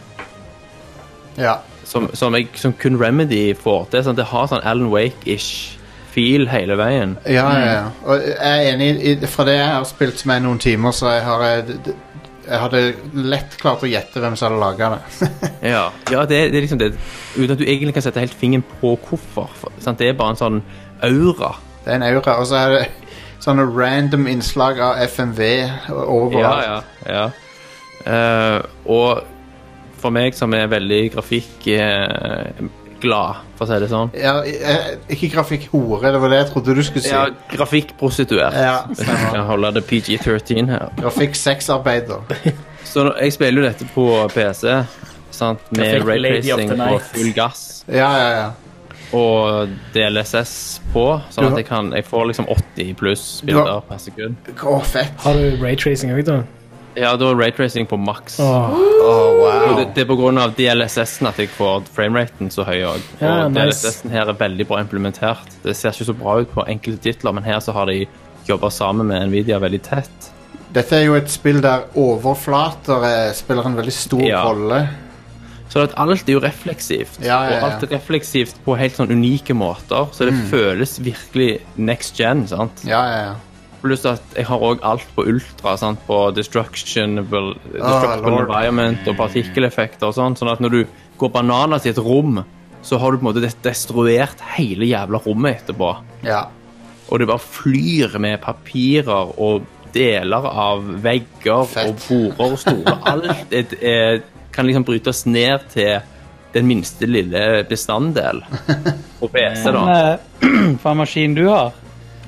ja.
Som, som, jeg, som kun Remedy får til. sant? Det har sånn Alan Wake-ish feel hele veien.
Ja, ja, ja. Og jeg er enig. i- i- Fra det jeg har spilt som er noen timer, så jeg har jeg, d- d- jeg hadde lett klart å gjette hvem som hadde laga det. (laughs)
Ja, ja det, er- det er liksom det Uten at du egentlig kan sette helt fingeren på hvorfor. for- Sant? Det er bare en sånn aura.
Det er en aura. Og så er det sånne random innslag av FMV overalt.
Ja, ja. ja. Eh, og for meg som er veldig grafikkglad, for å si det sånn
Ja, eh, ikke grafikk-hore, det var det jeg trodde du skulle si.
Ja, grafikkprostituert.
Ja,
Hvis
(laughs)
jeg kan holde det PG-13 her.
Grafikk-sexarbeider.
Så nå- jeg spiller jo dette på PC, sant? med
Grafikk Lady of
raytracing
the
på
Night.
full gass.
Ja, ja, ja.
og DLSS på,
Du
sånn
har-
at jeg, kan, jeg får liksom 80 pluss
Du har-
bilder per sekund.
Å, fett.
Har du raytracing òg, da?
Ja, da er raytracing på maks.
Åh,
Å,
Og
Oh, wow.
det, det er pga. DLSS-en at jeg får frameraten så høy òg. Og
Ja, nice.
DLSS-en her er veldig bra implementert. Det ser ikke så bra ut på enkelte titler, men her så har de jobba sammen med Nvidia veldig tett.
Dette er jo et spill der overflater eh, spiller en veldig stor
Ja.
rolle.
Så det at alt er jo refleksivt.
Ja, ja, ja.
Og alt er refleksivt på helt sånn unike måter. Så det
Mm.
føles virkelig next gen. sant?
Ja, ja, ja.
Pluss at jeg har òg alt på ultra. sant? På destructionable, destructible
lord.
environment og partikkeleffekter og sånn. Sånn at når du går bananas i et rom, så har du på en måte det- destruert hele jævla rommet etterpå.
Ja.
Og det bare flyr med papirer og deler av vegger og border og stoler. Alt er, er, kan liksom brytes ned til den minste lille bestanddel. Og PC,
Hva
da.
med- eh, (clears throat) hva maskin du har?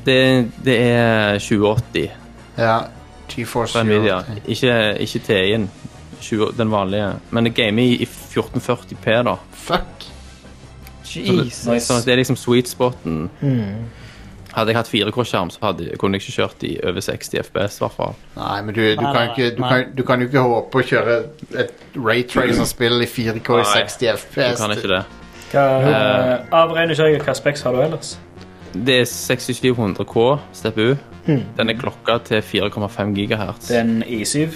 Det, det er 2080.
Ja. GeForce
Fra Nvidia. Ikke, ikke TI-en. 20 Den vanlige. Men det gamer i i 1440P, da.
Fuck!
Så det,
Jesus.
sånn at det er liksom sweet spoten.
Mm.
Hadde jeg hatt 4K-skjerm, så hadde, kunne jeg ikke kjørt i over 60 FPS, i hvert fall.
Nei, men du, du, kan, ikke, du, kan, du kan jo ikke håpe å kjøre et Raytracer-spill i 4K i
Nei,
60 FPS.
Du kan ikke det.
Hva,
Eh.
uh, avregner ikke jeg hva speks har du ellers?
Det er 6700K CPU.
Hmm.
Den er klokka til 4,5 GHz.
Det er en E i7.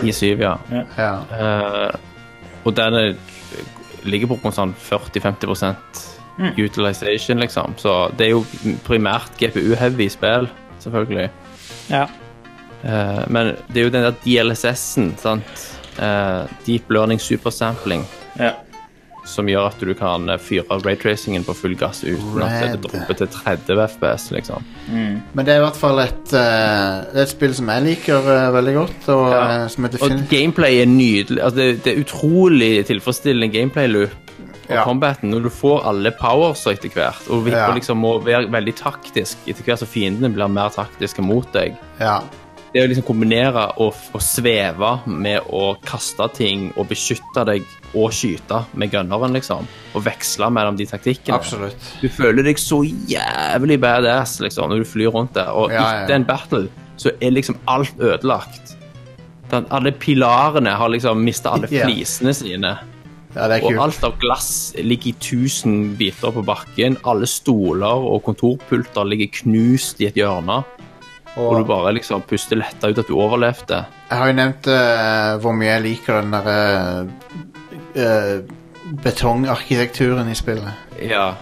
I7, ja.
ja.
Eh, og den er, ligger på rundt sånn 40-50
Mm.
utilization, liksom. Så det er jo primært GPU-heavy spill, selvfølgelig.
Ja.
Eh, men det er jo den der DLSS-en, sant. Eh, Deep Learning Supersampling. Som gjør at du kan eh, fyre raytracingen på full gass uten at
Red.
det dropper til 30 FPS, liksom.
Men det er i hvert fall et, eh, det er et spill som jeg liker eh, veldig godt, og eh, som heter
Og
Fin...
gameplay er nydelig. Altså, det, det er utrolig tilfredsstillende gameplay-loop. Og combaten, når du får alle powers etter hvert, og vipper
Ja.
liksom må være veldig taktisk etter hvert som fiendene blir mer taktiske mot deg.
Ja.
Det å liksom kombinere å, f- å sveve med å kaste ting og beskytte deg og skyte med gunneren, liksom. Og veksle mellom de taktikkene.
Absolutt.
Du føler deg så jævlig badass liksom, når du flyr rundt der.
Ja,
Og
ja, ja.
etter en battle så er liksom alt ødelagt. Den, alle pilarene har liksom mista alle
(laughs) Ja.
flisene sine.
Ja, det er
og
kult.
alt av glass ligger i tusen biter på bakken. Alle stoler og kontorpulter ligger knust i et hjørne. Og,
Og-
du bare liksom puster letta ut at du overlevde.
Jeg har jo nevnt eh, hvor mye jeg liker den derre eh, betongarkitekturen i spillet.
Ja.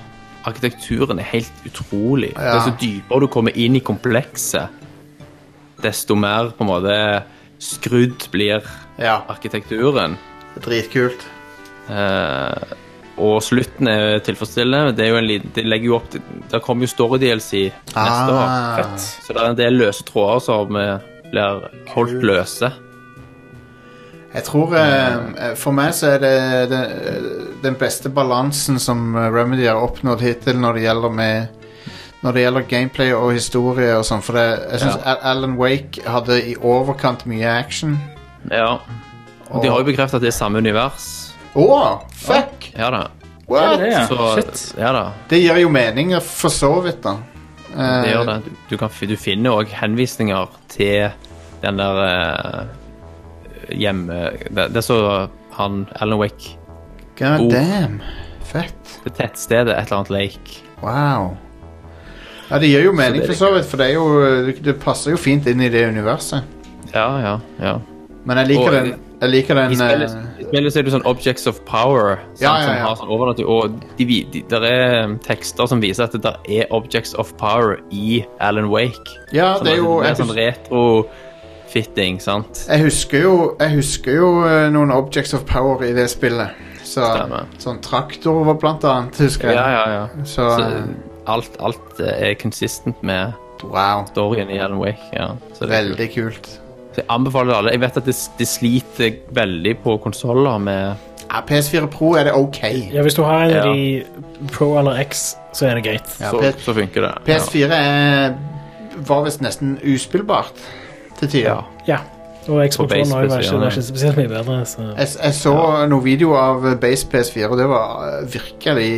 Arkitekturen er helt utrolig.
Ja.
Desto dypere du kommer inn i komplekset, desto mer på en måte skrudd blir arkitekturen.
Dritkult.
Eh, og slutten er tilfredsstillende. Det, er jo en liten, det legger jo opp til Der kommer jo story-DLC neste
Ah.
år. Så det er en del løse tråder som eh, blir holdt løse.
Jeg tror eh, eh, For meg så er det, det eh, den beste balansen som eh, Remedy har oppnådd hittil når det gjelder med når det gjelder gameplay og historie og sånn, for det, jeg syns Alan Wake hadde i overkant mye action.
Ja. Og de har jo bekreftet at det er samme univers.
Å, fuck!
Ja da.
What? Er det det?
Så,
Shit.
ja da.
Det gir jo mening, for så vidt, da. Eh,
Det gjør det. Du, du, kan, fi- du finner òg henvisninger til den der eh, hjemme... Det, det er så han Alan Wake
God
bor.
damn. Fett.
Det tettstedet, et eller annet lake.
Wow. Ja, det gir jo mening
det er
for så vidt, for det, er jo, det- det passer jo fint inn i det universet.
Ja, ja, ja.
Men jeg liker
Og-
den Jeg liker den
I spillet,
eh,
i spillet så er det sånn Objects of Power sant,
Ja, ja, ja.
som har sånn overnaturlig Og de, vi- de, der er tekster som viser at det der er Objects of Power i Alan Wake.
Ja,
Sånn
det er
at
jo-
Det
jeg
er sånn retrofitting, sant?
Jeg husker jo, jeg husker jo eh, noen Objects of Power i det spillet. Så, sånn traktor var blant annet, husker jeg.
Ja, ja, ja.
Så, eh,
alt, alt eh, er consistent med storyen i Alan Wake. Ja. Så det er
Veldig kult.
Så jeg anbefaler det alle. Jeg vet at det, det sliter veldig på konsoller med
ja, PS4 Pro er det ok.
Ja, hvis du har en
Ja.
av de Pro eller X, så er det greit.
Ja,
så,
P-
så funker det.
PS4 er, var visst nesten uspillbart til tider.
Ja. Og Xbox One
base
var jo
PC,
ikke,
ja.
var ikke spesielt mye bedre. Så.
Jeg, jeg så noen videoer av eh, Base PS4, og det var eh, virkelig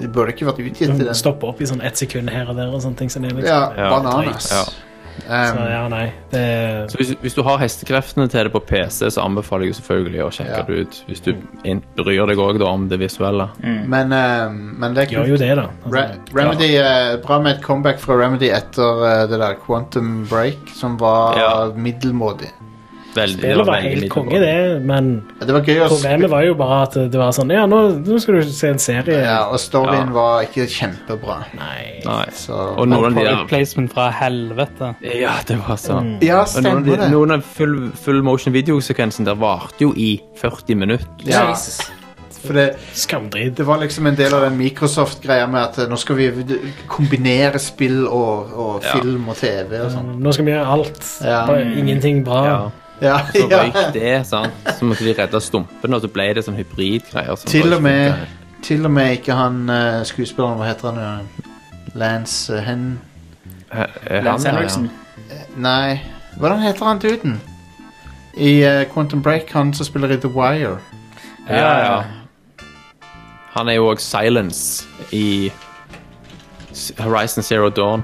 Det burde ikke vært utgitt til
Den
den.
stopper opp i sånn ett sekund her og der. og sånne ting så det er liksom,
Ja, bananas. Um,
Ja.
Så ja, nei. Det,
Så hvis, hvis du har hestekreftene til det på PC, så anbefaler jeg jo selvfølgelig å sjekke det ut. Hvis du in- bryr deg òg om det visuelle.
Mm.
Men, eh, men det er
Gjør jo det, da. Altså,
Re Remedy, eh, Bra med et comeback fra Remedy etter eh, det der Quantum Break, som var middelmådig.
Veldig, det
Spillet var
veldig
helt
middel-
konge, det, men
Det var gøy å
problemet var jo bare at det var sånn Ja, nå, nå skal du se en serie.
Ja, og storyen
Ja.
var ikke kjempebra. Nei. Så,
Og noen av de der-
Product placement fra helvete.
Ja, det var sånn.
Mm. Ja,
Og noen av
stemmer
de-
det.
Noen av full, full motion videosekvensen der varte jo i 40 minutter.
Ja. For det, det var liksom en del av den Microsoft-greia med at eh, nå skal vi d- kombinere spill og, og
Ja. Mm.
film og TV og sånn.
Nå skal vi gjøre alt.
Ja.
Bare ingenting bra.
Ja,
Så
ja.
røyk det, sant. Så måtte de redde stumpene, og så ble det sånn hybridgreier. som
Til
bare
og med, til og med ikke han eh, skuespilleren, hva heter han? eh, Lance eh, Hen...
eh, Lance han, ja, Henriksen?
Eh, Nei, hvordan heter han duden? I eh, Quantum Break, han som spiller i The Wire.
funka. Ja, ja. Han er jo òg Silence i S- Horizon Zero Dawn.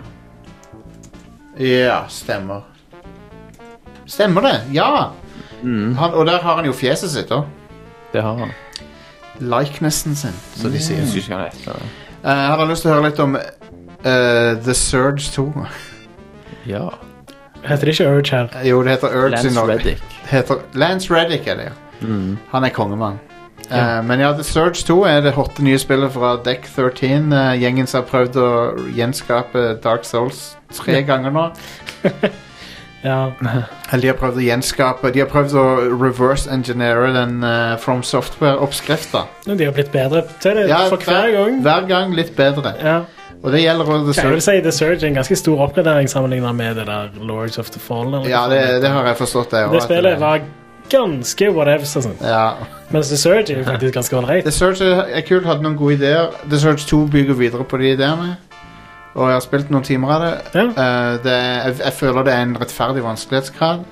Ja, stemmer. Stemmer det, ja! Han, og der har han jo fjeset sitt, da.
Det har han.
Likenessen sin, som de sier.
Jeg husker ikke hva han heter.
Eh, Jeg hadde lyst til å høre litt om eh, The Surge Eh, 2.
Ja.
Heter det ikke Urge her?
Jo, det heter Urge
Lance
i Norge.
Reddick.
Det Heter, Lance Reddick er det, ja.
Mm.
Han er kongemann. Eh, men ja, The Surge 2 er det hotte nye spillet fra Deck 13. eh, gjengen som har prøvd å gjenskape Dark Souls tre
Ja.
ganger nå.
Ja.
Eller de har prøvd å gjenskape De har prøvd å reverse engineere den eh, From Software-oppskrifta.
Men de har blitt bedre til det
Ja,
for hver gang.
Hver gang litt bedre. Og det gjelder også The
Kan jeg
Surge.
vel si The Surge er en ganske stor oppgradering sammenlignet med det der Lords of the Fallen. eller
Ja,
hva
det,
heter.
det har jeg forstått, det. også,
Det
at
spillet var ganske whatevs og sånt.
Ja.
Mens The Surge er jo faktisk ganske ålreit.
The Surge er er kult, hadde noen gode ideer. The Surge 2 bygger videre på de ideene. Og jeg har spilt noen timer av det. Eh, det er- jeg, jeg føler det er en rettferdig vanskelighetsgrad.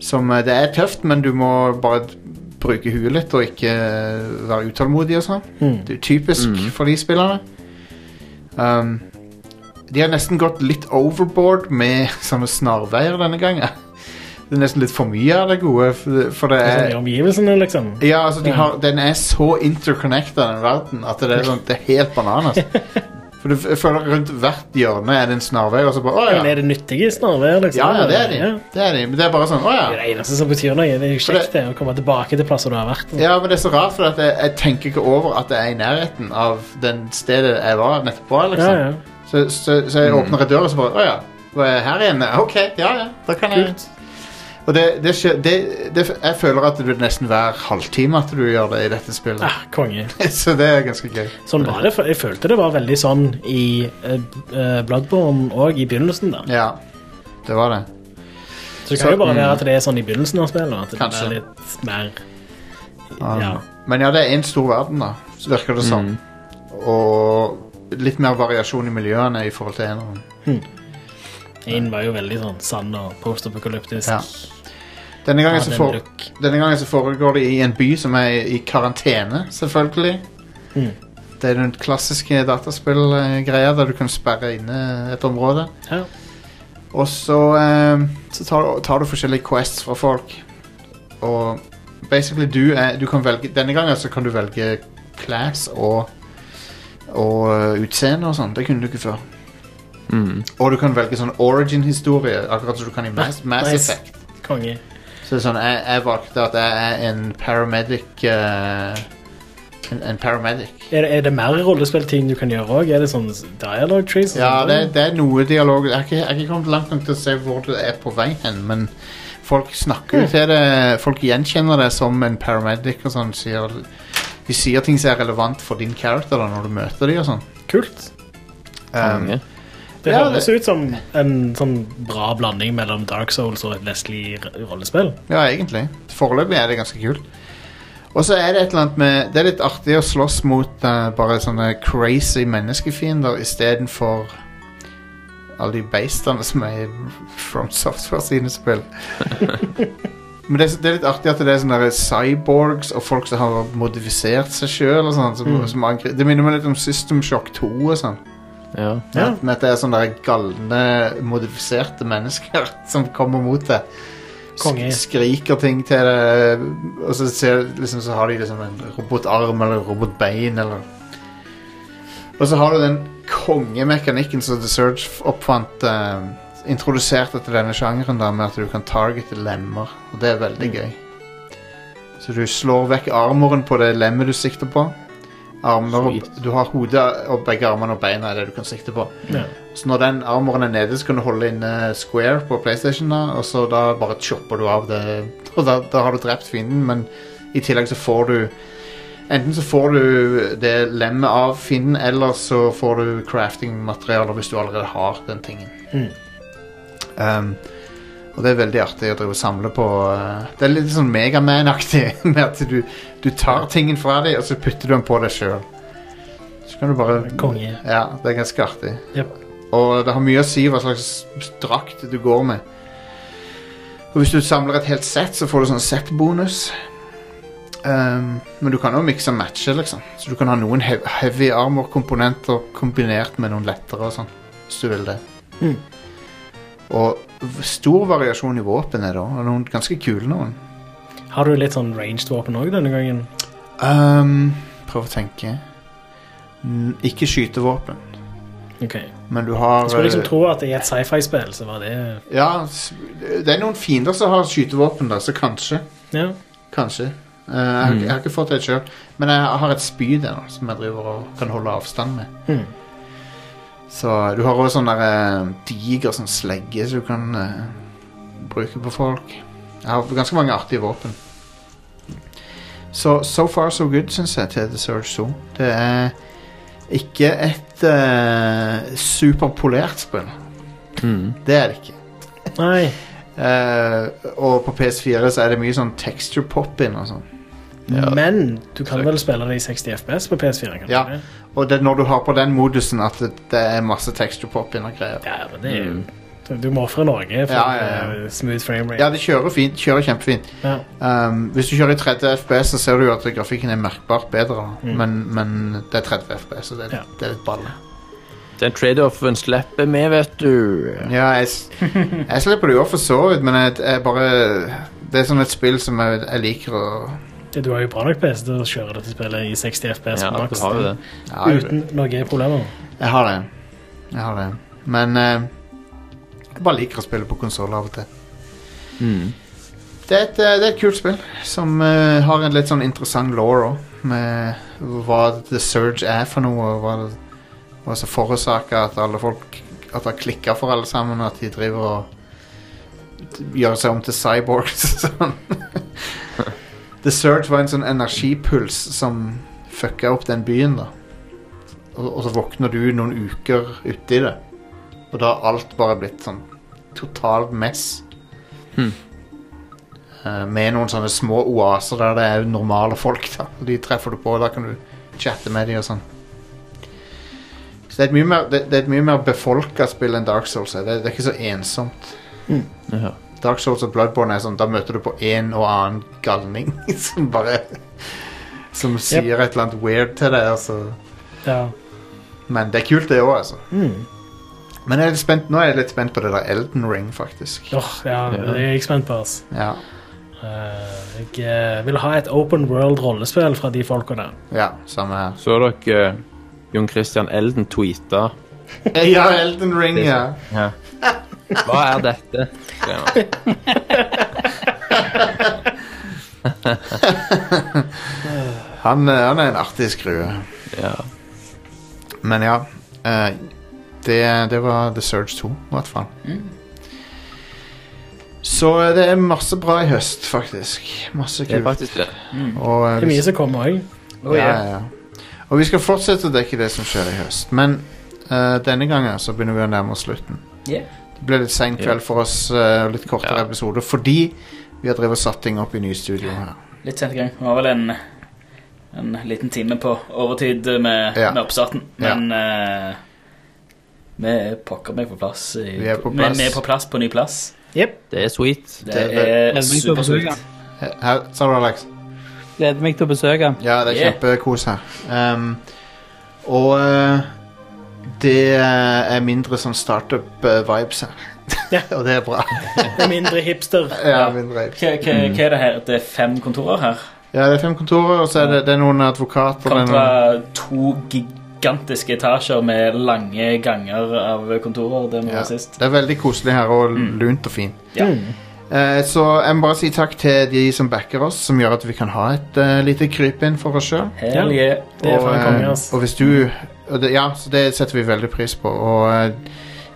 Som eh, Det er tøft, men du må bare d- bruke huet litt og ikke eh, være utålmodig og sånn.
Mm.
Det er typisk for de spillerne. Um, de har nesten gått litt overboard med (laughs) sånne snarveier denne gangen. Det er nesten litt for mye av det gode, for det, for det
Det er sånn
er
I omgivelsene, liksom.
ja, altså de
Ja.
har, Den er så interconnected, den verden, at det er, sånn, det er helt
(laughs)
bananas. For du f- føler rundt hvert hjørne er det en snarvei, og så bare Å ja.
Men er det nyttige snarveier, liksom?
Ja, ja, det er de.
Ja.
Det er de. Men det er bare sånn Å
Det er det
ja.
eneste som betyr noe. Det er jo
For det-
kjekt det, å komme tilbake til plasser du har vært. altså.
Ja, men det er så rart, for at jeg, jeg tenker ikke over at jeg er i nærheten av den stedet jeg var nettopp. på, Liksom.
Ja, ja.
Så, så, så jeg
Mm.
åpner en dør, og så bare Å ja, da er jeg her igjen. Ok, ja ja, da kan jeg Og det, det, skjer- det, det Jeg føler at det er nesten hver halvtime at du gjør det i dette spillet.
Ah, konge.
(laughs) så det er ganske gøy.
Sånn var det. for- Jeg følte det var veldig sånn i eh, eh, Bloodborne òg, i begynnelsen. da.
Ja, det var det.
Så det kan jo bare
mm.
være at det er sånn i begynnelsen av spillet. At det
Kanskje.
er litt mer
Um,
Ja.
Men ja, det er en stor verden, da. Så virker det
Mm.
som. Og litt mer variasjon i miljøene i forhold til eneren.
Én var jo veldig sånn sann og postapokalyptisk.
Ja. Denne gangen,
Ja,
så
den
for, denne gangen så foregår det i en by som er i i karantene, selvfølgelig.
Mm.
Det er den klassiske dataspillgreia der du kan sperre inne et område.
Ja.
Og så, eh, så tar, tar du forskjellige quests fra folk. Og basically du, er, du kan velge Denne gangen så kan du velge class og, og eh, utseende og sånn. Det kunne du ikke før.
Mm.
Og du kan velge sånn origin-historie, akkurat som du kan i Mass, Mass
Nice.
Effect.
Konge.
Så det er sånn, jeg, jeg valgte at jeg er en paramedic eh, en, en paramedic.
Er det, er det mer rollespillting du kan gjøre òg? Er det sånn dialogue trees? og
Ja,
sånt
det,
også?
det er noe dialog. Jeg har ikke, jeg har ikke kommet langt nok til å se hvor det er på vei hen, men folk snakker jo til det. Folk gjenkjenner det som en paramedic og sånn. Sier, de sier ting som er relevant for din character da, når du møter dem og sånn.
Kult.
Um,
Det
Ja,
høres ut som en sånn bra blanding mellom Dark Souls og et Leslie r- rollespill.
Ja, egentlig. Foreløpig er det ganske kult. Og så er det et eller annet med Det er litt artig å slåss mot eh, bare sånne crazy menneskefiender istedenfor alle de beistene som er i From Software sine spill. Men det er, så- det er litt artig at det er sånne der cyborgs og folk som har modifisert seg sånn, sjøl.
Mm.
Det minner meg litt om System Shock 2 og sånn.
Ja.
Ja. Men at det er sånne der galne, modifiserte mennesker (laughs) som kommer mot deg. Sk-
Konge.
Skriker ting til deg, og så, ser, liksom, så har de liksom en robotarm eller robotbein eller Og så har du den kongemekanikken som The Surge oppfant eh, introduserte til denne sjangeren da, med at du kan targete lemmer, og det er veldig gøy. Så du slår vekk armoren på det lemmet du sikter på. Armer, og, du har hodet og begge armene og beina er det du kan sikte på.
Ja.
Så når den armoren er nede, så kan du holde inn eh, square på PlayStation, da, og så da bare chopper du av det. (laughs) Og da, da har du drept fienden, men i tillegg så får du Enten så får du det lemmet av fienden, eller så får du crafting-materialer hvis du allerede har den tingen.
Mm.
Um, og det er veldig artig å drive og samle på uh, Det er litt sånn Megaman-aktig (laughs) med at du, du tar tingen fra dem, og så putter du den på deg sjøl. Så kan du bare
Konge.
Ja, det er ganske artig.
Jep.
Og det har mye å si hva slags drakt du går med. Og hvis du samler et helt sett, så får du sånn set-bonus. Um, men du kan jo mikse og matche, liksom. Så du kan ha noen he heavy armor-komponenter kombinert med noen lettere og sånn, hvis du vil det.
Mm.
Og v- stor variasjon i våpen er det også, og noen ganske kule noen.
Har du litt sånn ranged våpen òg denne gangen?
Um, prøv å tenke. N ikke skytevåpen,
Ok.
men du har
Jeg skulle liksom
eh,
tro at i et sci-fi-spill så var det
Ja, s- det er noen fiender som har skytevåpen, da, så kanskje.
Ja.
Kanskje. Eh, jeg, har, ikke-
Mm.
jeg har ikke fått det sjøl, men jeg har et spyd der, da, som jeg driver og kan holde avstand med.
Mm.
Så du har òg sånn der eh, diger sånn slegge som du kan eh, bruke på folk. Jeg har ganske mange artige våpen. Så so far so good, syns jeg, til The Surge Zoo. Det er ikke et eh, superpolert spill.
Mm.
Det er det ikke.
Nei.
Eh, og på PS4 så er det mye sånn texture pop-in og sånn.
Men du kan vel spille det i 60 FPS på PS4? Kan
Ja.
du? ikke?
Og det er når du har på den modusen at det, det er masse texture pop-in og greier.
Ja, men det er jo... Du må ofre Norge for
Mm. Ja, ja,
eh, smooth frame rate.
Ja, det kjører fint. Kjører kjempefint.
Ja.
Um, hvis du kjører i 30 FPS, så ser du jo at grafikken er merkbart bedre. da.
Mm.
Men, men det er 30 FPS, så det,
Ja.
det er litt balle.
Den trade-offen slipper vi, vet du.
Ja, jeg, s- jeg slipper det jo opp for så vidt, men jeg, jeg bare Det er sånn et spill som jeg, jeg liker å
Ja, Du har jo bra nok PC til å kjøre dette spillet i 60 FPS
Ja,
på maks.
du har jo det. Ja, jeg-
Uten noen problemer.
Jeg har det. Jeg har det. Men eh, jeg bare liker å spille på konsoll av og til.
Mm.
Det er, et, eh, det er et kult spill som eh, har en litt sånn interessant law òg, med hva The Surge er for noe, og hva, hva som forårsaker at alle folk At det har klikka for alle sammen, og at de driver og gjør seg om til cyborgs og sånn. (laughs) The Surge var en sånn energipuls som fucka opp den byen, da. Og, og så våkner du noen uker uti det, og da har alt bare blitt sånn totalt mess.
Hmm.
Eh, med noen sånne små oaser der det er normale folk. da Og De treffer du på, og da kan du chatte med dem og sånn. Så det er et mye mer, det, det er et mye mer befolka spill enn Dark Souls. er. Det, det er ikke så ensomt.
Mm.
Ja.
Dark Souls og Bloodborne er sånn Da møter du på en og annen galning (laughs) som bare Som sier et eller annet weird til deg. Altså.
Ja.
Men det er kult, det òg, altså.
Mm.
Men jeg er litt spent, nå er jeg litt spent på det der Elden Ring, faktisk.
Åh, ja, det er jeg spent på. ass.
Ja.
Eh, jeg eh, vil ha et open world rollespill fra de folka der.
Ja, samme
(laughs)
her.
Så dere eh, Jon Christian Elden tweeta?
Ja, Elden Ring, ja.
Ja. Hva er dette? Ja.
Han, eh, han er en artig skrue. Men ja eh, det, det var The Surge 2, i hvert fall.
Mm.
Så eh, det er masse bra i høst, faktisk. Masse
Det er
kult.
faktisk det.
Mm.
Og, eh,
Det er
hvis-
mye som kommer òg.
Ja, ja, ja. Og vi skal fortsette å dekke det som skjer i høst, men eh, denne gangen så begynner vi å nærme oss slutten.
Yeah.
Det ble litt sein kveld for oss, eh, litt kortere episoder, fordi vi har drevet satt ting opp i nye studio her.
Litt sent i gang. Det var vel en, en liten time på overtid med,
Ja.
med oppstarten. Men eh, vi er pokker meg på plass. i-
Vi er på
men
plass.
Vi, er på plass på ny plass.
Det er sweet.
Det er supersweet.
Her, sa du, Alex?
Gleder meg til å besøke.
Ja, det er
Yeah.
kjempekos her. Ehm, og eh, det eh, er mindre sånn startup-vibes her. (laughs) og det er bra.
Det er mindre hipster.
(laughs) Ja, Mm. mindre
Hva, hva, hva er det her? Det er fem kontorer her?
Ja, det er fem kontorer, og så er det, det er noen advokater. det er
Kontra to gigantiske etasjer med lange ganger av kontorer. Det må
Ja.
være sist.
Det er veldig koselig her, og lunt og fint.
Ja.
Eh, så jeg må bare si takk til de som backer oss, som gjør at vi kan ha et eh, lite krypinn for oss sjøl.
Hell yeah. Det er
Og,
faen konge,
eh,
ass.
og hvis du og det, Ja, så det setter vi veldig pris på. Og eh,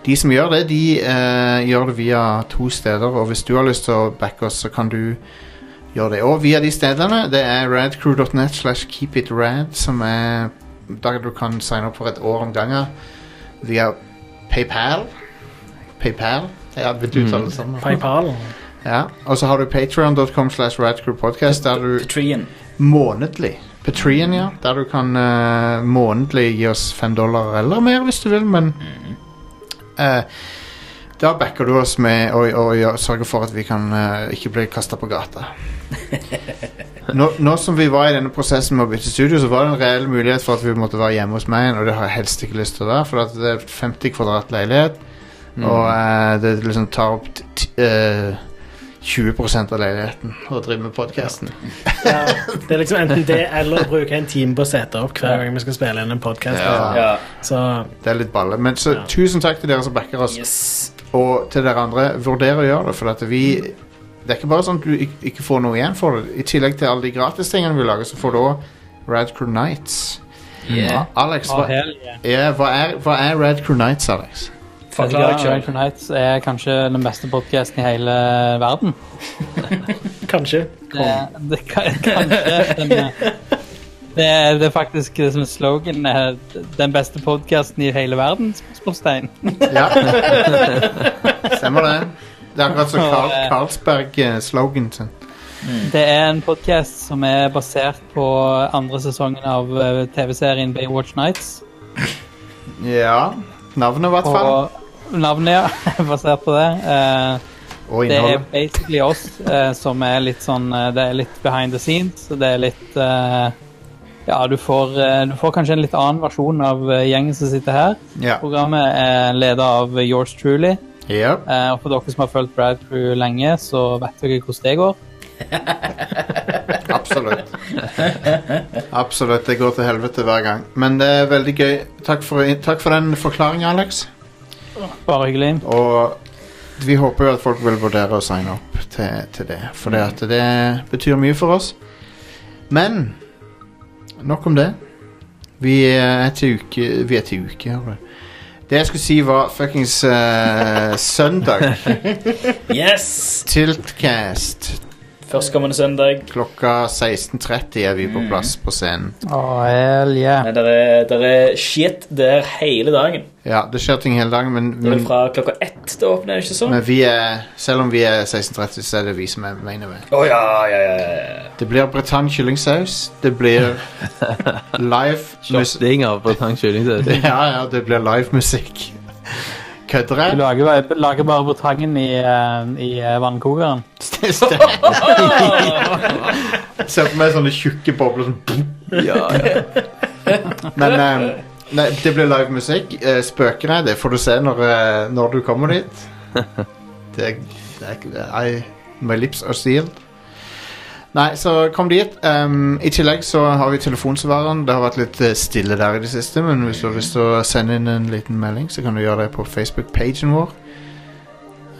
de som gjør det, de eh, gjør det via to steder. Og hvis du har lyst til å backe oss, så kan du gjøre det. Og via de stedene, det er radcrew.net slash keepitrad, som er der du kan signe opp for et år om gangen. Via PayPal. PayPal? Ja, vet du uttale det sammen?
PayPal.
Ja, og så har du patreon.com slash radcrewpodcast der du
Patreon
Månedlig Patreon, ja Der du kan eh, månedlig gi oss 5 dollar eller mer hvis du vil, men eh, Da backer du oss med å å gjøre- sørge for at vi kan eh, ikke bli kastet på gata nå, nå som vi var i denne prosessen med å bytte studio, så var det en reell mulighet for at vi måtte være hjemme hos meg, og det har jeg helst ikke lyst til å være, for at det er 50 kvadrat leilighet,
Mm.
og eh, det liksom tar opp t t eh, 20 av leiligheten å drive med podkasten.
Ja, det er liksom enten det eller å bruke en time på å sette opp hver gang vi skal spille inn en podkast. Så
Det er litt balle. Men så tusen takk til dere som backer oss. Og til dere andre, vurder å gjøre det, for at vi Det er ikke bare sånn at du ik- ikke får noe igjen for det. I tillegg til alle de gratistingene vi lager, så får du òg Radcrew Nights.
Yeah.
Alex,
Oh,
hva,
hell yeah.
ja, hva er, hva er Radcrew Nights, Alex?
Forklar Radical Nights er kanskje den beste podcasten i hele verden.
kanskje.
Det, det kan, kanskje den, det, er, det er faktisk det som er slogan er den beste podcasten i hele verden, spørsmålstegn.
Ja. Stemmer det. Det er akkurat som Carl, Carlsberg-slogan sin.
Det er en podcast som er basert på andre sesongen av eh, TV-serien Baywatch Nights.
Ja. Navnet, i hvert fall.
Og navnet, ja. (laughs) Basert på det. Eh,
Og
det er
innholdet.
basically oss eh, som er litt sånn eh, Det er litt behind the scenes. og Det er litt eh, Ja, du får, eh, du får kanskje en litt annen versjon av eh, gjengen som sitter her.
Ja.
Programmet er leda av yours truly. Eh, og for dere som har fulgt Brad Crew lenge, så vet dere hvordan det går.
Absolutt. Absolutt. Det går til helvete hver gang. Men det er veldig gøy. Takk for, takk for den forklaringen, Alex.
Bare hyggelig.
Og vi håper jo at folk vil vurdere å signe opp til, til det, for det, at det betyr mye for oss. Men nok om det. Vi er til uke Vi er til uke, hører du. Det jeg skulle si, var fuckings eh, (laughs) søndag.
Yes!
Tiltcast.
Førstkommende søndag.
Klokka 16.30 er vi på plass på scenen.
Oh, hell yeah.
Men det er, der er shit der hele dagen.
Ja, det skjer ting hele dagen, men,
Det er
men
vel fra klokka ett det åpner, ikke så?
Men vi er, selv om vi er 1630, så er det vi som er main event.
Å ja, ja, ja, ja, ja.
Det blir Bretagne kyllingsaus. Det
(laughs)
blir live
Shotting av Bretagne kyllingsaus.
(laughs)
(laughs)
Ja, ja, det blir live musikk. Kødder
Du
jeg?
lager, bare- lager bare Botangen i, eh, i eh, vannkokeren.
Ser på meg sånne tjukke bobler sånn boom. Men eh, nei, det blir live musikk. Eh, spøkene, det får du se når, eh, når du kommer dit. Det er, det er ikke- I, My lips are sealed. Nei, så kom dit. Em, I tillegg så har vi telefonsvareren. Det har vært litt eh, stille der i det siste, men hvis du har lyst til å sende inn en liten melding, så kan du gjøre det på Facebook-pagen vår.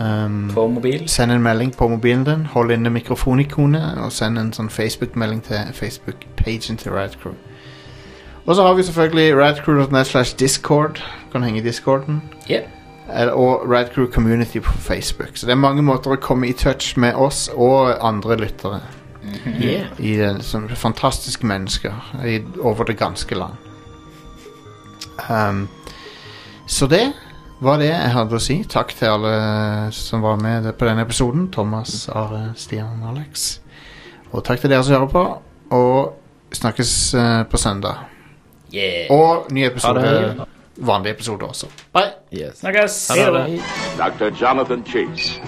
Em,
På mobil.
Send en melding på mobilen din. Hold inne mikrofonikonet, og send en sånn Facebook-melding til Facebook-pagen til Radcrew. Og så har vi selvfølgelig radcrew.net slash discord. Du Kan henge i discorden.
Yeah.
Eller- Og Radcrew Community på Facebook. Så det er mange måter å komme i touch med oss og andre lyttere.
Yeah.
I den, som fantastiske mennesker i, over det ganske land. Um, så det var det jeg hadde å si. Takk til alle som var med på denne episoden. Thomas, Are, Stian, Alex. Og takk til dere som hører på. Og snakkes eh, på søndag. Og ny
Ha
episode.
det.
Vanlig episode også. Bye.
Snakkes.
Ha det.
Dr. Jonathan Chase.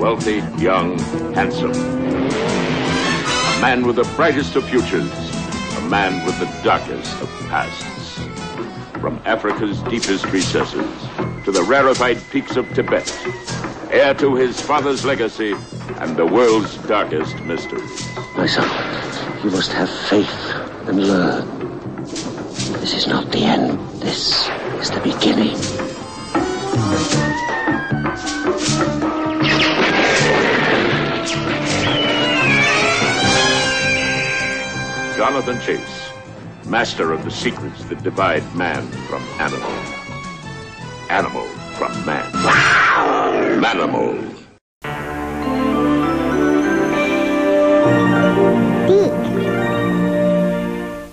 Wealthy, young, handsome. A man with the brightest of futures. A man with the darkest of pasts. From Africa's deepest recesses to the rarefied peaks of Tibet, heir to his father's legacy and the world's darkest mysteries.
My son, you must have faith and learn.
This is not the end. This is the beginning.
Jonathan Chase, master of the secrets that divide man from animal, animal from man. Manimal.